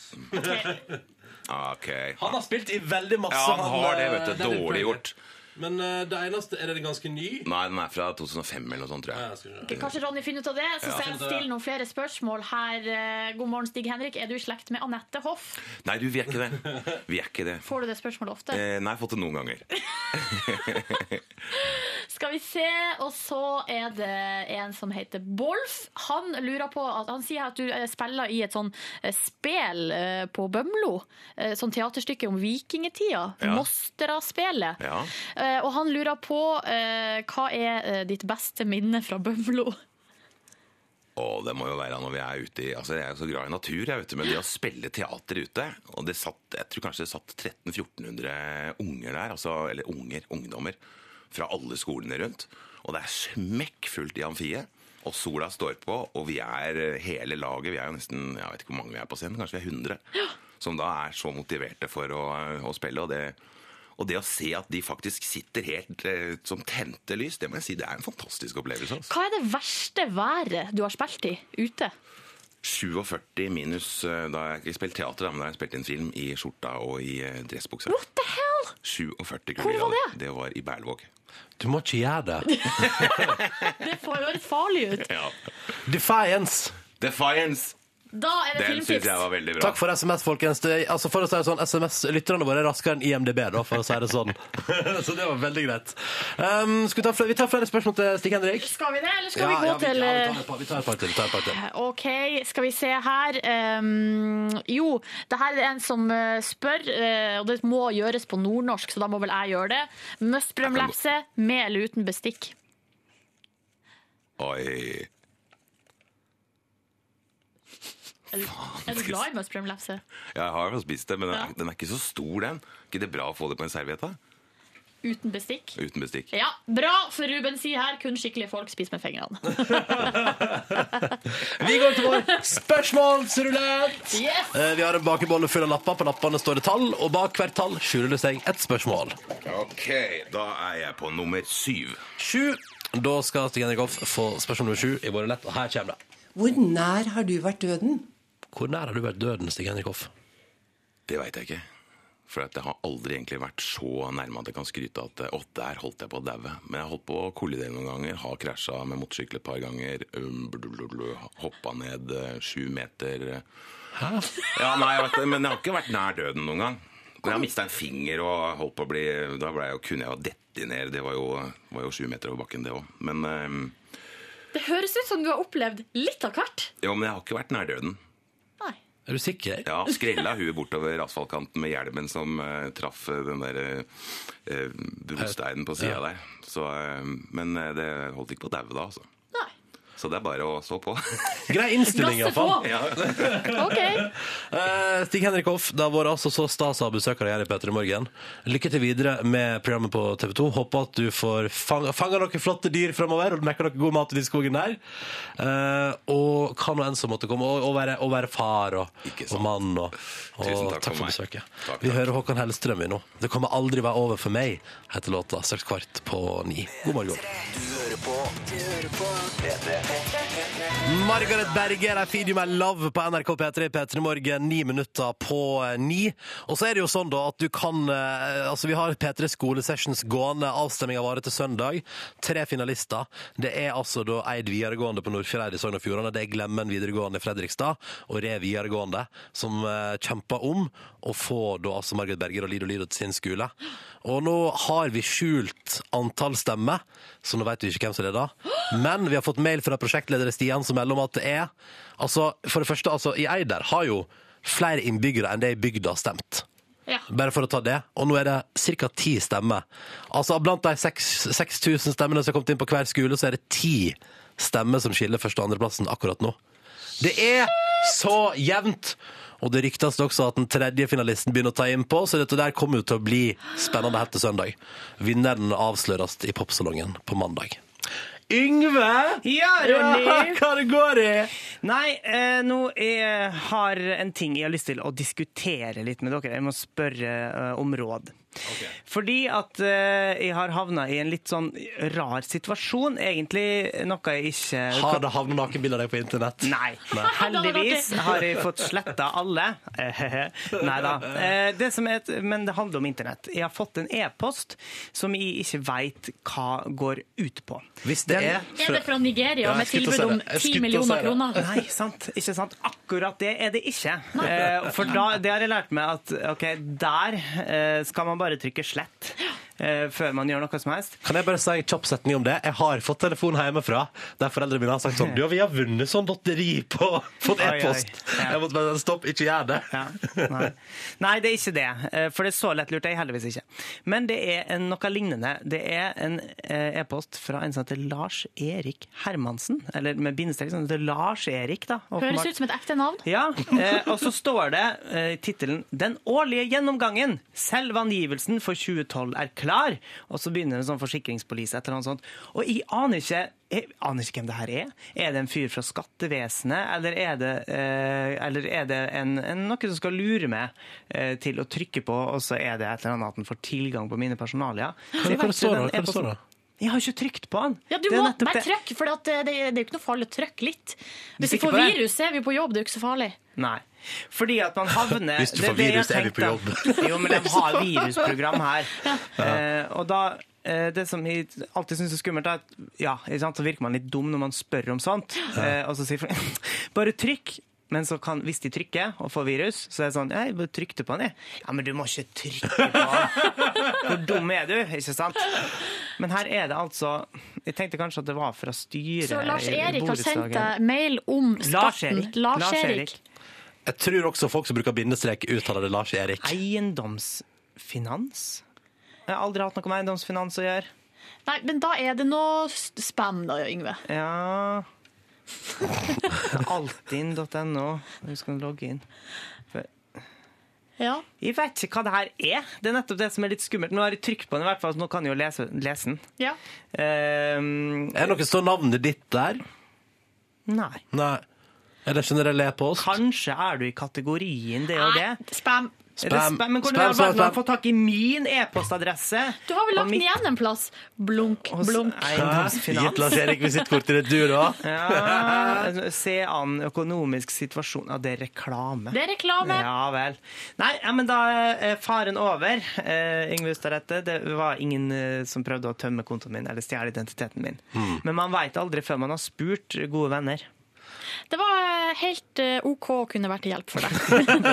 [SPEAKER 12] Ok.
[SPEAKER 2] Han har spilt i veldig masse.
[SPEAKER 12] Ja, han har det,
[SPEAKER 2] eh,
[SPEAKER 12] vet du.
[SPEAKER 2] Daniel Craig.
[SPEAKER 12] Dårlig gjort.
[SPEAKER 2] Men eh, det eneste Er den ganske ny?
[SPEAKER 12] Nei, den er fra 2005 eller noe sånt, tror
[SPEAKER 2] jeg.
[SPEAKER 4] Ok, kanskje Ronny finner ut av det, så
[SPEAKER 12] Ja.
[SPEAKER 4] skal jeg stille noen flere spørsmål her. Eh, God morgen, Stig Henrik. Er du i slekt med Anette Hoff?
[SPEAKER 12] Nei, du, vi er ikke det. Vi er ikke det.
[SPEAKER 4] Får du det spørsmålet ofte?
[SPEAKER 12] Eh, nei, jeg har fått det noen ganger.
[SPEAKER 4] Skal vi se, og så er det en som heter Bolf. Han lurer på, at, han sier at du eh, spiller i et sånn eh, spel eh, på Bømlo. eh, Sånn teaterstykke om vikingetida.
[SPEAKER 8] Ja.
[SPEAKER 4] Mostera-spelet.
[SPEAKER 8] Ja.
[SPEAKER 4] Eh, Og han lurer på eh, hva er eh, ditt beste minne fra Bømlo?
[SPEAKER 12] Og det må jo være når vi er ute i Altså, jeg er jo så glad i natur, jeg, vet du. Men det å spille teater ute Og det satt, jeg tror kanskje det satt 1300-1400 unger der. Altså, eller unger, ungdommer. Fra alle skolene rundt. Og det er smekkfullt i amfiet. Og sola står på, og vi er eh, hele laget. Vi er jo nesten Jeg vet ikke hvor mange vi er på scenen, kanskje vi er 100. Som da er så motiverte for å, å spille. Og det, og det å se at de faktisk sitter helt eh, som tente lys, det må jeg si, det er en fantastisk opplevelse. Altså.
[SPEAKER 4] Hva er det verste været du har spilt i ute?
[SPEAKER 12] 47 minus eh, Da har jeg ikke spilt teater, da, men da har jeg spilt en film i skjorta og i eh, dressbuksa. What
[SPEAKER 4] the hell?
[SPEAKER 12] 47
[SPEAKER 4] Hvor var
[SPEAKER 12] kuldegrader. Det var i Berlevåg.
[SPEAKER 2] Du må ikke gjøre det.
[SPEAKER 4] Det får høres farlig ut.
[SPEAKER 12] Ja.
[SPEAKER 2] Defiance.
[SPEAKER 12] Defiance.
[SPEAKER 4] Da er det
[SPEAKER 12] Den syns
[SPEAKER 4] filmtips.
[SPEAKER 12] jeg var veldig bra.
[SPEAKER 2] Takk for SMS, folkens. Det, altså for å si det sånn, SMS-lytterne våre er raskere enn IMDb, da, for å si det sånn. Så det var veldig greit. Um, skal vi, ta flere, vi tar flere spørsmål til Stig Henrik.
[SPEAKER 4] Skal vi det, eller skal vi gå
[SPEAKER 2] ja, vi,
[SPEAKER 4] til eh,
[SPEAKER 2] ja, vi tar et par- vi tar et par til. Vi tar et par til.
[SPEAKER 4] OK, skal vi se her. Um, jo, det her er en som eh, spør, eh, og det må gjøres på nordnorsk, så da må vel jeg gjøre det. Møsbrømlefse med eller uten bestikk?
[SPEAKER 12] Oi.
[SPEAKER 4] Er du, er du glad i møsbrømlefse?
[SPEAKER 12] Jeg har jo spist det, men den
[SPEAKER 4] Ja.
[SPEAKER 12] er, den er ikke så stor, den. Ikke det bra å få det på en serviett, da?
[SPEAKER 4] Uten bestikk?
[SPEAKER 12] Uten bestikk.
[SPEAKER 4] Ja, bra, for Ruben sier her kun skikkelige folk spiser med fingrene.
[SPEAKER 2] Vi går til vår spørsmålsrulett.
[SPEAKER 4] Yes!
[SPEAKER 2] Eh, Vi har en bakebolle full av lapper. På lappene står det tall, og bak hvert tall skjuler det seg et spørsmål.
[SPEAKER 12] OK, da er jeg på nummer syv.
[SPEAKER 2] Sju. Da skal Stig Henrik Hoff få spørsmål nummer sju i vår rulett, og her kommer det.
[SPEAKER 13] Hvor nær har du vært døden?
[SPEAKER 2] Hvor nær har du vært døden, Stig Henrik Hoff?
[SPEAKER 12] Det veit jeg ikke. For at jeg har aldri egentlig vært så nærme at jeg kan skryte at å, der holdt jeg på å daue. Men jeg har holdt på å kollidere noen ganger, har krasja med motorsykkel et par ganger. Um, Hoppa ned eh, sju meter.
[SPEAKER 2] Hæ?
[SPEAKER 12] Ja, nei, jeg vet det, men jeg har ikke vært nær døden noen gang. Men jeg har mista en finger og holdt på å bli Da ble jeg jo, kunne jeg jo dette ned. Det var jo, var jo sju meter over bakken, det òg. Men, eh,
[SPEAKER 4] Det høres ut som du har opplevd litt av hvert.
[SPEAKER 12] jo, men jeg har ikke vært nær døden.
[SPEAKER 4] Nei.
[SPEAKER 2] Er du sikker?
[SPEAKER 12] Ja, skrella huet bortover asfaltkanten med hjelmen som eh, traff eh, den der eh, brosteinen på sida
[SPEAKER 2] Ja.
[SPEAKER 12] der. Så, eh, men eh, det holdt ikke på å daue da, altså. Så det er bare å stå på.
[SPEAKER 2] Grei innstilling, Gasse på! iallfall.
[SPEAKER 12] Ja.
[SPEAKER 2] Eh, Stig Henrik Hoff, det har vært altså så stas å ha besøk av deg her i Petter i morgen. Lykke til videre med programmet på TV 2. Håper at du får fang, fanga noen flotte dyr framover og mekker noe god mat i den skogen der. Eh, og hva nå enn som måtte komme. Og, og, være, og være far og, og mann. Og, og
[SPEAKER 12] Tusen
[SPEAKER 2] takk,
[SPEAKER 12] takk for
[SPEAKER 2] for
[SPEAKER 12] meg.
[SPEAKER 2] besøket.
[SPEAKER 12] Takk,
[SPEAKER 2] Vi hører Håkan Hellstrøm i nå. 'Det kommer aldri være over for meg', heter låta. Straks kvart på ni. God morgen.
[SPEAKER 9] Du hører på. Du hører på. P3.
[SPEAKER 2] Margaret Berger, I feed you my love på NRK P3 P3 Morgen, ni minutter på eh, ni. Og så er det jo sånn da at du kan eh, Altså, vi har P3 Skolesessions gående. Avstemminga varer til søndag. Tre finalister. Det er altså da Eid videregående på Nordfjordeid i Sogn og Fjordane. Det er Glemmen videregående i Fredrikstad og Re videregående som eh, kjemper om å få da altså Margaret Berger og Lido Lido til sin skole. Og nå har vi skjult antall stemmer, så nå vet vi ikke hvem som leder. Men vi har fått mail fra prosjektleder Stian som melder om at det er altså, For det første, altså, i Eider har jo flere innbyggere enn det i bygda har stemt.
[SPEAKER 4] Ja.
[SPEAKER 2] Bare for å ta det. Og nå er det ca. ti stemmer. Altså Blant de 6000 stemmene som har kommet inn på hver skole, så er det ti stemmer som skiller første- og andreplassen akkurat nå. Det er så jevnt! Og det ryktes også at den tredje finalisten begynner å ta innpå, så dette der kommer jo til å bli spennende helt til søndag. Vinneren avsløres i popsalongen på mandag. Yngve!
[SPEAKER 3] Ja,
[SPEAKER 2] Ja,
[SPEAKER 3] Ronny!
[SPEAKER 2] hva det går i?
[SPEAKER 3] Nei, eh, nå jeg har en ting jeg har lyst til å diskutere litt med dere. Jeg må spørre eh, om råd. Fordi at eh, jeg har havna i en litt sånn rar situasjon, egentlig. Noe jeg ikke
[SPEAKER 2] Har det havnet nakenbilder av deg på internett?
[SPEAKER 3] Nei. Heldigvis har jeg fått sletta alle. Nei da. Det som er, et- men det handler om internett. Jeg har fått en e-post som jeg ikke veit hva går ut på.
[SPEAKER 2] Hvis det er
[SPEAKER 6] Er det fra Nigeria med tilbud om 10 millioner kroner?
[SPEAKER 3] Nei, sant. Ikke sant. Akkurat det er det ikke. Eh, For da, det har jeg lært meg at ok, der eh, skal man bare trykke slett eh, før man gjør noe som helst.
[SPEAKER 2] Kan jeg bare si en kjapp setning om det? Jeg har fått telefon hjemmefra der foreldrene mine har sagt sånn Du, vi har vunnet sånn lotteri på, på
[SPEAKER 3] Oi, oi.
[SPEAKER 2] e-post. Jeg måtte bare stopp, ikke gjør det.
[SPEAKER 3] Nei. Nei, det er ikke det. eh, For det er så lettlurt er jeg heldigvis ikke. Men det er en, noe lignende. Det er en eh, e-post fra en som heter Lars Erik Hermansen. Eller med bindestrek. Sånn at det er Lars Erik, da.
[SPEAKER 6] Høres ut som et ekte navn.
[SPEAKER 3] Ja, eh, og så står det eh, i tittelen 'Den årlige gjennomgangen'. Selvangivelsen for 2012 er klar. Og så begynner en sånn forsikringspolise et eller annet sånt. Og jeg aner ikke jeg aner ikke hvem det her er. Er det en fyr fra skattevesenet, eller er det, eh, eller er det en, en, noe som skal lure meg eh, til å trykke på, og så er det et eller annet at den får tilgang på mine personalia? Så
[SPEAKER 2] Hva er
[SPEAKER 3] jeg
[SPEAKER 2] det
[SPEAKER 3] vet ikke,
[SPEAKER 2] står da?
[SPEAKER 3] den
[SPEAKER 2] Hva er det
[SPEAKER 3] e-posten-
[SPEAKER 2] står da?
[SPEAKER 3] Jeg har ikke trykt på den.
[SPEAKER 6] Ja, du
[SPEAKER 3] Det er
[SPEAKER 6] må
[SPEAKER 3] nettopp
[SPEAKER 6] bare
[SPEAKER 3] det.
[SPEAKER 6] trykke, for eh, det, det, det er jo ikke noe farlig å trykke litt.
[SPEAKER 3] Du er
[SPEAKER 6] Hvis vi
[SPEAKER 3] sikker
[SPEAKER 6] får
[SPEAKER 3] på det?
[SPEAKER 6] virus, er vi på jobb, det er jo ikke så farlig.
[SPEAKER 3] Nei. Fordi at man havner
[SPEAKER 2] Hvis du
[SPEAKER 3] det
[SPEAKER 2] får
[SPEAKER 3] er det jeg
[SPEAKER 2] virus, er vi
[SPEAKER 3] tenkte.
[SPEAKER 2] på jobb.
[SPEAKER 3] Jo, men de har virusprogram her.
[SPEAKER 2] Ja.
[SPEAKER 3] Eh, og da eh, det som jeg alltid syns er skummelt, er at ja, ikke sant, så virker man litt dum når man spør om sånt. Eh, og så sier folk bare trykk. Men så kan, hvis de trykker og får virus, så er det sånn «Ja, Jeg bare trykte på den, jeg. Ja, men du må ikke trykke på den. Hvor dum er du? Ikke sant? Men her er det altså Jeg tenkte kanskje at det var fra styret
[SPEAKER 6] Så Lars
[SPEAKER 3] i
[SPEAKER 6] Erik har sendt
[SPEAKER 3] borettslaget.
[SPEAKER 6] deg mail om skatten.
[SPEAKER 3] Lars-Erik.
[SPEAKER 6] Lars Erik.
[SPEAKER 3] Lars-Erik.
[SPEAKER 2] Jeg tror også folk som bruker bindestrek, uttaler det Lars Erik.
[SPEAKER 3] Eiendomsfinans? Jeg har aldri hatt noe med eiendomsfinans å gjøre.
[SPEAKER 6] Nei, men da er det noe s- spam, da, Yngve.
[SPEAKER 3] Ja Altinn.no. Du skal logge inn. For-
[SPEAKER 6] Ja.
[SPEAKER 3] Jeg vet ikke hva det her er. Det er nettopp det som er litt skummelt. Nå har jeg trykt på den, i hvert fall, så nå kan jeg jo lese, lese den.
[SPEAKER 6] Ja.
[SPEAKER 3] Ehm,
[SPEAKER 2] Er det noe står navnet ditt der?
[SPEAKER 3] nei.
[SPEAKER 2] Nei. Er det generell e-post?
[SPEAKER 3] Kanskje er du i kategorien det og det.
[SPEAKER 6] Spam.
[SPEAKER 3] Er det
[SPEAKER 2] Spam.
[SPEAKER 3] spam? Men
[SPEAKER 2] Spam,
[SPEAKER 3] hvordan har verden
[SPEAKER 2] spam,
[SPEAKER 3] fått tak i min e-postadresse?
[SPEAKER 6] Du har vel
[SPEAKER 3] Og
[SPEAKER 6] lagt
[SPEAKER 3] mitt-
[SPEAKER 6] den igjen en plass? Blunk, blunk.
[SPEAKER 2] Hæ? Gitt Lars Erik visittkortet ditt, du, da?
[SPEAKER 3] Ja, se an økonomisk situasjon Ja, det er reklame.
[SPEAKER 6] Det er reklame.
[SPEAKER 3] Ja vel. Nei, ja, men da er faren over. Eh, Yngve Ustadrette, det var ingen eh, som prøvde å tømme kontoen min eller stjele identiteten min.
[SPEAKER 2] Hmm.
[SPEAKER 3] Men man veit aldri før man har spurt gode venner.
[SPEAKER 6] Det var eh, helt eh, OK å kunne vært til hjelp for deg.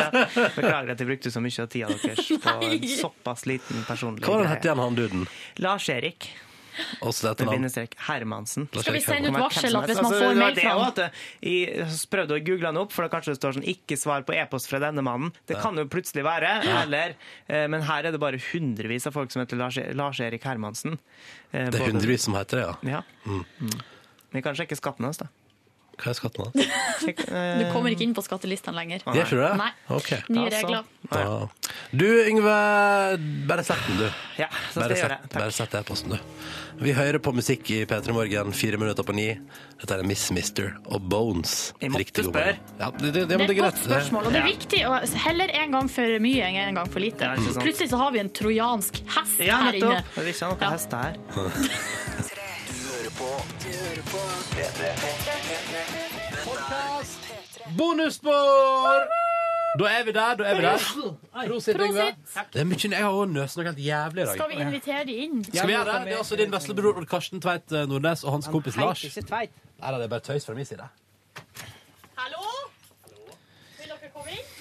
[SPEAKER 3] Beklager at jeg brukte så mye av tida deres på en
[SPEAKER 6] Nei.
[SPEAKER 3] såpass liten personlig
[SPEAKER 2] Hva var den het igjen, han duden?
[SPEAKER 3] Lars-Erik.
[SPEAKER 2] Og så dette
[SPEAKER 3] Med
[SPEAKER 2] navn.
[SPEAKER 3] bindestrek Hermansen.
[SPEAKER 2] Skal vi sende
[SPEAKER 6] ut varsel at
[SPEAKER 3] Altså,
[SPEAKER 6] hvis man får mail fra han?
[SPEAKER 3] Jeg prøvde å google han opp, for da kanskje det står sånn 'ikke svar på e-post fra denne mannen'. Det
[SPEAKER 2] Ja.
[SPEAKER 3] kan jo plutselig være. Eller, eh, men her er det bare hundrevis av folk som heter Lars- Lars-Erik Hermansen. Eh,
[SPEAKER 2] Det er
[SPEAKER 3] både-
[SPEAKER 2] hundrevis som heter det, ja.
[SPEAKER 3] Ja.
[SPEAKER 2] Mm.
[SPEAKER 3] Vi kan sjekke skatten hans, da. eh,
[SPEAKER 2] Hva er skatten hans?
[SPEAKER 6] Du kommer ikke inn på skattelistene lenger.
[SPEAKER 2] Gjør ikke du det?
[SPEAKER 6] Nei.
[SPEAKER 2] Ok.
[SPEAKER 6] Nye
[SPEAKER 3] Ja, så.
[SPEAKER 6] regler.
[SPEAKER 2] Ja. Du, Yngve, bare sett den, du.
[SPEAKER 3] Ja, så skal
[SPEAKER 2] bare,
[SPEAKER 3] jeg gjøre
[SPEAKER 2] sett,
[SPEAKER 3] det.
[SPEAKER 2] bare sett e-posten, du. Vi hører på musikk i P3 Morgen fire minutter på ni. Dette er Miss Mister og Bones.
[SPEAKER 3] Jeg måtte
[SPEAKER 2] Riktig god morgen. Ja, det, det,
[SPEAKER 6] Det
[SPEAKER 2] det, men
[SPEAKER 6] er et
[SPEAKER 2] det er
[SPEAKER 6] godt
[SPEAKER 2] greit.
[SPEAKER 6] spørsmål, og det er
[SPEAKER 2] Ja.
[SPEAKER 6] viktig. Og heller en gang for mye enn en gang for lite.
[SPEAKER 3] Ja, ikke sant.
[SPEAKER 6] Plutselig så har vi en trojansk hest
[SPEAKER 3] Ja,
[SPEAKER 6] her inne.
[SPEAKER 3] nettopp. Det er ikke noe hest her.
[SPEAKER 2] Bonusspor! Da er vi der, da er vi der.
[SPEAKER 6] Prosit, Yngve.
[SPEAKER 2] Det er mye, jeg har også nøst noe helt jævlig i dag.
[SPEAKER 6] Skal vi invitere de inn?
[SPEAKER 2] Skal vi gjøre det? Det er altså din veslebror Odd Karsten Tveit eh, Nordnes og hans kompis Lars. Nei, da, det er bare tøys fra min side.
[SPEAKER 6] Hallo? Vil dere komme inn?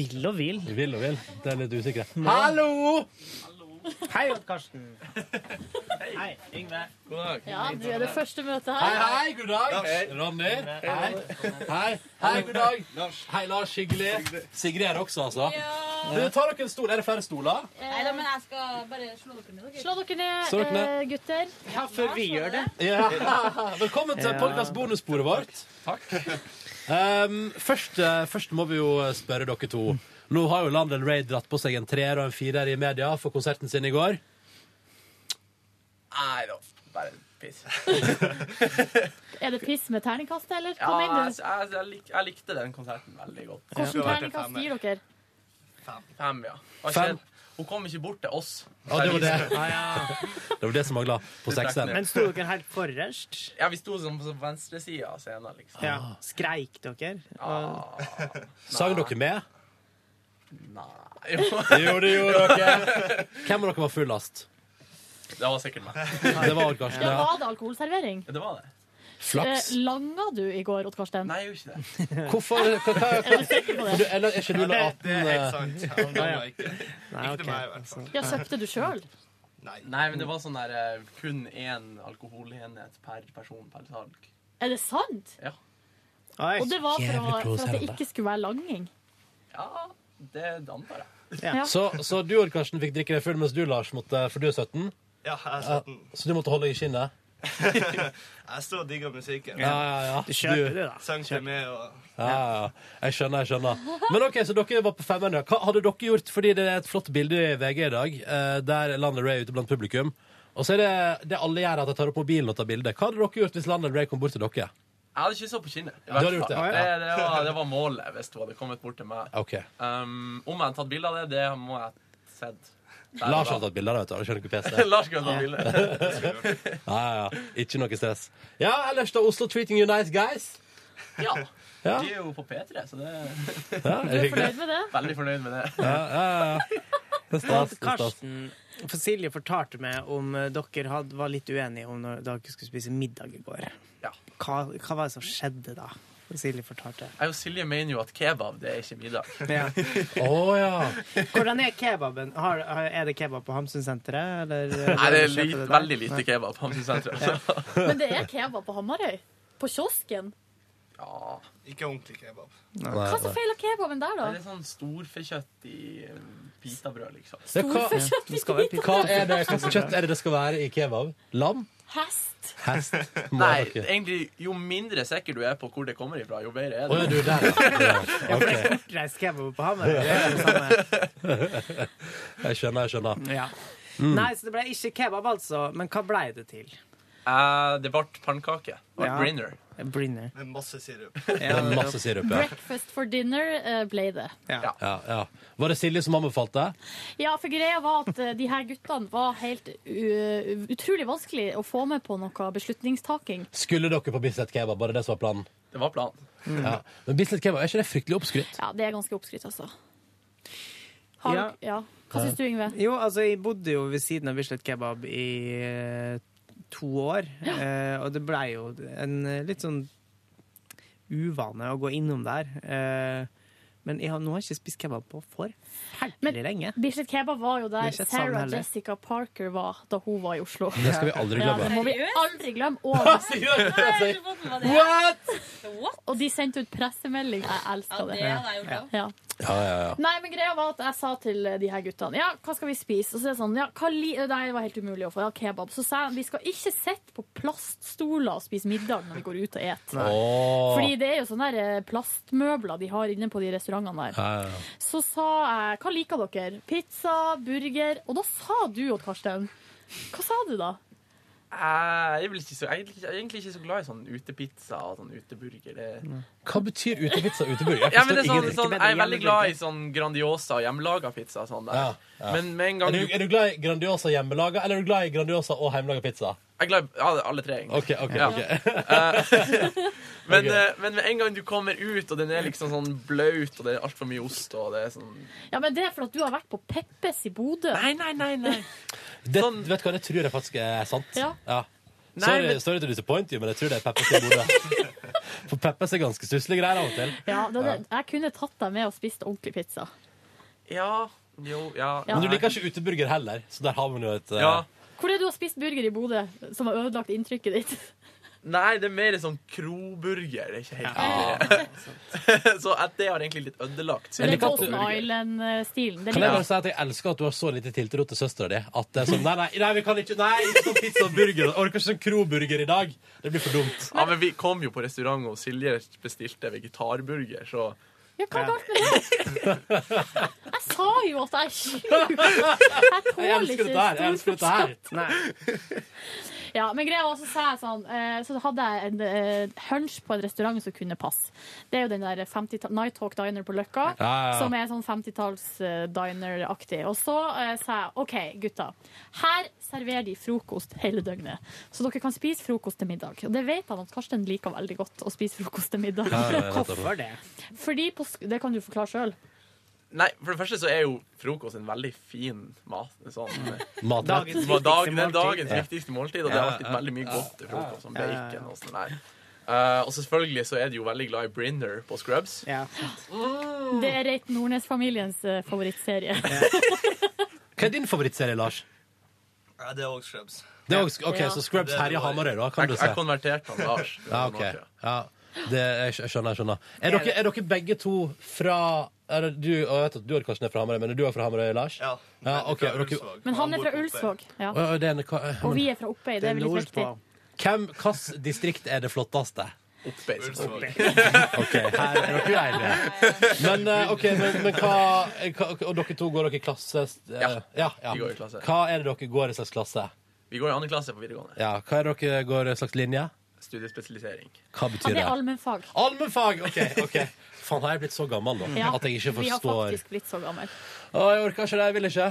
[SPEAKER 3] Vil og vil.
[SPEAKER 2] Vil og vil. Det er litt usikkert. Hallo!
[SPEAKER 3] Hei, Odd Karsten.
[SPEAKER 14] Hei, Yngve. God dag.
[SPEAKER 4] Ja, du er det første møtet her.
[SPEAKER 2] Hei, hei, god dag.
[SPEAKER 14] Lars.
[SPEAKER 2] Ronny. Hei. Hei, hei, god dag. Hei, Lars. Hyggelig. Sigrid er også, altså. Du, ta dere en stol. Er det flere stoler?
[SPEAKER 15] Nei da, men jeg skal bare slå dere ned.
[SPEAKER 4] Slå dere ned,
[SPEAKER 2] Slå dere ned.
[SPEAKER 4] eh, gutter.
[SPEAKER 3] Ja, før vi gjør det.
[SPEAKER 2] Ja. Velkommen til
[SPEAKER 3] Ja.
[SPEAKER 2] podcast bonussporet vårt. Takk. Um, først, eh, først må vi jo spørre dere to. Nå har jo Landen Raid dratt på seg en treer og en firer i media for konserten sin i går.
[SPEAKER 16] Nei da, bare piss.
[SPEAKER 4] Er det piss med terningkast, eller?
[SPEAKER 16] Ja,
[SPEAKER 4] Hva mener
[SPEAKER 16] jeg,
[SPEAKER 4] du?
[SPEAKER 16] jeg, jeg, lik, jeg likte den konserten veldig godt.
[SPEAKER 4] Hvordan terningkast gir dere?
[SPEAKER 16] Fem, fem ja. Og
[SPEAKER 2] Fem?
[SPEAKER 16] ikke- Hun kom ikke bort til oss.
[SPEAKER 2] Ja, det var det.
[SPEAKER 16] Ja, ja.
[SPEAKER 2] Det var det som mangla på
[SPEAKER 16] Det trakk
[SPEAKER 2] sekseren.
[SPEAKER 16] ned.
[SPEAKER 3] Men sto dere helt forrest?
[SPEAKER 16] Ja, vi sto sånn på venstresida av scenen, liksom.
[SPEAKER 3] Ja. Skreik dere? Og-
[SPEAKER 2] Sang dere med?
[SPEAKER 16] Nei.
[SPEAKER 2] Jo, det gjorde dere. Hvem av dere var fullast?
[SPEAKER 16] Det var sikkert meg.
[SPEAKER 2] Det var Odd Karsten.
[SPEAKER 4] Ja,
[SPEAKER 2] Ja.
[SPEAKER 4] var det alkoholservering?
[SPEAKER 16] Det var det.
[SPEAKER 2] Flaks.
[SPEAKER 4] Eh, Langa du i går, Odd Karsten?
[SPEAKER 16] Nei, jeg gjorde ikke
[SPEAKER 4] det.
[SPEAKER 2] Hvorfor? Hva, hva,
[SPEAKER 4] Er du sikker på
[SPEAKER 2] Men du,
[SPEAKER 4] det?
[SPEAKER 2] eller, er ikke du
[SPEAKER 16] Ja,
[SPEAKER 2] under
[SPEAKER 16] det-
[SPEAKER 2] 18?
[SPEAKER 16] det er helt sant. Han
[SPEAKER 2] eh?
[SPEAKER 16] ganger ikke.
[SPEAKER 2] Nei,
[SPEAKER 16] Ikke til
[SPEAKER 2] ok.
[SPEAKER 16] meg, i hvert fall.
[SPEAKER 4] Ja, søpte du sjøl?
[SPEAKER 16] Nei. Nei, men det var sånn der eh, kun én alkoholenhet per person per salg.
[SPEAKER 4] Er det sant?
[SPEAKER 16] Ja.
[SPEAKER 4] Og det var for, å, for at det ikke skulle være langing?
[SPEAKER 16] Ja, det antar jeg.
[SPEAKER 4] Ja.
[SPEAKER 2] Så, så du Odd Karsten fikk drikke deg full, mens du Lars måtte, for du er 17?
[SPEAKER 10] Ja, jeg er 17.
[SPEAKER 2] Ja, Så du måtte holde deg i skinnet?
[SPEAKER 10] Jeg står og digger musikken.
[SPEAKER 2] Ja, ja, ja. Du kjøper det, da.
[SPEAKER 10] Sang til meg og
[SPEAKER 2] Ja, ja, ja. Jeg skjønner, jeg skjønner. Men ok, så dere var på femmeren, ja. Hva hadde dere gjort? Fordi det er et flott bilde i VG i dag, eh, der London Ray er ute blant publikum. Og så er det det alle gjør, at de tar opp mobilen og tar bilde. Hva hadde dere gjort hvis London Ray kom bort til dere?
[SPEAKER 16] Jeg hadde kyssa på kinnet. i
[SPEAKER 2] Du hadde
[SPEAKER 16] hvert
[SPEAKER 2] gjort det,
[SPEAKER 16] fall.
[SPEAKER 2] ja.
[SPEAKER 16] det, det, var, det var målet hvis hun hadde kommet bort til meg.
[SPEAKER 2] Ok.
[SPEAKER 16] Um, om jeg hadde tatt bilde av det, det må jeg sett. Der og
[SPEAKER 2] Lars
[SPEAKER 16] da.
[SPEAKER 2] har tatt bilde av det, vet du. Han skjønner ikke PC.
[SPEAKER 16] Lars kan ta bilde.
[SPEAKER 2] ja, ja, ja. Ikke noe stress. Ja, ellers da Oslo Treating You Nice Guys.
[SPEAKER 16] Ja.
[SPEAKER 2] Ja.
[SPEAKER 16] De er jo på P3, så det
[SPEAKER 2] Ja, er det hyggelig?
[SPEAKER 4] med det?
[SPEAKER 16] Veldig fornøyd med det.
[SPEAKER 2] Ja, ja, ja. Det er stas.
[SPEAKER 3] Odd
[SPEAKER 2] Det er stas.
[SPEAKER 3] Karsten, for Silje fortalte meg om eh, dere hadde, var litt uenige om når dere skulle spise middag i går. Hva, hva var det som skjedde da? Silje fortalte.
[SPEAKER 16] Jeg og Silje mener jo at kebab, det er ikke middag.
[SPEAKER 3] Ja.
[SPEAKER 2] Å, ja.
[SPEAKER 3] Hvordan er kebaben? Har, har- er det kebab på Hamsunsenteret? eller-
[SPEAKER 16] Nei, det er
[SPEAKER 3] kjøper
[SPEAKER 16] lite,
[SPEAKER 3] det der?
[SPEAKER 16] veldig lite
[SPEAKER 3] Nei.
[SPEAKER 16] kebab på Hamsunsenteret.
[SPEAKER 4] Men det er kebab på Hamarøy? På kiosken?
[SPEAKER 16] Ja.
[SPEAKER 10] Ikke ordentlig kebab.
[SPEAKER 4] Hva er så feil av kebaben der,
[SPEAKER 16] Det
[SPEAKER 4] da?
[SPEAKER 16] er sånn storfekjøtt i um, pitabrød, liksom.
[SPEAKER 2] Ja, hva-
[SPEAKER 4] Storfekjøtt i pitabrød.
[SPEAKER 2] Hva er det hva slags kjøtt er det det skal være i kebab? Lam?
[SPEAKER 4] Hest?
[SPEAKER 2] Hest? Må
[SPEAKER 16] Nei,
[SPEAKER 2] dere-
[SPEAKER 16] egentlig, jo mindre sikker du er på hvor det kommer ifra, jo bedre er
[SPEAKER 2] Å, ja, du,
[SPEAKER 16] det.
[SPEAKER 2] der, ja. Ja, ok.
[SPEAKER 3] Kortreist kebab på Hamarøy. det er det samme.
[SPEAKER 2] Jeg skjønner, jeg skjønner.
[SPEAKER 3] Ja.
[SPEAKER 2] Mm.
[SPEAKER 3] Nei, så det ble ikke kebab, altså. Men hva blei det til?
[SPEAKER 16] Eh, det ble pannkake. Det ble
[SPEAKER 3] Ja.
[SPEAKER 16] Brinner.
[SPEAKER 3] Brinner.
[SPEAKER 10] Med masse sirup.
[SPEAKER 2] Det er masse sirup, ja.
[SPEAKER 4] Breakfast for dinner eh, ble det.
[SPEAKER 2] Ja. Ja, Var det Silje som anbefalte?
[SPEAKER 4] Ja, for greia var at eh, de her guttene var helt u utrolig vanskelig å få med på noe beslutningstaking.
[SPEAKER 2] Skulle dere på Bislett kebab? Var det det som var planen?
[SPEAKER 16] Det var planen.
[SPEAKER 2] Ja. Men Bislett kebab, er ikke det fryktelig oppskrytt?
[SPEAKER 4] Ja, det er ganske oppskrytt, altså. Har,
[SPEAKER 3] Ja.
[SPEAKER 4] ja. Ja. Hva syns du, Yngve?
[SPEAKER 3] Jo, altså, jeg bodde jo ved siden av Bislett Kebab i eh, to år, eh, og det blei jo en eh, litt sånn uvane å gå innom der. eh, men jeg har, nå har jeg ikke spist kebab på for
[SPEAKER 4] Men
[SPEAKER 3] veldig lenge.
[SPEAKER 4] Bislett Kebab var jo
[SPEAKER 3] Det er
[SPEAKER 4] der
[SPEAKER 3] ikke et savn
[SPEAKER 4] Sarah
[SPEAKER 3] heller.
[SPEAKER 4] Jessica Parker var da hun var i Oslo.
[SPEAKER 2] Det skal vi aldri glemme.
[SPEAKER 4] Ja, det må vi aldri glemme.
[SPEAKER 2] Hva
[SPEAKER 4] Og,
[SPEAKER 2] sier du? Hva sier du?
[SPEAKER 4] og de sendte ut pressemelding. Jeg elska det.
[SPEAKER 2] Ja, det hadde jeg gjort
[SPEAKER 4] Ja.
[SPEAKER 2] Ja, ja, ja.
[SPEAKER 4] Nei, men greia var at jeg sa til de her guttene Ja, hva skal vi spise? Og så er det sånn, ja, hva li Nei, det var helt umulig å få ja, kebab Så sa jeg, vi skal ikke sette på plaststoler Og spise middag når vi går ut og et
[SPEAKER 2] Åh.
[SPEAKER 4] Fordi det er jo sånne der eh, plastmøbler De har inne på de restaurantene der
[SPEAKER 2] Ja, ja, ja.
[SPEAKER 4] Så sa jeg, hva liker dere? Pizza, burger Og da sa du, Odd Karsten Hva sa du da?
[SPEAKER 16] Eh, Jeg, er vel ikke så, jeg, er ikke- jeg er egentlig ikke så glad i sånn utepizza og sånn uteburger. Det...
[SPEAKER 2] Hva betyr utepizza uteburger?
[SPEAKER 16] Ja, men det er sånn, sånn, jeg er veldig glad i sånn Grandiosa og hjemmelaga pizza. og Sånn der.
[SPEAKER 2] Ja, ja.
[SPEAKER 16] Men med en gang
[SPEAKER 2] er, du, er du glad i Grandiosa hjemmelaga, eller er du glad i Grandiosa og hjemmelaga pizza?
[SPEAKER 16] Jeg er glad i ja, alle tre, egentlig.
[SPEAKER 2] Ok, ok,
[SPEAKER 16] Ja.
[SPEAKER 2] ok.
[SPEAKER 16] Eh, men,
[SPEAKER 2] Ok.
[SPEAKER 16] eh, men med en gang du kommer ut, og den er liksom sånn blaut, og det er altfor mye ost og det er sånn
[SPEAKER 4] Ja, men det er for at du har vært på Peppes i Bodø
[SPEAKER 16] Nei, nei, nei, nei
[SPEAKER 2] Det, vet du hva, det tror jeg faktisk er sant.
[SPEAKER 4] Ja.
[SPEAKER 16] Sånn- Nei,
[SPEAKER 2] sorry,
[SPEAKER 16] men-
[SPEAKER 2] sorry to disappoint you, men jeg tror det er Peppers i Bodø. For Peppers er ganske stusslige greier av og til.
[SPEAKER 4] ja, det, det, Jeg kunne tatt deg med og spist ordentlig pizza
[SPEAKER 16] Ja, Jo, ja.
[SPEAKER 2] Men du liker ikke uteburger heller, så der har man jo et eh,
[SPEAKER 16] Ja.
[SPEAKER 4] Hvor er det du har spist burger i Bodø som har ødelagt inntrykket ditt?
[SPEAKER 16] Nei, det er mer sånn kroburger. Det er ikke helt det. Så at det har egentlig litt ødelagt.
[SPEAKER 4] Det er Golden Island-stilen. Det
[SPEAKER 2] Kan jeg
[SPEAKER 4] liker
[SPEAKER 2] bare si at jeg elsker at du har så lite tiltro til søstera di? At det er sånn, nei, nei, nei, vi kan ikke Nei, ikke sånn pizza og burger. Jeg Orker ikke sånn kroburger i dag. Det blir for dumt.
[SPEAKER 16] Ja, men Vi kom jo på restaurant, og Silje bestilte vegetarburger, så
[SPEAKER 4] Ja, hva er galt med det? Jeg sa jo at jeg er sjuk! Jeg tåler ikke
[SPEAKER 17] Nei.
[SPEAKER 4] Ja, men greia var, så sa jeg sånn eh, Så hadde jeg en eh, hunch på en restaurant som kunne passe. Det er jo den der 50-tall- Night Talk Diner på Løkka,
[SPEAKER 18] Ja, ja, ja.
[SPEAKER 4] som er sånn 50-talls-diner-aktig. Og så eh, sa jeg OK, gutta. Her serverer de frokost hele døgnet, så dere kan spise frokost til middag. Og det vet han at Karsten liker veldig godt, å spise frokost til middag.
[SPEAKER 16] Ja, ja, ja, nettopp. Hvorfor det?
[SPEAKER 4] Fordi på, sk- det kan du forklare sjøl.
[SPEAKER 16] Nei, for det første så er jo frokost en veldig fin mat. en Sånn,
[SPEAKER 2] Matrett.
[SPEAKER 16] Dagens
[SPEAKER 2] Dagens Mm. viktigste
[SPEAKER 16] dag, det er dagens
[SPEAKER 2] måltid.
[SPEAKER 16] viktigste måltid, og det har
[SPEAKER 2] Ja,
[SPEAKER 16] alltid
[SPEAKER 2] ja.
[SPEAKER 16] veldig mye godt til frokost, som
[SPEAKER 2] Ja, ja, ja.
[SPEAKER 16] bacon og sånn der. Eh, og selvfølgelig så er de jo veldig glad i Brinner på Scrubs.
[SPEAKER 4] Det er Reit Nordnes-familiens eh, favorittserie.
[SPEAKER 2] Hva er din favorittserie, Lars?
[SPEAKER 19] Ja, det er også Scrubs.
[SPEAKER 2] Det er også, ok,
[SPEAKER 19] Ja.
[SPEAKER 2] Så Scrubs
[SPEAKER 19] Det er det
[SPEAKER 2] herjer
[SPEAKER 19] bare.
[SPEAKER 2] Hamarøy, da, kan
[SPEAKER 16] Jeg-
[SPEAKER 2] du si.
[SPEAKER 16] jeg konverterte han, Lars.
[SPEAKER 2] Ja, ok. Ja, det, jeg skj- skjønner, jeg skjønner. Er
[SPEAKER 16] Er
[SPEAKER 2] dere, er dere begge to fra er det du, og jeg vet at du og Karsten er fra Hamarøy, men er du også fra Hamarøy, Lars? Ja. ok, og dere,
[SPEAKER 4] Men han er fra Ulsvåg. Ja.
[SPEAKER 2] Å, å, det er en- hva-
[SPEAKER 4] Og vi er fra Oppøy. Det er vel litt viktig.
[SPEAKER 2] Hvem, hvilket distrikt er det flotteste?
[SPEAKER 16] Oppøy.
[SPEAKER 2] OK, her er dere enige. Men, eh, ok, men, men hva, hva Og dere to går dere i klasse? eh,
[SPEAKER 16] Ja,
[SPEAKER 2] ja,
[SPEAKER 16] vi går i klasse.
[SPEAKER 2] Hva er det dere går i slags klasse?
[SPEAKER 16] Vi går i andre klasse på videregående.
[SPEAKER 2] Ja, hva er det dere går i slags linje?
[SPEAKER 16] Studiespesialisering.
[SPEAKER 2] Hva betyr det?
[SPEAKER 4] allmennfag.
[SPEAKER 2] Allmennfag! OK. ok Faen, har jeg blitt så gammel nå
[SPEAKER 4] Ja,
[SPEAKER 2] at jeg ikke
[SPEAKER 4] Vi har
[SPEAKER 2] forstår
[SPEAKER 4] faktisk blitt så gammel.
[SPEAKER 2] Å, jeg orker ikke det. Jeg vil ikke.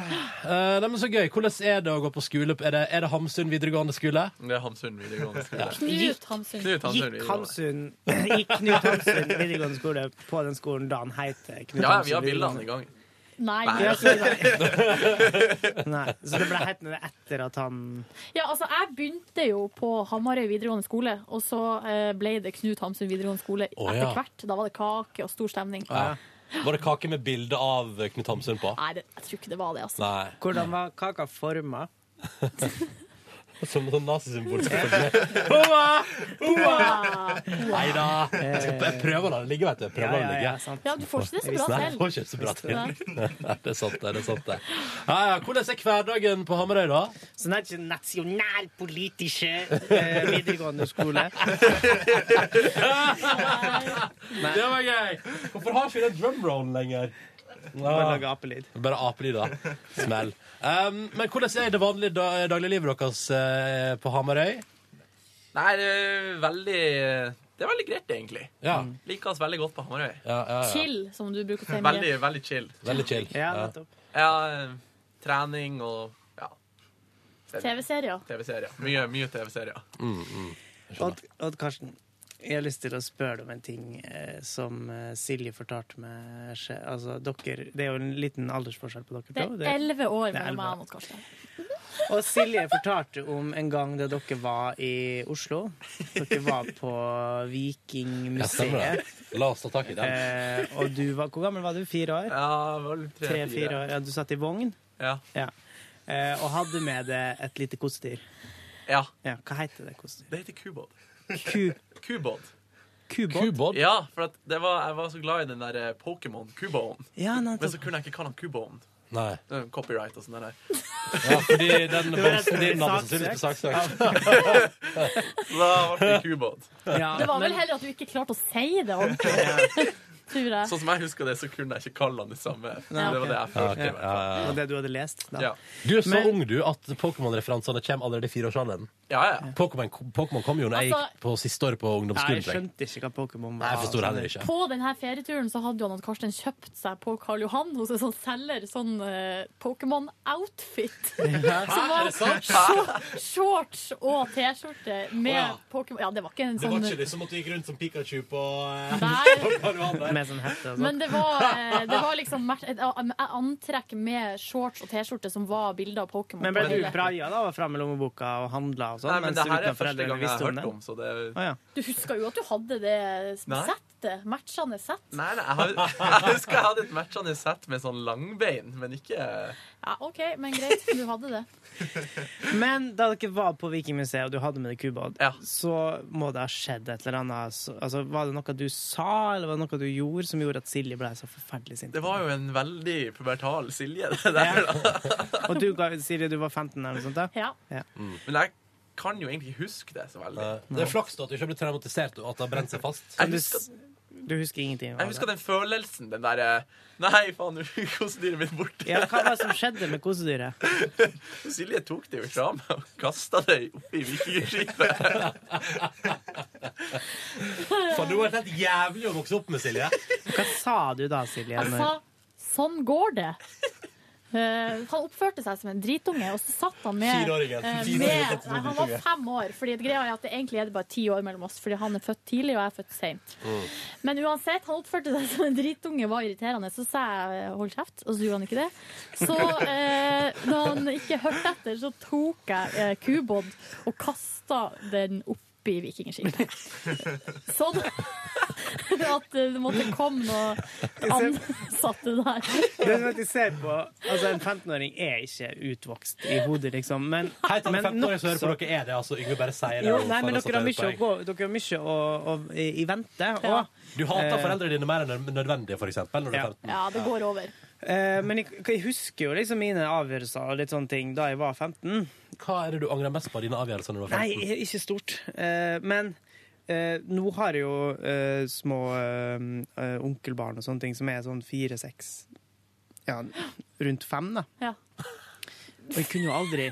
[SPEAKER 2] Eh, nei, men så gøy. Hvordan er det å gå på skole? Er det, er det Hamsun videregående skole?
[SPEAKER 16] Det er Hamsun videregående skole.
[SPEAKER 4] Knut Hamsun.
[SPEAKER 16] Knut Hamsun
[SPEAKER 3] Gikk
[SPEAKER 16] videregående.
[SPEAKER 3] Hamsun Gikk Knut Hamsun videregående skole på den skolen da han het Knut
[SPEAKER 16] Ja, ja, vi
[SPEAKER 3] Hamsun
[SPEAKER 16] har bildene
[SPEAKER 3] videregående?
[SPEAKER 16] i gangen.
[SPEAKER 4] Nei.
[SPEAKER 3] Nei.
[SPEAKER 4] jeg tror det.
[SPEAKER 3] Nei, så det ble hetende etter at han
[SPEAKER 4] Ja, altså, jeg begynte jo på Hamarøy videregående skole, og så eh, ble det Knut Hamsun videregående skole etter
[SPEAKER 2] Å, ja.
[SPEAKER 4] hvert. Da var det kake og stor stemning.
[SPEAKER 2] Ja. Var det kake med bilde av Knut Hamsun på?
[SPEAKER 4] Nei, det, jeg tror ikke det var det, altså.
[SPEAKER 2] Nei.
[SPEAKER 3] Hvordan var kaka forma?
[SPEAKER 2] Som sånn nazisymbol. selvfølgelig. Hoa! Hoa! Nei da. Jeg, skal- jeg prøver å la det ligge, vet du. Jeg prøver å la det
[SPEAKER 3] Ja, ja,
[SPEAKER 2] ligge.
[SPEAKER 3] ja, sant.
[SPEAKER 4] Ja, du får ikke det så bra
[SPEAKER 2] Nei,
[SPEAKER 4] selv.
[SPEAKER 2] jeg får ikke det så bra til. Nei, det er sant, det. det er sant det. Ja, ja. Hvordan er hverdagen på Hamarøy, da?
[SPEAKER 3] Så det Sånn er ikke nasjonalpolitiske eh, videregående skole.
[SPEAKER 2] Det var gøy! Hvorfor har ikke vi den drumrollen lenger?
[SPEAKER 3] Bare lage apelyd.
[SPEAKER 2] Bare apelyder. Smell. Um, men hvordan er det vanlige da- dagliglivet deres eh, på Hamarøy?
[SPEAKER 16] Nei, det er veldig Det er veldig greit, egentlig.
[SPEAKER 2] Ja.
[SPEAKER 16] Liker oss veldig godt på Hamarøy.
[SPEAKER 4] Chill, som du bruker å si.
[SPEAKER 16] Veldig,
[SPEAKER 4] Marie.
[SPEAKER 16] veldig chill.
[SPEAKER 2] Veldig chill.
[SPEAKER 16] Ja,
[SPEAKER 2] Ja.
[SPEAKER 16] nettopp. Ja, eh, trening og ja.
[SPEAKER 4] TV-serier.
[SPEAKER 16] TV-serier. Mye, mye TV-serier.
[SPEAKER 3] Odd, Odd Karsten, jeg har lyst til å spørre deg om en ting eh, som eh, Silje fortalte meg. skje- Altså, dere, det er jo en liten aldersforskjell på dere
[SPEAKER 4] Det
[SPEAKER 3] to.
[SPEAKER 4] er elleve år
[SPEAKER 3] det er 11
[SPEAKER 4] mellom
[SPEAKER 3] år.
[SPEAKER 4] meg og Karsten.
[SPEAKER 3] Og Silje fortalte om en gang da dere var i Oslo. Dere var på
[SPEAKER 2] Ja, stemmer
[SPEAKER 3] Vikingmuseet.
[SPEAKER 2] det. La oss ta tak i den.
[SPEAKER 3] Eh, og du var, Hvor gammel var du? Fire år?
[SPEAKER 16] Ja, tre-fire.
[SPEAKER 3] Tre-fire år. Ja, du satt i vogn?
[SPEAKER 16] Ja.
[SPEAKER 3] Eh, og hadde med deg et lite kosedyr.
[SPEAKER 16] Ja.
[SPEAKER 3] Hva heter det kosedyret?
[SPEAKER 16] Det heter kubåt.
[SPEAKER 3] Ku-
[SPEAKER 16] Kubåt.
[SPEAKER 3] Kubåt?
[SPEAKER 16] Ja, for at det var, jeg var så glad i den der eh, Pokémon Kuboen.
[SPEAKER 3] Ja, nettopp.
[SPEAKER 16] Men så kunne jeg ikke kalle han Kuboen.
[SPEAKER 2] Nei.
[SPEAKER 16] Det er Copyright og sånn der.
[SPEAKER 2] Ja, fordi den Det var rett boksen din hadde sannsynligvis blitt saksøkt. saksøkt.
[SPEAKER 16] Så da ble det kubåt.
[SPEAKER 4] Det var vel heller at du ikke klarte å si det ordentlig. Tror jeg.
[SPEAKER 16] Sånn som jeg husker det, så kunne jeg ikke kalle han det samme.
[SPEAKER 4] Ja,
[SPEAKER 16] Det var det jeg følte. i hvert fall.
[SPEAKER 3] Det var det du hadde lest? Da.
[SPEAKER 16] Ja.
[SPEAKER 2] Du er så ung du at Pokémon-referansene kommer allerede i fireårsalderen. Pokémon Pokémon kom jo når jeg
[SPEAKER 4] Altså-
[SPEAKER 2] gikk på siste året på
[SPEAKER 3] Nei,
[SPEAKER 2] ungdomsskolen.
[SPEAKER 3] jeg
[SPEAKER 2] tror jeg.
[SPEAKER 3] skjønte ikke hva Pokémon var.
[SPEAKER 2] Nei, jeg forsto det heller ikke.
[SPEAKER 4] På denne ferieturen så hadde jo han og Karsten kjøpt seg på Karl Johan hos en sånn selger sånn eh, Pokémon-outfit. Som
[SPEAKER 18] Er
[SPEAKER 4] var
[SPEAKER 18] det sant?
[SPEAKER 4] shor- shorts og T-skjorte med
[SPEAKER 2] Å, ja.
[SPEAKER 4] Pokémon Ja, det var ikke en sånn
[SPEAKER 2] liksom at du gikk rundt som Pikachu på
[SPEAKER 4] Nei.
[SPEAKER 3] Med sånn hette og sånn.
[SPEAKER 4] men det var, eh, det var liksom mer- et a- a- antrekk med shorts og T-skjorte som var bilder av Pokémon.
[SPEAKER 3] Men ble
[SPEAKER 4] på
[SPEAKER 3] du
[SPEAKER 4] bildet.
[SPEAKER 3] praia da, og fram med lommeboka og handla og sånn?
[SPEAKER 16] Nei, men
[SPEAKER 3] mens
[SPEAKER 16] det her
[SPEAKER 3] uten
[SPEAKER 16] er
[SPEAKER 3] at foreldrene
[SPEAKER 16] første gang jeg
[SPEAKER 3] visste
[SPEAKER 16] har
[SPEAKER 3] det?
[SPEAKER 16] hørt om, så det
[SPEAKER 3] Å, ja.
[SPEAKER 4] Du husker jo at du hadde det
[SPEAKER 16] Nei.
[SPEAKER 4] sett settet? Matchende sett?
[SPEAKER 16] Nei, nei, jeg, har, jeg husker jeg hadde et matchende sett med sånn langbein, men ikke
[SPEAKER 4] Ja, OK, men greit. Du hadde det.
[SPEAKER 3] Men da dere var på Vikingmuseet, og du hadde med deg Cuba, så må det ha skjedd et eller annet. Så- Altså, var det noe du sa, eller var det noe du gjorde, som gjorde at Silje ble så forferdelig sint?
[SPEAKER 16] Det var jo en veldig pubertal Silje, det der. da.
[SPEAKER 3] Og du, ga- Silje, du var 15 eller noe sånt? da?
[SPEAKER 4] Ja.
[SPEAKER 16] Men jeg kan jo egentlig ikke huske det så veldig.
[SPEAKER 2] Det er flaks da at du ikke ble traumatisert og at det har brent seg fast.
[SPEAKER 16] Jeg husker,
[SPEAKER 3] Du husker ingenting? av
[SPEAKER 16] jeg husker den følelsen, den derre Nei, faen, nå er kosedyret mitt borte.
[SPEAKER 3] det? Ja, hva var det som skjedde med kosedyret?
[SPEAKER 16] Silje tok det jo fra meg og kasta det oppi vikingskipet.
[SPEAKER 2] For du har vært helt jævlig å vokse opp med, Silje.
[SPEAKER 3] Hva sa du da, Silje?
[SPEAKER 4] Han sa 'sånn går det'. Eh, han oppførte seg som en dritunge, og så satt han med,
[SPEAKER 3] Fireåringen.
[SPEAKER 4] eh,
[SPEAKER 3] Fireåringen
[SPEAKER 4] med
[SPEAKER 3] satt som
[SPEAKER 4] Nei,
[SPEAKER 3] en
[SPEAKER 4] Han var
[SPEAKER 3] dritunge.
[SPEAKER 4] fem år, Fordi greia er at det egentlig er det bare ti år mellom oss, fordi han er født tidlig, og jeg er født seint.
[SPEAKER 3] Mm.
[SPEAKER 4] Men uansett, han oppførte seg som en dritunge, var irriterende. Så sa jeg eh, 'hold kjeft', og så gjorde han ikke det. Så eh, da han ikke hørte etter, så tok jeg eh, kubod og kasta den oppi vikingskipet. Sånn at det måtte komme noe ansatte der.
[SPEAKER 3] Det er som at de ser på Altså, en 15-åring er ikke utvokst i hodet, liksom, men
[SPEAKER 2] Hei til alle
[SPEAKER 3] men
[SPEAKER 2] 15-åringer som hører på
[SPEAKER 3] nokså-
[SPEAKER 2] dere, er det altså Yngve bare sier det?
[SPEAKER 3] jo,
[SPEAKER 2] og
[SPEAKER 3] nei, men
[SPEAKER 2] faen, altså,
[SPEAKER 3] dere har
[SPEAKER 2] det er
[SPEAKER 3] mye, å
[SPEAKER 2] et
[SPEAKER 3] gå, dere har mye å, å, i i vente.
[SPEAKER 2] poeng.
[SPEAKER 3] Og,
[SPEAKER 2] Du hater
[SPEAKER 3] eh,
[SPEAKER 2] foreldrene dine mer enn nød- nødvendig, for eksempel, når du er 15.
[SPEAKER 4] Ja, det går over.
[SPEAKER 3] eh, men jeg, jeg husker jo liksom mine avgjørelser og litt sånne ting da jeg var 15.
[SPEAKER 2] Hva er det du angrer mest på av dine avgjørelser når du var
[SPEAKER 3] Nei,
[SPEAKER 2] 15?
[SPEAKER 3] ikke stort. Eh, men eh, nå har jeg jo eh, små eh, eh, onkelbarn og sånne ting som er sånn fire-seks Ja, rundt fem, da.
[SPEAKER 4] Ja.
[SPEAKER 3] Og jeg kunne jo aldri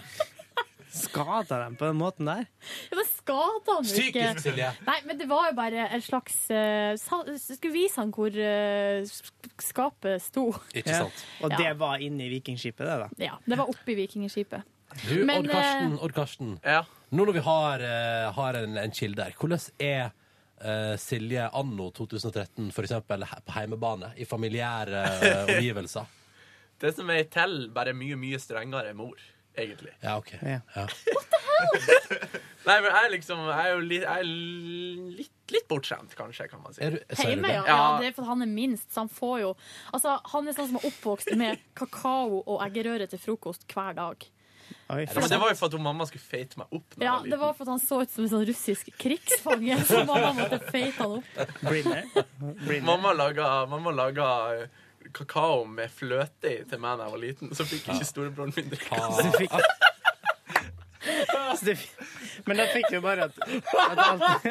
[SPEAKER 3] skada dem på den måten der.
[SPEAKER 4] Ja, men skada han jo ikke.
[SPEAKER 3] Psykisk, Silje.
[SPEAKER 4] Nei, men det var jo bare en slags eh, sa- Skulle vise han hvor eh, sk- skapet sto.
[SPEAKER 3] Ja. Og det
[SPEAKER 4] Ja.
[SPEAKER 3] var inne i Vikingskipet, det, da.
[SPEAKER 4] Ja, det var oppi vikingskipet.
[SPEAKER 2] Du,
[SPEAKER 4] Men,
[SPEAKER 2] Odd
[SPEAKER 3] eh,
[SPEAKER 2] Karsten, Odd Karsten. Nå når vi har, eh, har en, en kilde her, hvordan er eh, Silje anno 2013 for eksempel he- på heimebane i familiære eh, omgivelser?
[SPEAKER 16] Det som er i tell, bare mye, mye strengere mor, egentlig.
[SPEAKER 2] Ja, ok. Ja.
[SPEAKER 16] Nei, men jeg er liksom Jeg er jo litt, jeg er litt, litt bortskjemt, kanskje, kan man si.
[SPEAKER 4] Hjemme, ja. ja. Det er for at han er minst, så han får jo Altså, han er sånn som er oppvokst med kakao og eggerøre til frokost hver dag.
[SPEAKER 16] Ja, men det var jo for at hun mamma skulle feite meg opp.
[SPEAKER 4] Ja, det var for at han så ut som en sånn russisk krigsfange, så mamma måtte feite han opp.
[SPEAKER 16] Mamma laga, mamma laga eh, kakao med fløte i til meg da jeg var liten, så fikk ikke storebroren min drikke.
[SPEAKER 3] Så fikk- Så det, men da fikk vi jo bare at, at alt,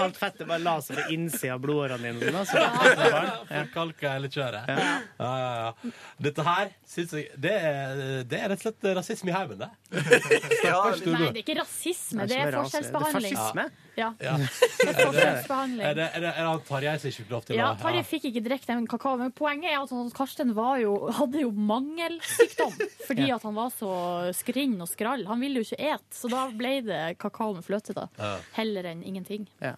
[SPEAKER 3] alt fettet bare la seg på innsida av blodårene dine. Da, så det var barn.
[SPEAKER 2] Forkalka eller kjøre. Ja. Ja, ja, Dette her synes jeg, det, er, det er rett og slett rasisme i heimen, det. Stakkars
[SPEAKER 4] Nei,
[SPEAKER 2] Storebro.
[SPEAKER 4] det er ikke rasisme,
[SPEAKER 2] Det
[SPEAKER 4] det
[SPEAKER 2] er ikke
[SPEAKER 4] er
[SPEAKER 2] mer rase, det er
[SPEAKER 4] forskjellsbehandling.
[SPEAKER 2] fascisme.
[SPEAKER 4] Ja.
[SPEAKER 2] Ja.
[SPEAKER 4] Det er forskjellsbehandling.
[SPEAKER 2] Er det, er det, er det han Tarjei som ikke fikk lov til
[SPEAKER 4] Ja,
[SPEAKER 2] å
[SPEAKER 4] Tarjei fikk ikke drikke den kakaoen, men poenget er at han- Karsten var jo, hadde jo mangelsykdom fordi
[SPEAKER 2] Ja.
[SPEAKER 4] at han var så skrinn og skrall. Han ville jo ikke et, så da ble det kakao med fløte, da.
[SPEAKER 2] Ja.
[SPEAKER 4] Heller enn ingenting.
[SPEAKER 3] Ja.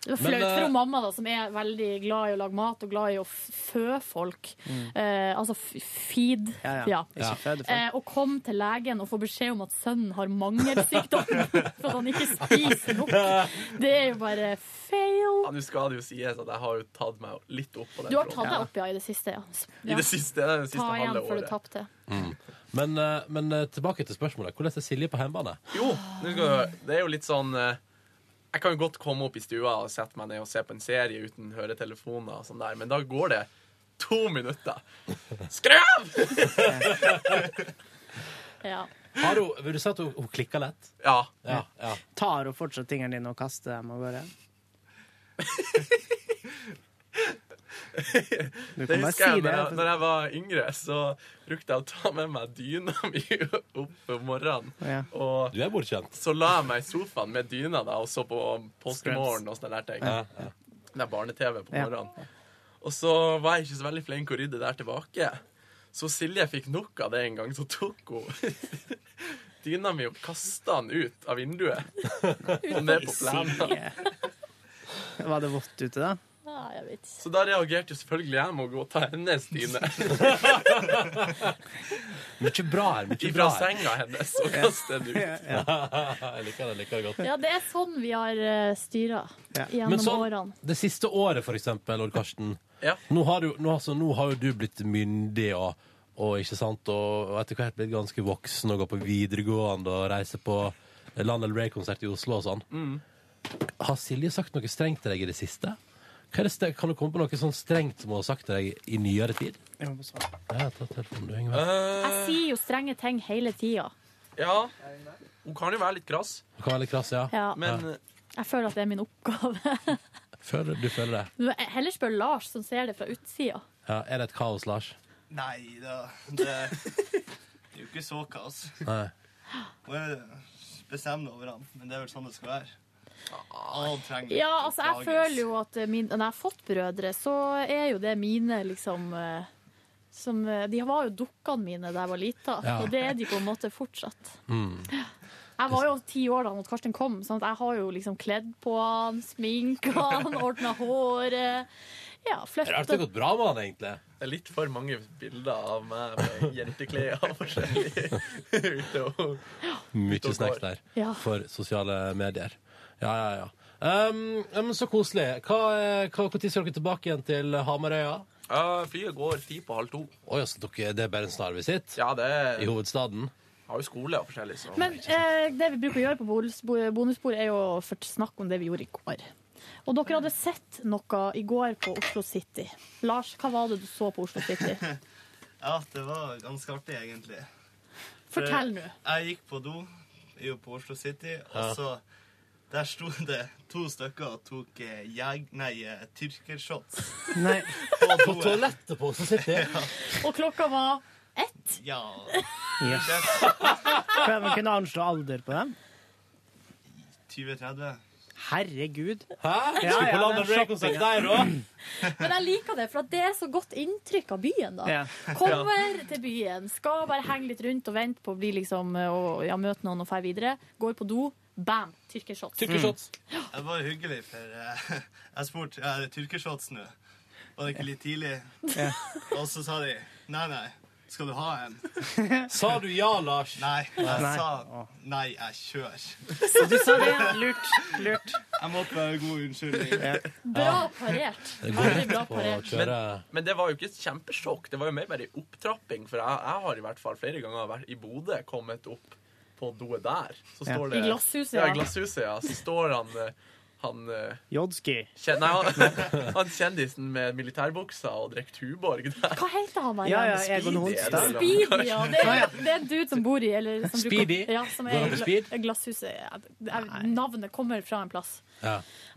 [SPEAKER 4] Det var
[SPEAKER 2] Men,
[SPEAKER 4] flaut for
[SPEAKER 2] eh,
[SPEAKER 4] hun mamma, da, som er veldig glad i å lage mat og glad i å f- fø folk.
[SPEAKER 2] Mm.
[SPEAKER 4] Eh, altså f- feed.
[SPEAKER 2] Ja, ja. Ikke føde folk.
[SPEAKER 4] Eh, og kom til legen og få beskjed om at sønnen har mangelsykdom for at han ikke spiser nok. Det er jo bare fail.
[SPEAKER 16] Ja, Nå skal det jo sies at jeg har jo tatt meg litt opp på den
[SPEAKER 4] Du har
[SPEAKER 16] fronten.
[SPEAKER 4] tatt deg opp, ja, i det siste. Ja.
[SPEAKER 16] I det siste, det er det siste
[SPEAKER 4] Ta igjen
[SPEAKER 16] halve
[SPEAKER 4] for
[SPEAKER 16] året.
[SPEAKER 4] det tapte.
[SPEAKER 2] Mm. Men, eh, men eh, tilbake til spørsmålet. Hvordan er Silje på hjemmebane?
[SPEAKER 16] Jo, nå skal du høre. Det er jo litt sånn eh, Jeg kan jo godt komme opp i stua og sette meg ned og se på en serie uten høretelefoner og sånn der, men da går det to minutter. Skru av!
[SPEAKER 4] Ja.
[SPEAKER 2] Har hun, vil du si at hun, hun klikker lett?
[SPEAKER 16] Ja.
[SPEAKER 2] ja, ja.
[SPEAKER 3] Tar hun fortsatt tingene dine og kaster dem av gårde? Du kan
[SPEAKER 16] Det
[SPEAKER 3] bare
[SPEAKER 16] husker
[SPEAKER 3] si
[SPEAKER 16] jeg,
[SPEAKER 3] det.
[SPEAKER 16] når jeg, når jeg var yngre, så brukte jeg å ta med meg dyna mi opp om morgenen.
[SPEAKER 3] Ja.
[SPEAKER 16] Og
[SPEAKER 2] du er bortskjemt.
[SPEAKER 16] Så la jeg meg i sofaen med dyna da, og så på Postmorgen og sånne der ting.
[SPEAKER 2] Ja,
[SPEAKER 16] Det er barne-TV på
[SPEAKER 2] Ja.
[SPEAKER 16] morgenen. Og så var jeg ikke så veldig flink å rydde der tilbake. Så Silje fikk nok av det en gang, så tok hun dyna mi og kasta den ut av vinduet. Og ned på plenen.
[SPEAKER 3] Silje. Var det vått ute, da?
[SPEAKER 4] Ja, jeg vet ikke.
[SPEAKER 16] Så da reagerte jo selvfølgelig jeg med å gå og ta hennes dyne
[SPEAKER 2] Mye bra her. mye
[SPEAKER 16] Ifra
[SPEAKER 2] bra her.
[SPEAKER 16] senga hennes og kaste den ut.
[SPEAKER 2] Ja. Jeg liker det, jeg liker det godt.
[SPEAKER 4] Ja, det er sånn vi har styra gjennom
[SPEAKER 2] Men sånn,
[SPEAKER 4] årene.
[SPEAKER 2] det siste året, for eksempel, Odd Karsten. Nå, har du, nå, altså, nå har jo du blitt myndig og, og, ikke sant, og og etter hvert blitt ganske voksen og går på videregående og reiser på Land eller Ray-konsert i Oslo og sånn. Har Silje sagt noe strengt til deg i det siste? Hva er det, ste- kan du komme på noe sånn strengt som hun har sagt til deg i nyere tid?
[SPEAKER 3] Jeg må svare.
[SPEAKER 2] Ja, ta telefonen du, Yngve.
[SPEAKER 16] Eh,
[SPEAKER 4] Jeg sier jo strenge ting hele tida.
[SPEAKER 16] ja. Hun kan jo være litt krass.
[SPEAKER 2] Du kan være litt krass, ja.
[SPEAKER 4] Ja.
[SPEAKER 16] Men eh,
[SPEAKER 4] Jeg føler at det er min oppgave.
[SPEAKER 2] Føler, du føler det?
[SPEAKER 4] Men jeg Heller spør Lars, som ser det fra utsida.
[SPEAKER 2] Ja, er det et kaos, Lars?
[SPEAKER 10] Nei da. Det, det er jo ikke så kaos.
[SPEAKER 2] Nei.
[SPEAKER 10] Hun er bestemmende over ham, men det er vel sånn det skal være. Alle trenger
[SPEAKER 4] Ja, altså, jeg
[SPEAKER 10] oppdrages.
[SPEAKER 4] føler jo at min, når jeg har fått brødre, så er jo det mine, liksom eh, som, eh, De var jo dukkene mine da jeg var lita,
[SPEAKER 2] Ja.
[SPEAKER 4] og det er de på en måte fortsatt.
[SPEAKER 2] Mm.
[SPEAKER 4] Jeg var jo ti år da når Karsten kom, sånn at jeg har jo liksom kledd på han, sminka han, ordna håret. Ja,
[SPEAKER 16] Det har
[SPEAKER 4] flytta
[SPEAKER 16] alltid gått
[SPEAKER 2] bra med han, egentlig.
[SPEAKER 16] Det er litt for mange bilder av meg med jenteklær og forskjellig ute og
[SPEAKER 2] Mye snacks der
[SPEAKER 16] Ja.
[SPEAKER 2] for sosiale medier. Ja, ja, ja. Um, ja, men så koselig. Hva, eh, hva, når skal dere tilbake igjen til Hamarøya?
[SPEAKER 16] Ja, Flyet går ti på halv to.
[SPEAKER 2] Å ja, så dere, det er bare en snarvisitt?
[SPEAKER 16] Ja, det er...
[SPEAKER 2] I hovedstaden?
[SPEAKER 16] Har jo skole og forskjellig, så
[SPEAKER 4] Men eh, det vi bruker å gjøre på bonus- bonusbordet, er jo å først snakke om det vi gjorde i går. Og dere hadde sett noe i går på Oslo City. Lars, hva var det du så på Oslo City?
[SPEAKER 10] Ja, det var ganske artig, egentlig. For
[SPEAKER 4] Fortell nå.
[SPEAKER 10] Jeg gikk på do jeg er jo på Oslo City,
[SPEAKER 2] Ja.
[SPEAKER 10] og så der sto det to stykker og tok eh, jeg... Nei, eh, tyrkershots.
[SPEAKER 3] Nei.
[SPEAKER 2] På toalettet på Oslo City?
[SPEAKER 4] Og klokka var ett.
[SPEAKER 10] Ja.
[SPEAKER 3] Yes. Kan jeg vel kunne anslå alder på dem?
[SPEAKER 10] 2030.
[SPEAKER 3] Herregud.
[SPEAKER 2] Hæ?
[SPEAKER 3] Ja,
[SPEAKER 2] Skulle på
[SPEAKER 3] ja, Mm.
[SPEAKER 2] Land
[SPEAKER 3] den
[SPEAKER 2] and Ray-konsert der
[SPEAKER 3] shoppinga.
[SPEAKER 2] òg?
[SPEAKER 4] Men jeg liker det, for at det er så godt inntrykk av byen. da.
[SPEAKER 3] Ja.
[SPEAKER 4] Kommer til byen, skal bare henge litt rundt og vente på å bli liksom, og, ja, møte noen og dra videre. Går på do, bam, tyrkershots.
[SPEAKER 10] Det var hyggelig, for eh, jeg spurte er det tyrkershots nå. Var det ikke litt tidlig?
[SPEAKER 2] Ja.
[SPEAKER 10] Og så sa de nei, nei. Skal du ha en?
[SPEAKER 2] Sa du ja, Lars?
[SPEAKER 10] Nei. Jeg
[SPEAKER 2] Nei.
[SPEAKER 10] sa nei, jeg kjører.
[SPEAKER 3] Du sa det, ja. Lurt. Lurt.
[SPEAKER 10] Jeg måtte være en god unnskyldning.
[SPEAKER 4] Bra parert.
[SPEAKER 2] Det
[SPEAKER 16] går
[SPEAKER 4] Veldig bra parert.
[SPEAKER 16] Men, men det var jo ikke et kjempesjokk. Det var jo mer bare en opptrapping. For jeg, jeg har i hvert fall flere ganger vært i Bodø kommet opp på doet der. Så
[SPEAKER 3] Ja.
[SPEAKER 16] står det,
[SPEAKER 3] I glasshuset,
[SPEAKER 16] ja.
[SPEAKER 3] ja.
[SPEAKER 16] I glasshuset, ja. Så står han eh, han, eh,
[SPEAKER 3] Jodski.
[SPEAKER 16] kjen, nei, han, han kjendisen med militærbuksa og drikker Tuborg der.
[SPEAKER 4] Hva heter han? Marianne?
[SPEAKER 16] Ja, ja, Egon Holstad.
[SPEAKER 4] Speedy, ja. Det er, det er en dude som bor i eller som bruker-
[SPEAKER 2] Speedy?
[SPEAKER 4] Ja, som
[SPEAKER 2] Går
[SPEAKER 4] er
[SPEAKER 2] han
[SPEAKER 4] i
[SPEAKER 2] til speed?
[SPEAKER 4] gla- Glasshuset. Ja, det er- Navnet kommer fra en plass.
[SPEAKER 2] Ja.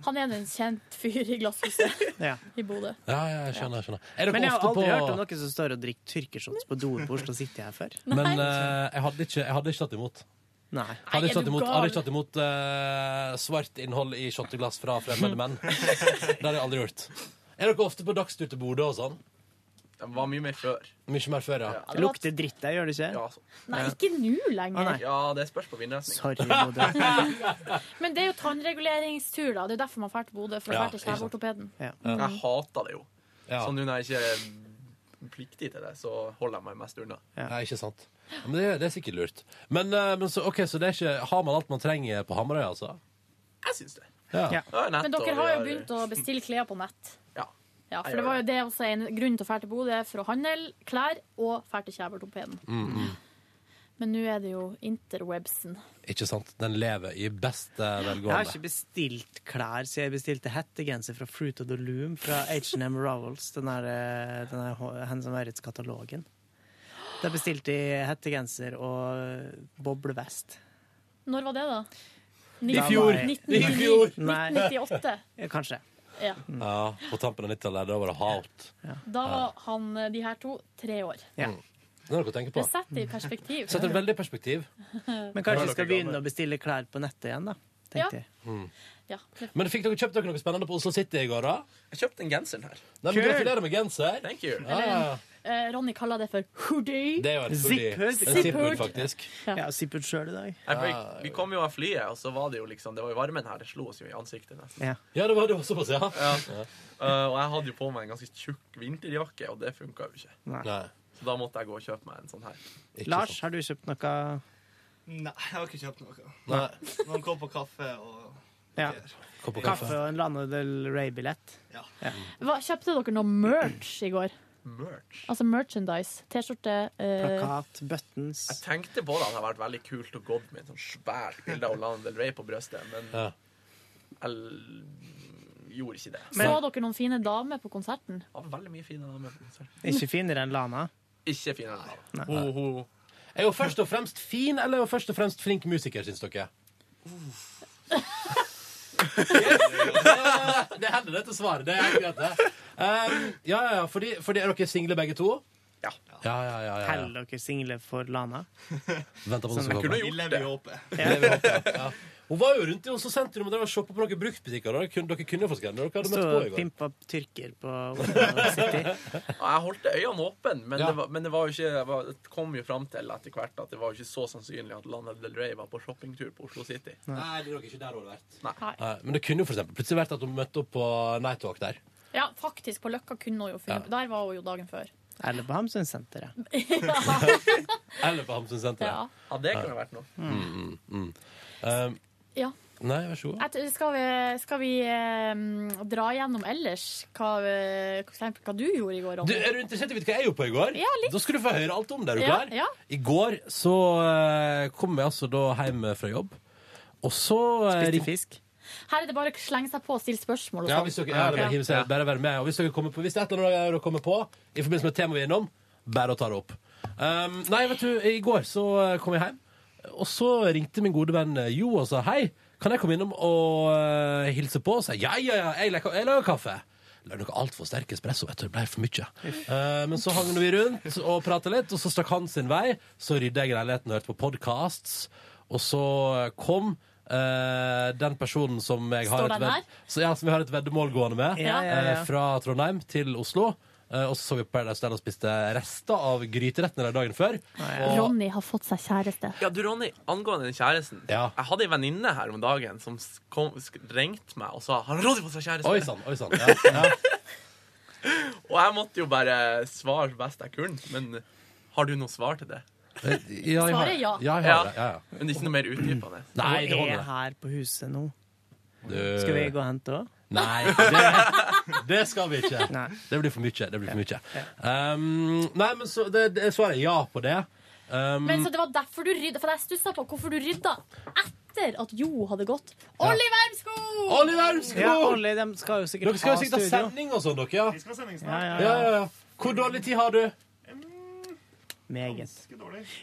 [SPEAKER 4] Han er en kjent fyr i Glasshuset
[SPEAKER 3] Ja.
[SPEAKER 4] i Bodø.
[SPEAKER 2] ja, ja, jeg skjønner. jeg skjønner. Er dere
[SPEAKER 3] Men jeg har
[SPEAKER 2] ofte
[SPEAKER 3] aldri
[SPEAKER 2] på-
[SPEAKER 3] hørt om noen som står og drikker tyrkershots på doen på Oslo City her før.
[SPEAKER 2] Men eh, jeg, hadde ikke, jeg hadde ikke tatt imot.
[SPEAKER 3] Nei.
[SPEAKER 2] Hadde ikke
[SPEAKER 3] Nei, er
[SPEAKER 2] tatt
[SPEAKER 3] du
[SPEAKER 2] imot,
[SPEAKER 3] gal?
[SPEAKER 2] hadde ikke tatt imot eh, svart innhold i shotteglass fra fremmede menn. Det hadde jeg aldri gjort. Er dere ofte på dagstur til Bodø og sånn?
[SPEAKER 16] De var mye mer før.
[SPEAKER 2] Mye mer før, ja.
[SPEAKER 3] Lukter dritt der, gjør det ikke?
[SPEAKER 16] Ja,
[SPEAKER 4] Nei, ikke nå lenger.
[SPEAKER 16] ja, det spørs på vindretning.
[SPEAKER 3] Sorry, Bodø.
[SPEAKER 4] Men det er jo tannreguleringstur, da. Det er jo derfor man drar til Bodø. For å
[SPEAKER 16] Ja,
[SPEAKER 4] dra til
[SPEAKER 16] ikke sant.
[SPEAKER 4] sleveortopeden.
[SPEAKER 16] Jeg hater det jo.
[SPEAKER 2] Sånn
[SPEAKER 16] Så nå når jeg ikke er eh, pliktig til det, så holder jeg meg mest unna.
[SPEAKER 2] Nei, ikke sant. Ja, Men det, det er sikkert lurt. Men, eh, men så, ok, så det er ikke, har man alt man trenger på Hamarøy, altså?
[SPEAKER 16] Jeg syns det.
[SPEAKER 2] Ja.
[SPEAKER 4] Men dere har jo begynt å bestille klær på nett.
[SPEAKER 16] Ja.
[SPEAKER 4] Ja,
[SPEAKER 16] Jeg
[SPEAKER 4] for det
[SPEAKER 16] gjør
[SPEAKER 4] var jo det også en grunn til å dra til Bodø, for å handle klær og dra til kjeveortopeden.
[SPEAKER 2] Mm-hmm.
[SPEAKER 4] Men nå er det jo interwebsen.
[SPEAKER 2] Ikke sant? Den lever i beste
[SPEAKER 3] Jeg har
[SPEAKER 2] velgående.
[SPEAKER 3] ikke bestilt klær, så jeg bestilte hettegenser fra Fruit of the Loom fra H&M Rowells, den der, eh, den der H- Hen som Maurits katalogen. Der bestilte jeg hettegenser og boblevest.
[SPEAKER 4] Når var det, da?
[SPEAKER 3] I fjor. I fjor.
[SPEAKER 4] 1998.
[SPEAKER 3] Ja, Kanskje.
[SPEAKER 4] Ja.
[SPEAKER 2] Ja, på tampen av 90-tallet, da var det hardt.
[SPEAKER 4] Da var han, eh, de her to, tre år.
[SPEAKER 2] Ja. Mm. Det er noe å tenke på.
[SPEAKER 4] Det setter i perspektiv.
[SPEAKER 2] Setter det veldig i perspektiv.
[SPEAKER 3] Men kanskje vi skal begynne å bestille klær på nettet igjen, da.
[SPEAKER 4] Ja.
[SPEAKER 3] Tenkte jeg.
[SPEAKER 2] Mm.
[SPEAKER 4] Ja.
[SPEAKER 2] Men fikk dere kjøpt dere noe spennende på Oslo City i går, da?
[SPEAKER 16] Jeg kjøpte en genser her.
[SPEAKER 2] Nei, men Gratulerer med genser.
[SPEAKER 16] Thank you.
[SPEAKER 2] Ja, ja.
[SPEAKER 4] Eh, Ronny kaller det for hoodie.
[SPEAKER 2] Det er jo en
[SPEAKER 4] Zip-hood.
[SPEAKER 2] hoodie. En zip-hood, faktisk.
[SPEAKER 4] Ja.
[SPEAKER 3] Jeg har sippet sjøl i dag.
[SPEAKER 16] Nei, for jeg, vi kom jo av flyet, og så var det jo liksom Det var jo varmen her. Det slo oss jo i ansiktet nesten.
[SPEAKER 3] Ja.
[SPEAKER 2] Ja, det var det også, ja.
[SPEAKER 16] Eh, og jeg hadde jo på meg en ganske tjukk vinterjakke, og det funka jo ikke.
[SPEAKER 3] Nei. Nei.
[SPEAKER 16] Så da måtte jeg gå og kjøpe meg en sånn her.
[SPEAKER 3] Lars, har du kjøpt noe?
[SPEAKER 12] Nei, jeg har ikke kjøpt noe.
[SPEAKER 3] Nei.
[SPEAKER 12] Noen kopp og kaffe og
[SPEAKER 3] Ja.
[SPEAKER 2] Kopp
[SPEAKER 3] og kaffe og en Lana Del Rey-billett. Ja.
[SPEAKER 4] Hva, kjøpte dere noe merch i går?
[SPEAKER 16] Merch?
[SPEAKER 4] Altså merchandise. T-skjorte. eh,
[SPEAKER 3] Plakat, buttons.
[SPEAKER 16] Jeg tenkte på det hadde vært veldig kult å gå med et sånt svært bilde av Lana Del Rey på brystet, men jeg l- gjorde ikke det.
[SPEAKER 4] Så dere noen fine damer på konserten?
[SPEAKER 16] Det var veldig mye fine damer på konserten.
[SPEAKER 3] Ikke finere enn Lana.
[SPEAKER 16] Ikke fine damer.
[SPEAKER 2] Ho,
[SPEAKER 16] ho.
[SPEAKER 2] Er hun først og fremst fin, eller er hun først og fremst flink musiker, syns dere? det er heller det til svaret. Det er helt greit, det. Um, ja, ja, ja, fordi, fordi er dere single begge to?
[SPEAKER 16] Ja.
[SPEAKER 2] ja, ja, ja, ja.
[SPEAKER 3] Heller dere single for Lana?
[SPEAKER 2] Vent
[SPEAKER 3] Som jeg sånn kunne
[SPEAKER 12] Vi lever i håpet.
[SPEAKER 2] Det vil jeg håpe, ja. Hun var jo rundt i Oslo sentrum og drev og shoppet på noen bruktbutikker. Dere kunne, dere kunne jo fått greier. Dere hadde
[SPEAKER 3] Stå
[SPEAKER 2] møtt på i
[SPEAKER 3] og
[SPEAKER 2] går.
[SPEAKER 3] pimpa tyrker på Oslo City.
[SPEAKER 16] Ja, Jeg holdt øynene åpne, men, det, var, men det, var jo ikke, det var- det kom jo fram til etter hvert at det var jo ikke så sannsynlig at Lana Del Rey var på shoppingtur på Oslo City.
[SPEAKER 2] Nei, det er nok ikke der hun har vært.
[SPEAKER 16] Nei.
[SPEAKER 2] Nei, men det kunne jo for eksempel plutselig vært at hun møtte opp på Night Talk der.
[SPEAKER 4] Ja, faktisk. På Løkka kunne hun jo funnet Der var hun jo dagen før.
[SPEAKER 3] Eller på Hamsunsenteret.
[SPEAKER 2] Eller på Hamsunsenteret.
[SPEAKER 16] Ja, det kunne vært noe.
[SPEAKER 2] Mm, mm, mm. Um,
[SPEAKER 4] Ja.
[SPEAKER 2] nei, vær så god.
[SPEAKER 4] Jeg tror- Skal vi, skal vi eh, dra gjennom ellers hva, eh, for eksempel hva du gjorde i går,
[SPEAKER 2] Du, eh,
[SPEAKER 4] Ronny?
[SPEAKER 2] er du interessert i å vite hva jeg gjorde på i går?
[SPEAKER 4] Ja, litt.
[SPEAKER 2] Da skal du få høre alt om det. Er du
[SPEAKER 4] Ja,
[SPEAKER 2] klar?
[SPEAKER 4] ja.
[SPEAKER 2] I går så eh, kom jeg altså da hjem fra jobb, og så eh, ring-
[SPEAKER 4] Her er det bare å slenge seg på og stille spørsmål. og
[SPEAKER 2] Ja,
[SPEAKER 4] sånn.
[SPEAKER 2] hvis dere, ja, det er bare, å hive seg, bare være med. Og hvis dere kommer på, hvis det er et eller annet dere kommer på i forbindelse med et tema vi er innom, bare å ta det opp. Um, nei, vet du, i går så eh, kom jeg hjem, og så ringte min gode venn eh, Jo og sa hei, kan jeg komme innom og eh, hilse på? Og sa ja, ja, ja, jeg, lager- jeg lager kaffe. La noe altfor sterk espresso, vet du, det ble for mye. Eh, men så hang vi rundt og pratet litt, og så stakk han sin vei. Så rydda jeg leiligheten og hørte på podcasts, og så kom eh, den personen som jeg har
[SPEAKER 4] Står
[SPEAKER 2] et
[SPEAKER 4] den her?
[SPEAKER 2] ved- så ja, som vi har et veddemål gående med
[SPEAKER 4] Ja, ja, ja.
[SPEAKER 2] eh, Fra Trondheim til Oslo Eh, Og så så vi på Paradise Hotel og spiste rester av gryterettene der dagen før og,
[SPEAKER 4] Ronny har fått seg kjæreste.
[SPEAKER 2] Mm.
[SPEAKER 16] Ja, du Ronny, angående den kjæresten. Jeg hadde ei venninne her om dagen som s- kom, sk- ringte meg og sa Har Ronny fått seg kjæreste?
[SPEAKER 2] Oi sann, oi sann ja, ja.
[SPEAKER 16] Og jeg måtte jo bare svare best jeg kunne. Men har du noe svar til det?
[SPEAKER 2] Ja, jeg har- Svaret er ja. ja, jeg har det, ja, ja.
[SPEAKER 16] Men ikke noe mer utdypende?
[SPEAKER 2] Nei, det
[SPEAKER 3] Hun
[SPEAKER 2] holder
[SPEAKER 3] er
[SPEAKER 2] det. Eh.
[SPEAKER 3] her på huset nå.
[SPEAKER 2] Du-
[SPEAKER 3] Skal vi gå og hente òg?
[SPEAKER 2] Nei, det, det skal vi ikke
[SPEAKER 3] Nei.
[SPEAKER 2] Det blir for mye, det blir for mye um, Nei, men så, det, det svaret er ja på det um,
[SPEAKER 4] Men så det var derfor du rydda, for jeg stussa på hvorfor du rydda etter at Jo hadde gått. Olli Wermsko!
[SPEAKER 2] Olli Wermsko!
[SPEAKER 3] Ja, Olli, de skal jo sikkert
[SPEAKER 2] Dere skal jo
[SPEAKER 3] ha
[SPEAKER 2] sikkert ha
[SPEAKER 3] studio.
[SPEAKER 2] sending og sånn, dere ja.
[SPEAKER 12] Vi skal ha sending
[SPEAKER 3] Ja,
[SPEAKER 12] snart.
[SPEAKER 3] ja,
[SPEAKER 2] Ja, ja, ja. Hvor dårlig tid har du?
[SPEAKER 3] Meget.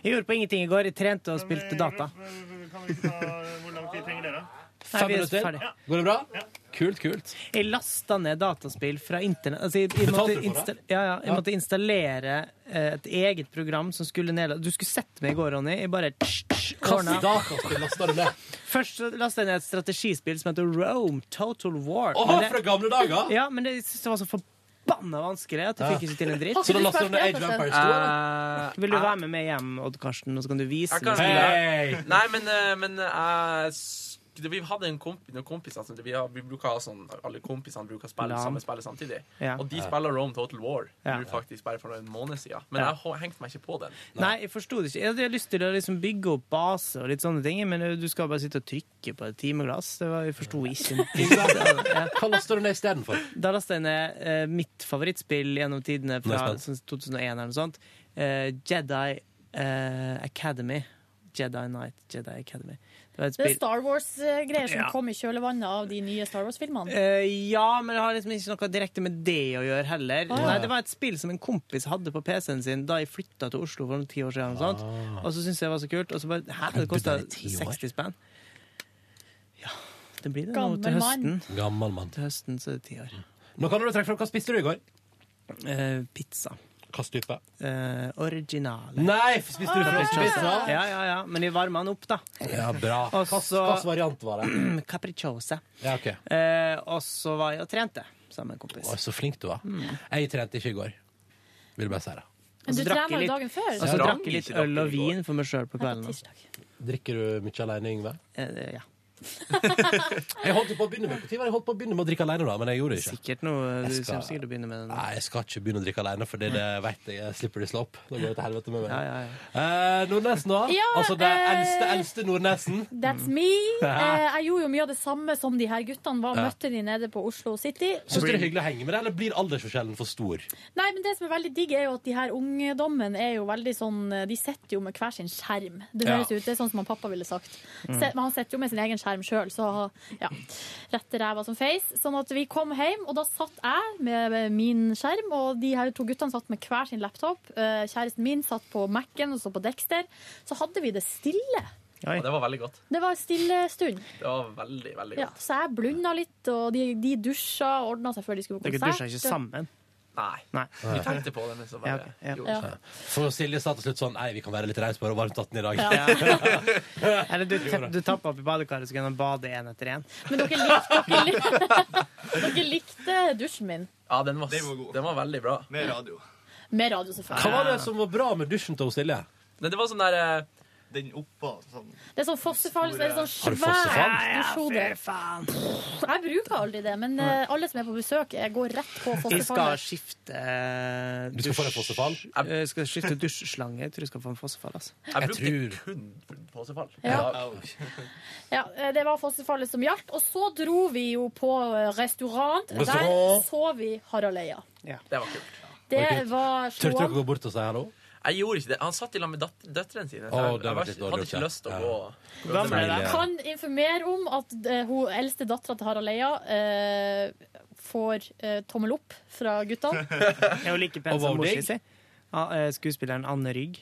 [SPEAKER 3] Jeg gjorde på ingenting i går. Jeg trente og spilte data.
[SPEAKER 12] Kan vi ikke ta eh, Hvor lang tid trenger dere?
[SPEAKER 3] Nei, vi er ferdig.
[SPEAKER 2] Går det bra? Kult, kult.
[SPEAKER 3] Jeg lasta ned dataspill fra internett. Altså, jeg, jeg,
[SPEAKER 2] Betalte
[SPEAKER 3] måtte
[SPEAKER 2] du for det?
[SPEAKER 3] install- ja, ja, jeg måtte installere eh, et eget program som skulle ned... Du skulle sett meg i går, Ronny. Jeg bare tsch, tsch, ordna.
[SPEAKER 2] dataspill lasta du ned?
[SPEAKER 3] Først så lasta jeg ned et strategispill som heter Rome Total War.
[SPEAKER 2] Åh,
[SPEAKER 3] Men det-
[SPEAKER 2] fra gamle dager?
[SPEAKER 3] Ja, men det, jeg synes det var så forbanna vanskelig at jeg
[SPEAKER 2] Ja.
[SPEAKER 3] fikk ikke til en dritt.
[SPEAKER 2] Så da laster du ned Age of Empires 2,
[SPEAKER 3] Eh, Vil du være med meg hjem, Odd Karsten, og så kan du vise
[SPEAKER 16] Jeg kan,
[SPEAKER 3] meg spillet?
[SPEAKER 16] Nei, men, eh, men eh, s- det- vi hadde en komp noen kompiser som vi, har, vi bruker ha sånn, Alle kompisene bruker spille
[SPEAKER 3] Lam.
[SPEAKER 16] samme spillet samtidig.
[SPEAKER 3] Ja.
[SPEAKER 16] Og de
[SPEAKER 3] Ja.
[SPEAKER 16] spiller Rome Total War
[SPEAKER 3] Ja.
[SPEAKER 16] nå faktisk bare for en måned siden. Men
[SPEAKER 3] Ja.
[SPEAKER 16] jeg ho- hengte meg ikke på den.
[SPEAKER 3] Nei, jeg forsto det ikke. Jeg hadde lyst til å liksom bygge opp base og litt sånne ting, men du skal bare sitte og trykke på et timeglass. Det var, jeg forsto ikke en dritt.
[SPEAKER 2] Hva lasta du ned istedenfor?
[SPEAKER 3] Da lasta jeg ned eh, mitt favorittspill gjennom tidene
[SPEAKER 2] Nå er
[SPEAKER 3] fra
[SPEAKER 2] jeg
[SPEAKER 3] sånn 2001 eller noe sånt. Eh, Jedi eh, Academy. Jedi Knight, Jedi Academy. Det var et
[SPEAKER 4] Det er
[SPEAKER 3] spill
[SPEAKER 4] Star Wars-greier som
[SPEAKER 3] Ja.
[SPEAKER 4] kom i kjølvannet av de nye Star Wars-filmene.
[SPEAKER 3] Eh, ja, men det har liksom ikke noe direkte med det å gjøre heller.
[SPEAKER 4] Ah.
[SPEAKER 3] Nei, Det var et spill som en kompis hadde på PC-en sin da jeg flytta til Oslo for noen ti år siden. Og, sånt. og så syntes jeg det var så kult. Og så bare Hæ, det kosta 60 spenn? Ja, det blir det nå
[SPEAKER 2] Gammel
[SPEAKER 3] til
[SPEAKER 2] mann.
[SPEAKER 3] høsten.
[SPEAKER 2] Gammel mann.
[SPEAKER 3] Til høsten så er det ti år.
[SPEAKER 2] Nå kan du trekke fram hva spiste du i går?
[SPEAKER 3] Eh, pizza.
[SPEAKER 2] Hvilken type?
[SPEAKER 3] Eh, originale.
[SPEAKER 2] Nei, spiste du
[SPEAKER 3] Capricciosa.
[SPEAKER 2] pizza?
[SPEAKER 3] Ja, ja, ja. Men jeg varma den opp, da.
[SPEAKER 2] Ja, bra.
[SPEAKER 3] Og
[SPEAKER 2] Hva
[SPEAKER 3] så-
[SPEAKER 2] slags variant var det?
[SPEAKER 3] Capricciosa.
[SPEAKER 2] Ja, ok.
[SPEAKER 3] Eh, og så var jeg og trente sammen med en kompis. Mm.
[SPEAKER 2] Å, så flink du var. Jeg trente ikke i går. Vil bare si det.
[SPEAKER 4] Men du
[SPEAKER 3] Og så drakk jeg
[SPEAKER 4] trener jo
[SPEAKER 3] litt-
[SPEAKER 4] dagen før.
[SPEAKER 3] Og så
[SPEAKER 4] Ja.
[SPEAKER 3] drakk jeg litt øl og vin for meg sjøl på kvelden. også.
[SPEAKER 2] Drikker du mye alene, Yngve?
[SPEAKER 3] ja.
[SPEAKER 2] jeg holdt jo på å begynne med Hvor tid var det jeg holdt på å begynne med å drikke alene, da, men jeg gjorde det ikke.
[SPEAKER 3] Sikkert noe,
[SPEAKER 2] Jeg
[SPEAKER 3] du
[SPEAKER 2] skal-
[SPEAKER 3] kommer sikkert til å begynne med det. nå.
[SPEAKER 2] Nei, jeg skal ikke begynne å drikke alene, for det vet jeg jeg slipper de slopp. Da går det til helvete med meg.
[SPEAKER 3] Ja, ja,
[SPEAKER 2] Eh, Nordnesen, da?
[SPEAKER 4] Ja,
[SPEAKER 2] altså det
[SPEAKER 4] eh,
[SPEAKER 2] eldste, eldste Nordnesen?
[SPEAKER 4] That's me.
[SPEAKER 3] Mm.
[SPEAKER 4] Eh, jeg gjorde jo mye av det samme som de her guttene var.
[SPEAKER 2] Ja.
[SPEAKER 4] Møtte de nede på Oslo City.
[SPEAKER 2] Syns du det er hyggelig å henge med deg, eller blir aldersforskjellen for stor?
[SPEAKER 4] Nei, men det som er veldig digg, er jo at de her ungdommen er jo veldig sånn De sitter jo med hver sin skjerm. Det
[SPEAKER 2] Ja.
[SPEAKER 4] høres ut det er sånn som han pappa ville sagt.
[SPEAKER 20] Mm.
[SPEAKER 4] Se- Men han sitter jo med sin egen skjerm sjøl, så ja. Rette ræva som feis. Sånn at vi kom hjem, og da satt jeg med min skjerm, og de her to guttene satt med hver sin laptop. Eh, Kjæresten min satt på Mac-en og så på Dexter. Så hadde vi det stille.
[SPEAKER 16] Og det var veldig godt.
[SPEAKER 4] Det var stille stund.
[SPEAKER 16] Det var veldig, veldig
[SPEAKER 4] Ja,
[SPEAKER 16] godt.
[SPEAKER 4] så jeg blunda litt, og de, de dusja og ordna seg før de skulle på
[SPEAKER 16] Dere
[SPEAKER 4] konsert.
[SPEAKER 16] dusja ikke sammen? Nei. Vi tenkte på det, men så bare gjorde
[SPEAKER 4] Ja.
[SPEAKER 16] ikke det.
[SPEAKER 2] For Silje sa til slutt sånn Nei, vi kan være litt raus på det, varmt vann i dag.
[SPEAKER 3] Ja. Eller du, tepp- du tappa opp i badekaret, så kan du bade én etter én.
[SPEAKER 4] Men dere likte, dere likte, dere likte dusjen min.
[SPEAKER 16] Ja, den var, den var veldig bra.
[SPEAKER 21] Med radio.
[SPEAKER 4] Med radio, selvfølgelig.
[SPEAKER 2] Hva var det som var bra med dusjen til Silje?
[SPEAKER 16] det var sånn der
[SPEAKER 21] Den oppå sånn
[SPEAKER 4] Det er sånn fossefall. Så det er sånn
[SPEAKER 2] Har du
[SPEAKER 4] svær
[SPEAKER 2] fossefall?
[SPEAKER 4] dusjhode. Jeg bruker aldri det, men eh, alle som er på besøk, jeg går rett på
[SPEAKER 3] Jeg skal
[SPEAKER 4] fossefallet.
[SPEAKER 3] skifte eh,
[SPEAKER 2] Du skal få deg
[SPEAKER 3] dusj-
[SPEAKER 2] fossefall?
[SPEAKER 3] Jeg skal skifte dusjslange. Jeg tror jeg skal få en fossefall. Altså.
[SPEAKER 16] Jeg brukte kun påsefall.
[SPEAKER 4] Ja. Ja, eh, det var fossefallet som gjaldt. Og så dro vi jo på eh, restaurant. Der
[SPEAKER 16] Restaurant.
[SPEAKER 4] så vi Harald Eia.
[SPEAKER 16] Det var kult.
[SPEAKER 4] Det var
[SPEAKER 2] Turte dere å
[SPEAKER 4] slående.
[SPEAKER 2] gå bort og si hallo?
[SPEAKER 16] Jeg gjorde ikke det. Han satt i lag med dat døtrene sine. Så
[SPEAKER 2] Å,
[SPEAKER 16] jeg,
[SPEAKER 2] det
[SPEAKER 16] jeg,
[SPEAKER 2] var
[SPEAKER 16] var,
[SPEAKER 2] litt
[SPEAKER 16] ikke-
[SPEAKER 2] dårlig
[SPEAKER 16] hadde ikke
[SPEAKER 2] gjort,
[SPEAKER 16] lyst til
[SPEAKER 2] ja.
[SPEAKER 16] å gå
[SPEAKER 2] Hvor gammel er det?
[SPEAKER 4] Kan informere om at eh, hun eldste dattera til Harald Eia eh, får eh, tommel opp fra guttene.
[SPEAKER 3] Jeg er jo like pen
[SPEAKER 4] Og
[SPEAKER 3] som
[SPEAKER 4] var
[SPEAKER 3] mor
[SPEAKER 4] digg?
[SPEAKER 3] si. Ja, eh, Skuespilleren Anne Rygg.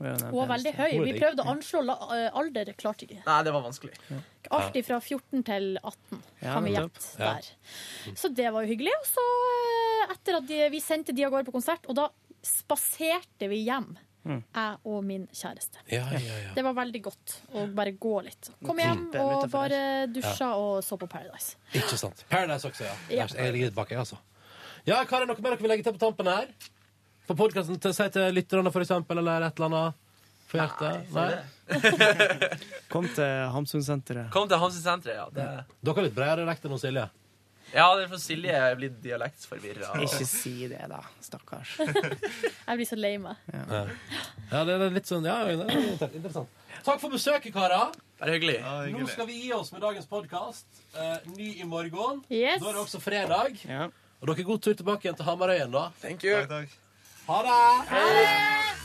[SPEAKER 3] Hun er jo den
[SPEAKER 4] Hun var veldig
[SPEAKER 3] peneste.
[SPEAKER 4] høy. Vi prøvde å anslå la- eh, alder, klarte ikke.
[SPEAKER 16] Nei, det var vanskelig.
[SPEAKER 4] Alt fra 14 til 18,
[SPEAKER 16] Ja,
[SPEAKER 4] kan vi
[SPEAKER 16] nettopp.
[SPEAKER 4] gjette
[SPEAKER 16] Ja.
[SPEAKER 4] der. Så det var jo hyggelig. Og så, eh, etter at de, vi sendte de av gårde på konsert, og da spaserte vi hjem,
[SPEAKER 2] Mm.
[SPEAKER 4] jeg og min kjæreste.
[SPEAKER 2] Ja, ja, ja.
[SPEAKER 4] Det var veldig godt å bare gå litt. Kom hjem
[SPEAKER 2] Klippen
[SPEAKER 4] og
[SPEAKER 2] utenfor
[SPEAKER 4] bare
[SPEAKER 2] der.
[SPEAKER 4] dusja og så på Paradise.
[SPEAKER 2] Ikke sant. Paradise også, ja.
[SPEAKER 4] Ja.
[SPEAKER 2] Jeg ligger litt bak, jeg, altså. Ja, hva er det noe mer dere vil legge til på tampen her? På podkasten til si til lytterne, for eksempel, eller et eller annet? For hjertet? Nei?
[SPEAKER 3] Kom til Hamsunsenteret.
[SPEAKER 16] Kom til Hamsunsenteret, ja. Det,
[SPEAKER 2] Dere har litt bredere dialekt enn oss, Silje.
[SPEAKER 16] ja, det er for Silje er blitt dialektsforvirra.
[SPEAKER 3] Ikke si det, da. Stakkars.
[SPEAKER 4] Jeg blir så lei meg.
[SPEAKER 2] Ja. ja, det er litt sånn Ja, det er inter- interessant. Takk for besøket, karer.
[SPEAKER 16] Bare hyggelig.
[SPEAKER 2] Nå skal vi gi oss med dagens podkast. ny i morgen.
[SPEAKER 4] Yes.
[SPEAKER 2] Nå er det også fredag. Og dere, god tur tilbake igjen til Hamarøyen, da.
[SPEAKER 16] Thank you.
[SPEAKER 2] Ha det.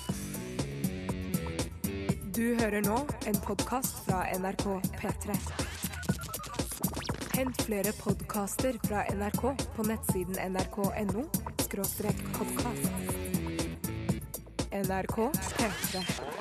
[SPEAKER 1] Du hører nå en podkast fra NRK P3. Hent flere podkaster fra NRK på nettsiden nrk.no podkast. NRK P3.